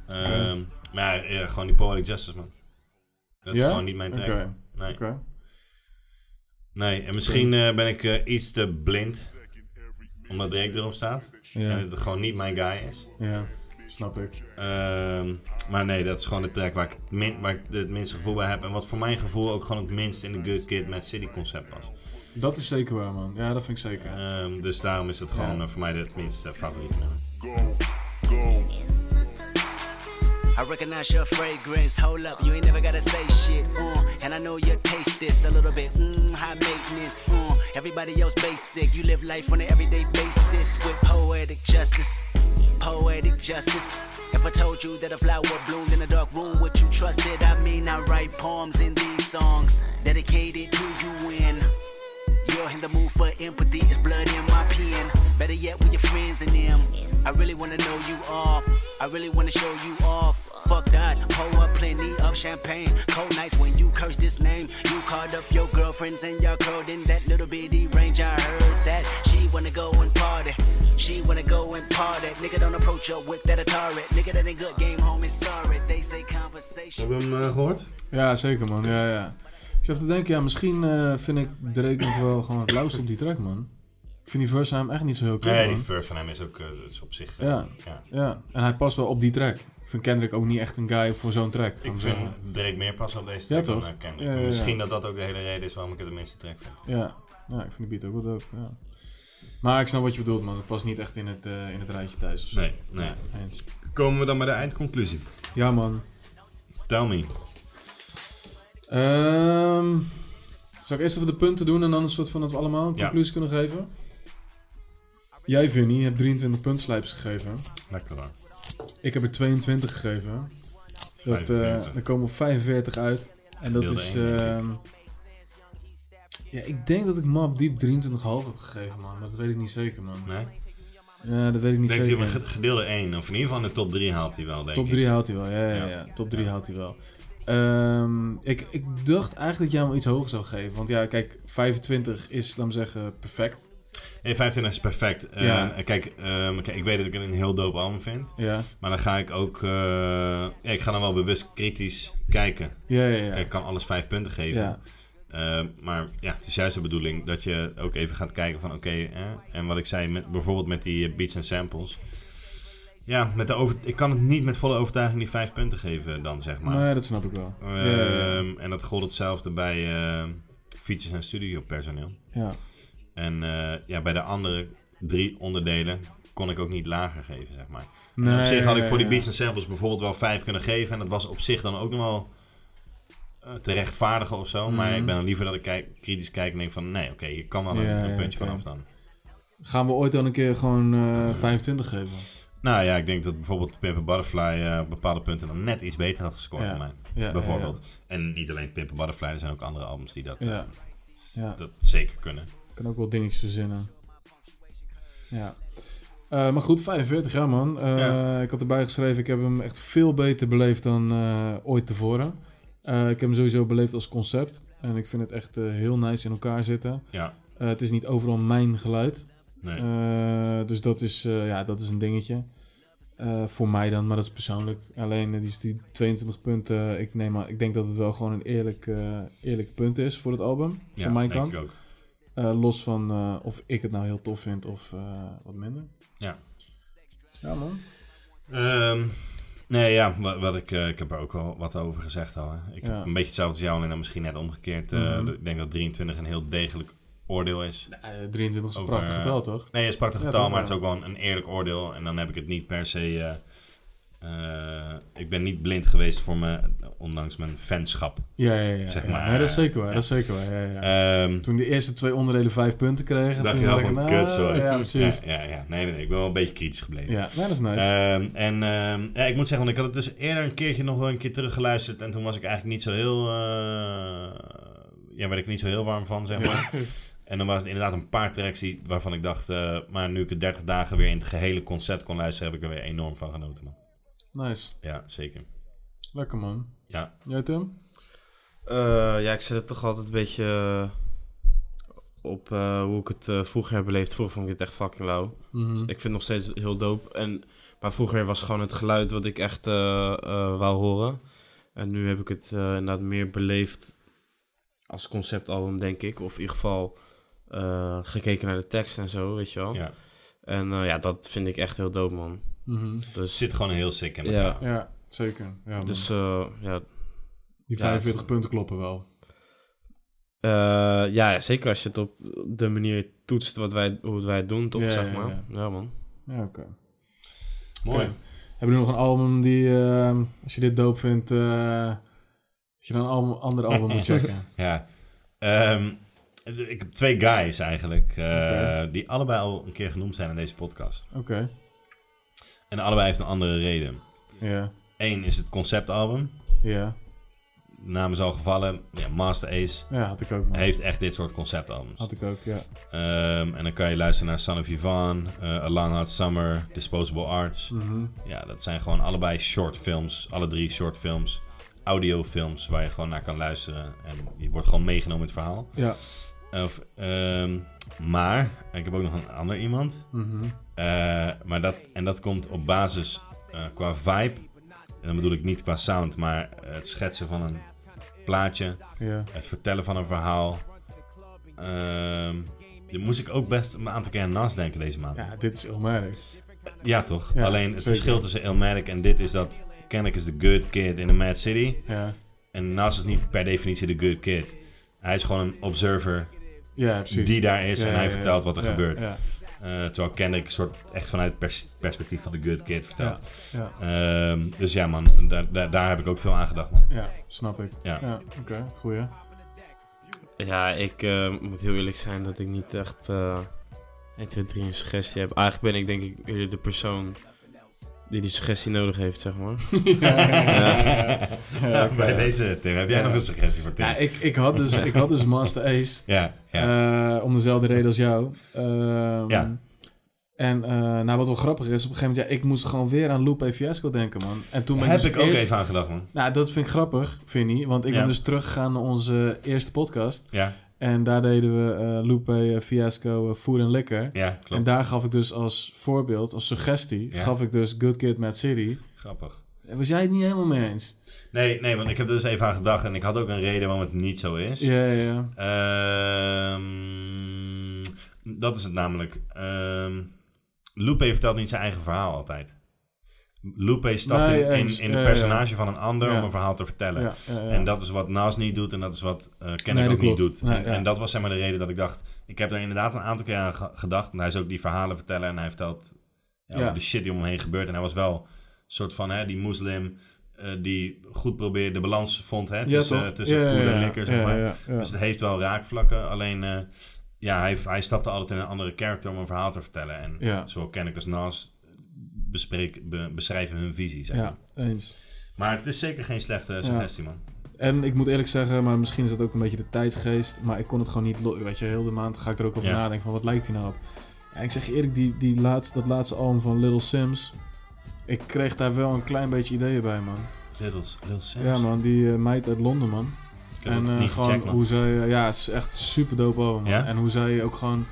Ehm, Maar ja, eh, gewoon die Poetic Justice, man. Dat is Ja? gewoon niet mijn track. Oké. Nee. Oké. nee, en misschien eh, ben ik eh, iets te blind. Omdat Drake erop staat. Ja. En het gewoon niet mijn guy is. Ja, snap ik. Ehm, maar nee, dat is gewoon de track waar ik, het min- waar ik het minste gevoel bij heb. En wat voor mijn gevoel ook gewoon het minst in de Good Kid Mad City concept past. Dat is zeker waar, man. Ja, dat vind ik zeker. Ehm, dus daarom is het gewoon Ja. eh, voor mij het minst eh, favoriete nummer. I recognize your fragrance. Hold up, you ain't never gotta say shit. Uh, and I know you taste this a little bit. Mmm, high maintenance. Uh, everybody else basic. You live life on an everyday basis with poetic justice. Poetic justice. If I told you that a flower bloomed in a dark room, would you trust it? I mean, I write poems in these songs dedicated to you in. You're in the mood for empathy, it's blood in my pen. Better yet, with your friends and them. I really wanna know you all. I really wanna show you off. Fuck that. Pour up plenty of champagne. Cold nights when you curse this name. You called up your girlfriends and y'all curled in that little bitty range. I heard that. She wanna go and party. She wanna go and party. Nigga, don't approach her with that Atari. Nigga, that ain't good game, homie. Sorry. They say conversation. Heb je hem eh, gehoord? Ja, zeker man. Ja, ja. Ik zat te denken, ja, misschien eh, vind ik Drake nog wel gewoon het lauwste op die track, man. Ik vind die verse aan hem echt niet zo heel cool. Nee, Nou die verse van hem is ook eh, dat is op zich... eh, ja. Ja. en hij past wel op die track. Ik vind Kendrick ook niet echt een guy voor zo'n track. laat Ik me vind zeggen. Drake meer passen op deze Ja, track toch? dan eh, Kendrick. Ja, ja, ja. Misschien dat dat ook de hele reden is waarom ik het de minste track vind. Ja. ja, ik vind de beat ook wel dope, ja. Maar ik snap wat je bedoelt, man. Het past niet echt in het, eh, in het rijtje thuis of zo. Nee, nee. Ja, eens. Komen we dan bij de eindconclusie? Ja, man. Tell me. Ehm, zal ik eerst even de punten doen en dan een soort van dat we allemaal een Ja. conclusie kunnen geven? Jij, Vinnie, hebt 23 puntslijps gegeven. Lekker hoor. Ik heb er 22 gegeven. Dat, eh 45. er komen 45 uit. En dat Verdeelde is... één, denk ik. ehm, ja, ik denk dat ik Map Deep 23,5 heb gegeven, man. Maar dat weet ik niet zeker, man. Nee? Ja, dat weet ik niet Denk zeker. hij hem gedeelde 1, of in ieder geval in de top 3 haalt hij wel, denk Top ik. 3 houdt hij wel, ja, ja, ja. Top 3 houdt hij wel. Ehm, ik, ik dacht eigenlijk dat jij hem iets hoger zou geven. Want ja, kijk, 25 is, laat me zeggen, perfect. Nee, 25 is perfect. Ehm, Ja. kijk, ehm, kijk, ik weet dat ik het een heel dope album vind. Ja. Maar dan ga ik ook... eh, ja, ik ga dan wel bewust kritisch kijken. Ja, ja, ja. Kijk, ik kan alles 5 punten geven. Ja. Ehm, maar ja, het is juist de bedoeling dat je ook even gaat kijken van... Oké, eh, en wat ik zei, met, bijvoorbeeld met die eh, beats en samples... Ja, met de over, ik kan het niet met volle overtuiging die 5 punten geven dan, zeg maar. Nee, dat snap ik wel. Ja, ja, ja. Ehm, En dat gold hetzelfde bij eh, features en studiopersoneel. Ja. En eh, ja, bij de andere drie onderdelen kon ik ook niet lager geven, zeg maar. En Nee, op zich had ik voor die ja, ja. beats en samples bijvoorbeeld wel vijf kunnen geven. En dat was op zich dan ook nog wel eh, te rechtvaardigen of zo. Maar Mhm. ik ben dan liever dat ik kijk, kritisch kijk en denk van... Nee, oké, je kan wel een, Ja, een ja, puntje oké. vanaf dan. Gaan we ooit dan een keer gewoon eh, 25 geven? Nou ja, ik denk dat bijvoorbeeld Pimper Butterfly eh, op bepaalde punten dan net iets beter had gescoord Ja. dan mij. Ja, ja, bijvoorbeeld. En niet alleen Pimper Butterfly, er zijn ook andere albums die dat, eh, Ja. Ja. dat zeker kunnen. Ik kan ook wel dingetjes verzinnen. Ja. Eh, maar goed, 45 jaar man. Eh, Ik had erbij geschreven, ik heb hem echt veel beter beleefd dan eh, ooit tevoren. Eh, ik heb hem sowieso beleefd als concept. En ik vind het echt eh, heel nice in elkaar zitten. Ja. Eh, het is niet overal mijn geluid. Nee. Eh, dus dat is, eh, ja, dat is een dingetje. Eh, voor mij dan, maar dat is persoonlijk. Alleen eh, die, die 22 punten, ik, neem maar, ik denk dat het wel gewoon een eerlijk, eh, eerlijk punt is voor het album. Ja, van mijn denk kant. ik ook. Eh, los van eh, of ik het nou heel tof vind of eh, wat minder. Ja. Ja, man. Ehm, nee, ja, wat, wat ik, eh, ik heb er ook al wat over gezegd al. Hè. Ik Ja. heb een beetje hetzelfde als jou, alleen dan misschien net omgekeerd. Eh, Mhm. dat- Ik denk dat 23 een heel degelijk oordeel is. 23 eh, is een prachtig getal, Nee, toch? het is een prachtig Ja, getal, toch, maar ja. het is ook wel een, een eerlijk oordeel. En dan heb ik het niet per se... eh, eh, ik ben niet blind geweest voor mijn, ondanks mijn fanschap. Ja, ja, ja. Zeg ja. maar, Nee, dat is eh, zeker waar. ja. Dat is zeker waar. Ja, ja. Ehm, toen de eerste twee onderdelen vijf punten kregen, dacht toen je wel dacht ik, van nou, kut zo. Ja, precies. Ja, ja, ja. Nee, nee, nee, ik ben wel een beetje kritisch gebleven. Ja, nee, dat is nice. Ehm, en ehm, ja, ik moet zeggen, want ik had het dus eerder een keertje nog wel een keer teruggeluisterd. En toen was ik eigenlijk niet zo heel... eh, ja, werd ik niet zo heel warm van, zeg <laughs> maar. en dan was het inderdaad een paar tracks die, waarvan ik dacht... eh, maar nu ik het 30 dagen weer in het gehele concept kon luisteren... heb ik er weer enorm van genoten, man. Nice. Ja, zeker. Lekker, man. Ja. Jij, Tim? Eh, ja, ik zet het toch altijd een beetje eh, op eh, hoe ik het eh, vroeger heb beleefd. Vroeger vond ik het echt fucking lauw. Mhm. Dus ik vind het nog steeds heel dope. En, maar vroeger was gewoon het geluid wat ik echt eh eh, wou horen. En nu heb ik het eh, inderdaad meer beleefd als conceptalbum, denk ik. Of in ieder geval eh, gekeken naar de tekst en zo, weet je wel. Ja. En eh, ja, dat vind ik echt heel dope, man. Mhm. Dus, Zit gewoon heel sick in ja. elkaar. Ja, zeker. Ja, man. Dus eh, ja. Die Ja, 45 punten kloppen wel. Eh, ja, ja, zeker als je het op de manier toetst wat wij, hoe wij het doen, toch? Ja, zeg ja, maar. ja. Ja, man. Ja, oké. Mooi. Oké. Hebben we nog een album die, eh, als je dit doop vindt, eh, dat je dan een album- ander album <laughs> moet checken? ja. Ehm, ik heb twee guys eigenlijk... eh, Oké. die allebei al een keer genoemd zijn in deze podcast. Oké. En allebei heeft een andere reden. Ja. Eén is het conceptalbum. Ja. naam is al gevallen. Ja, Master Ace. Ja, had ik ook, man. Heeft echt dit soort conceptalbums. Had ik ook, ja. Ehm, en dan kan je luisteren naar Son of Yvonne, eh, A Long Hot Summer, Disposable Arts. Mhm. Ja, dat zijn gewoon allebei short films. Alle drie short films. Audiofilms waar je gewoon naar kan luisteren. En je wordt gewoon meegenomen in het verhaal. Ja. Of, ehm, maar, ik heb ook nog een ander iemand. Mhm. Eh, maar dat, en dat komt op basis eh, qua vibe. En dan bedoel ik niet qua sound, maar eh, het schetsen van een plaatje. Ja. Het vertellen van een verhaal. Ehm, daar moest ik ook best een aantal keer aan naast denken deze maand. Eh, Ja, dit is Ilmatic. Ja, toch? Ja, Alleen het zeker. verschil tussen Illmatic en dit is dat Kendrick is de good kid in the mad city. Ja. En Nas is niet per definitie de good kid. Hij is gewoon een observer Ja, precies. die daar is Ja, en hij ja, ja. vertelt wat er Ja, gebeurt. ja. Eh, terwijl Kendrick soort echt vanuit het pers- perspectief van de good kid vertelt. Ja, Ehm, dus ja man, daar, daar, daar heb ik ook veel aan gedacht man. Ja, snap ik. Ja. oké. Goeie. Ja, ik eh, moet heel eerlijk zijn dat ik niet echt eh 1, 2, 3 een suggestie heb. Eigenlijk ben ik denk ik eerder de persoon die die suggestie nodig heeft, zeg <laughs> maar. Ja, Ja, oké. bij deze Tim, heb jij nog een suggestie voor Tim? Ja, ik, ik, had dus, ik had dus Master Ace. Ja, Eh, om dezelfde reden als jou. Ehm, Ja. En eh, nou, wat wel grappig is, op een gegeven moment, ja, ik moest gewoon weer aan Lupe Fiasco denken, man. En toen ben Heb dus ik ook eerst- even aan gedacht, man. Nou, dat vind ik grappig, Vinnie, want ik Ja. ben dus teruggegaan naar onze eerste podcast. Ja. En daar deden we eh Lupe eh, Fiasco eh, Voer en Lekker. Ja, klopt. En daar gaf ik dus als voorbeeld, als suggestie, Ja. gaf ik dus Good Kid, Mad City. Grappig. En Was jij het niet helemaal mee eens? Nee, nee, want ik heb er dus even aan gedacht en ik had ook een reden waarom het niet zo is. Ja, ja, Ehm, dat is het namelijk. Ehm Lupe vertelt niet zijn eigen verhaal altijd. Lupe stapt Nee, in, in, eens. in de Ja, personage ja. van een ander Ja. om een verhaal te vertellen. Ja, ja, ja. En dat is wat Nas niet doet en dat is wat eh Kendrick Nee, dat ook niet klopt. doet. Nee, en, ja. en dat was zeg maar de reden dat ik dacht... Ik heb er inderdaad een aantal keer aan ge- gedacht. En hij is ook die verhalen vertellen en hij vertelt ja, Ja. over de shit die om hem heen gebeurt. En hij was wel een soort van hè, die moslim... eh, die goed probeerde de balans vond hè, Ja, tussen, toch? tussen Ja, ja, voer en ja. likker. Zeg Ja, maar. ja, ja. Dus het heeft wel raakvlakken. Alleen eh, ja, hij, hij stapte altijd in een andere character om een verhaal te vertellen. En Ja. zowel Kendrick als Nas bespreek, be- beschrijven hun visie. Zeg ja, maar. eens. maar het is zeker geen slechte suggestie, man. En ik moet eerlijk zeggen, maar misschien is dat ook een beetje de tijdgeest. Maar ik kon het gewoon niet. lo- Weet je, heel de maand ga ik er ook over Ja. nadenken. Van wat lijkt hij nou op? En ik zeg je eerlijk, die, die laatste, dat laatste album van Little Sims. Ik kreeg daar wel een klein beetje ideeën bij, man. Little, Little Sims. Ja, man, die eh, meid uit Londen, man. heb en het eh, niet gewoon gecheckt, man. hoe zij. eh, ja, het is echt super dope album, man. Ja? En hoe zij ook gewoon.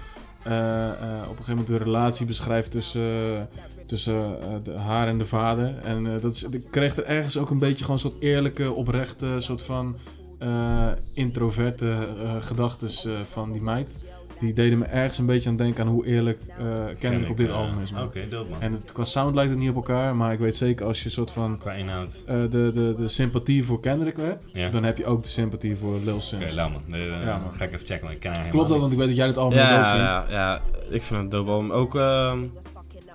eh, eh, op een gegeven moment de relatie beschrijft tussen, eh, tussen eh, de, haar en de vader. En eh, dat is, ik kreeg er ergens ook een beetje gewoon een soort eerlijke, oprechte, soort van eh, introverte eh gedachtes eh, van die meid. Die deden me ergens een beetje aan denken aan hoe eerlijk eh Kendrick Kendrick, op dit eh, album is. man. oké, dope, man. En het, qua sound lijkt het niet op elkaar, maar ik weet zeker als je soort van... Qua inhoud. eh, de, de, de sympathie voor Kendrick hebt, Ja. dan heb je ook de sympathie voor Lil Sims. Oké, laat man. Nee, eh, Ja, man. Ga ik even checken, want ik ken haar Klopt dat, helemaal want niet. ik weet dat jij het allemaal ja, dope vindt. Ja, ja, ik vind het dope album. Ook, ehm,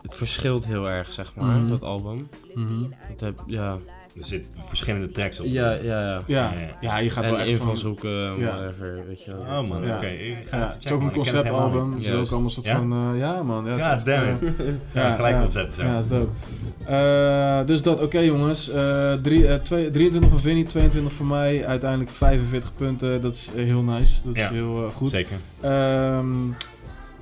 het verschilt heel erg, zeg maar, Mhm. dat album. Mhm. Het heb, ja. Er zitten verschillende tracks op. Ja, ja, ja. Ja. Ja, je gaat en wel echt van- invalshoeken, Ja. whatever, weet je wel. Oh, man, Ja. oké. ik ga Ja, even het is checken, ook man. een Ik ken het helemaal conceptalbum. niet. Er zit ook Juist. allemaal een soort Ja? van... eh, ja, man. Ja, het is God echt, damn eh, it. <laughs> Ja, gelijk opzetten zo. Ja, dat is dope. Eh, dus dat, oké jongens. Eh, drie, eh, twee- 23 van Vinnie, 22 voor mij. Uiteindelijk 45 punten. Dat is eh, heel nice. Dat is Ja, heel eh, goed. zeker. Ehm,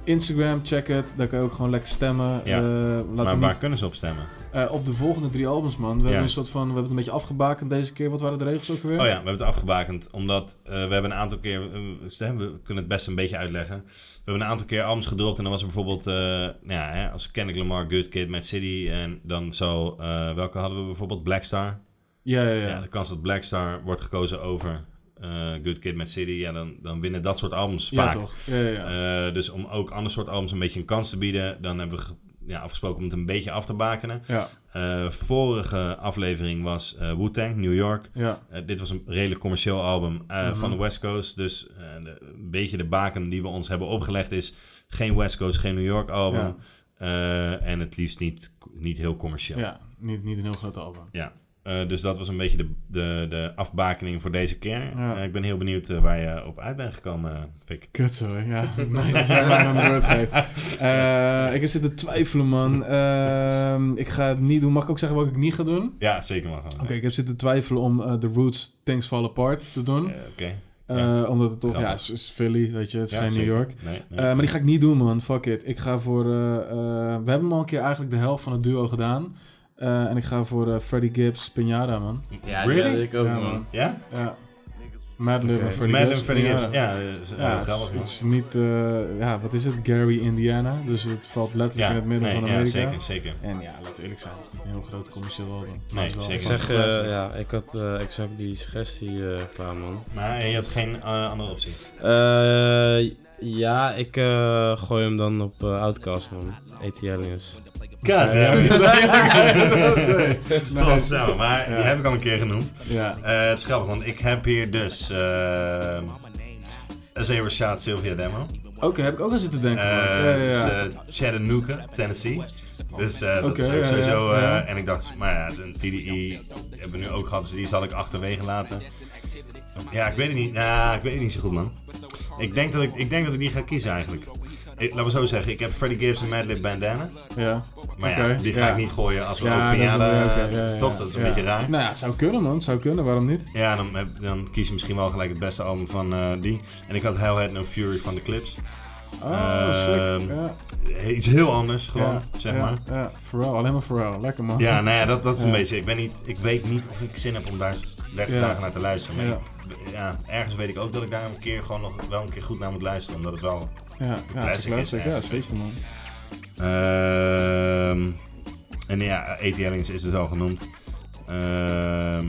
Instagram, check het. Daar kan je ook gewoon lekker stemmen. Ja. Eh, laten we maar niet- waar kunnen ze op stemmen? Eh, op de volgende drie albums, man. We hebben een soort van, we hebben het een beetje afgebakend deze keer. Wat waren de regels ook weer? Oh ja, we hebben het afgebakend. Omdat eh, we hebben een aantal keer... eh, stem- we kunnen het best een beetje uitleggen. We hebben een aantal keer albums gedropt. En dan was er bijvoorbeeld... eh, nou ja, hè, als Kendrick Lamar, Good Kid, Mad City. En dan zo... eh, welke hadden we bijvoorbeeld? Black Star. Ja, ja, ja. de kans dat Black Star wordt gekozen over... eh, Good Kid, Mad City. Ja, dan, dan winnen dat soort albums Ja, vaak. toch. Ja, ja, Eh, dus om ook ander soort albums een beetje een kans te bieden... dan hebben we ge- ja, afgesproken om het een beetje af te bakenen. Ja. Eh, vorige aflevering was eh Wu-Tang, New York. Ja. Eh, dit was een redelijk commercieel album eh, Mhm. van de West Coast. Dus eh, de- een beetje de baken die we ons hebben opgelegd is... geen West Coast, geen New York album. Ja. Eh, en het liefst niet, niet heel commercieel. Ja, niet, niet een heel groot album. Ja. Eh, dus dat was een beetje de, de, de afbakening voor deze keer. Ja. Eh, ik ben heel benieuwd eh, waar je op uit bent gekomen, Fik. Kut zo, ja. <laughs> Nice dat jij mij aan de beurt geeft. Eh, ik zit te twijfelen, man. Ehm, ik ga het niet doen. Mag ik ook zeggen wat ik niet ga doen? Ja, zeker mag. Oké, ik heb zitten twijfelen om eh, The Roots Things Fall Apart te doen. oké. Eh, Omdat het toch, ja, het is- is Philly, weet je, het is Ja, geen zeker. New York. Nee, nee, Eh, maar die ga ik niet doen, man. Fuck it. Ik ga voor. eh, eh, we hebben al een keer eigenlijk de helft van het duo gedaan. Eh, en ik ga voor eh, Freddie Gibbs, Pinada, man. Ja, die Really? had ik ook, man. Ja? Ja. Madlib Oké. en Freddie Madlib Gibbs. en Freddie Gibbs, ja, Ja, dat is, eh, het is- grappig, man. het is niet, eh, ja, wat is het? Gary, Indiana. Dus het valt letterlijk Ja, in het midden nee, van ja, Amerika. zeker, zeker. En ja, laten we eerlijk zijn, het is niet een heel groot commercieel album. Maar Nee, het is wel zeker. een Ik zeg, fucking eh, classic. ja, ik had eh, exact die suggestie eh, klaar, man. Maar eh, je had geen eh, andere optie. Eh, ja, ik eh, gooi hem dan op eh, Outcast, man. AT Aliens. God damn <laughs> it. <laughs> Nice. Godsamme, maar die Ja. heb ik al een keer genoemd. Ja. Eh, het is grappig, want ik heb hier dus eh Azee Rashad Sylvia demo. Oké, heb ik ook aan zitten denken. Eh, man. ja, ja, ja. dus, eh, Chattanooga, Tennessee. Dus eh, dat Oké, is ook ja, ja, sowieso... eh, ja. En ik dacht, maar ja, een TDI hebben we nu ook gehad, dus die zal ik achterwege laten. Ja, ik weet het niet. Ja, ik weet het niet zo goed, man. Ik denk dat ik, ik, denk dat ik die ga kiezen eigenlijk. Ik, laten we zo zeggen, ik heb Freddie Gibbs en Madlib Bandana. Ja. Maar ja, Oké, die ga ja. ik niet gooien als we Ja, ook dat is piano... een- oké, ja, ja, toch, dat is een ja. beetje raar. Nou ja, het zou kunnen man, het zou kunnen, waarom niet? Ja, dan, heb- dan kies je misschien wel gelijk het beste album van eh, die. En ik had Hellhead No Fury van de Clips. Ehm, eh, Oh, sick, ja. Iets heel anders gewoon, Ja, zeg ja, maar. Ja, Pharrell, alleen maar Pharrell, lekker man. Ja, nou ja, dat, dat is een Ja. beetje... Ik, ben niet, ik weet niet of ik zin heb om daar 30 Ja. dagen naar te luisteren. Maar Ja. ik- ja, ergens weet ik ook dat ik daar een keer gewoon nog wel een keer goed naar moet luisteren. Omdat het wel Ja, ja, een het is classic een classic, is. ja, eigenlijk. zeker man. Ehm, en ja, AT Aliens is dus al genoemd. Ehm,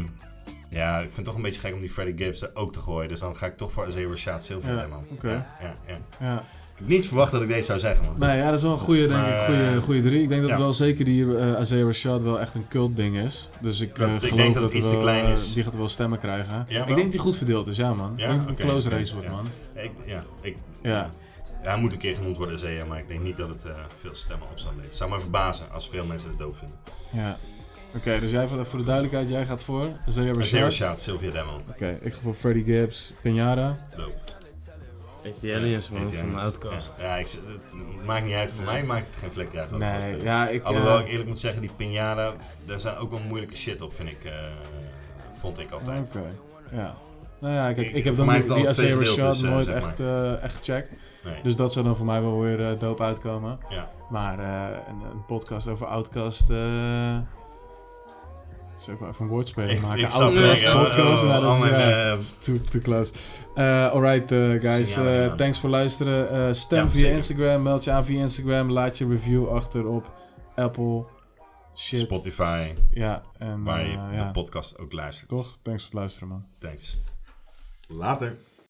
ja, ik vind het toch een beetje gek om die Freddy Gibbs er ook te gooien. Dus dan ga ik toch voor Azero Shad Silver Ja, nemen. oké. Ja, ja, ja. Ja. Ik had niet verwacht dat ik deze zou zeggen, man. Nee, ja, dat is wel een goede, denk ik, Maar, eh, goede, goede drie. Ik denk dat ja. wel zeker die eh Isaiah Rashad wel echt een cult ding is. Dus ik, eh, Dat- ik geloof denk dat dat, het er iets te wel, klein eh, is. Die gaat wel stemmen krijgen. Ja, wel? ik denk dat die goed verdeeld is, ja man. ik denk dat het oké, een close oké, race wordt ja. man. Ik, ja, ik, Ja. ja. hij moet een keer genoemd worden, Zea, maar ik denk niet dat het eh, veel stemmen op zal leveren. Zou me verbazen als veel mensen het dood vinden. Ja. Oké, dus jij, voor de duidelijkheid, jij gaat voor Isaiah Rashad. Azero Shad, Sylvia Demo. Oké, ik ga voor Freddie Gibbs, Pinada. AT Aliens, man, van Outcast. Ja, ja, ik, z- het maakt niet uit. Voor mij maakt het geen vlekje uit. wat Nee, het wordt. ja, ik, Alhoewel eh, ik eerlijk moet zeggen, die pinjada, pff, daar zijn ook wel moeilijke shit op, vind ik. eh, vond ik altijd. Oké, ja. Nou ja, kijk, ik, Ik- voor heb dan mij die, is het die altijd Azera twee Shot gedeeltes, eh, nooit zeg echt, eh, echt gecheckt. Nee. Dus dat zou dan voor mij wel weer eh, dope uitkomen. Ja. Maar eh, een, een podcast over Outcast... eh zou ik wel even een woordspeling Ik- maken. ik zat te Outcast denken, oh, podcast. oh, nou, dat al is, mijn, ja, eh, dat is too, too close. Eh, alright, eh, guys. Signalen eh, gedaan. thanks voor luisteren. Eh, stem Ja, via zeker. Instagram. Meld je aan via Instagram. Laat je review achter op Apple. Shit. Spotify, Ja, en, waar je eh, de ja. podcast ook luistert. Toch? Thanks voor het luisteren, man. Thanks. Later.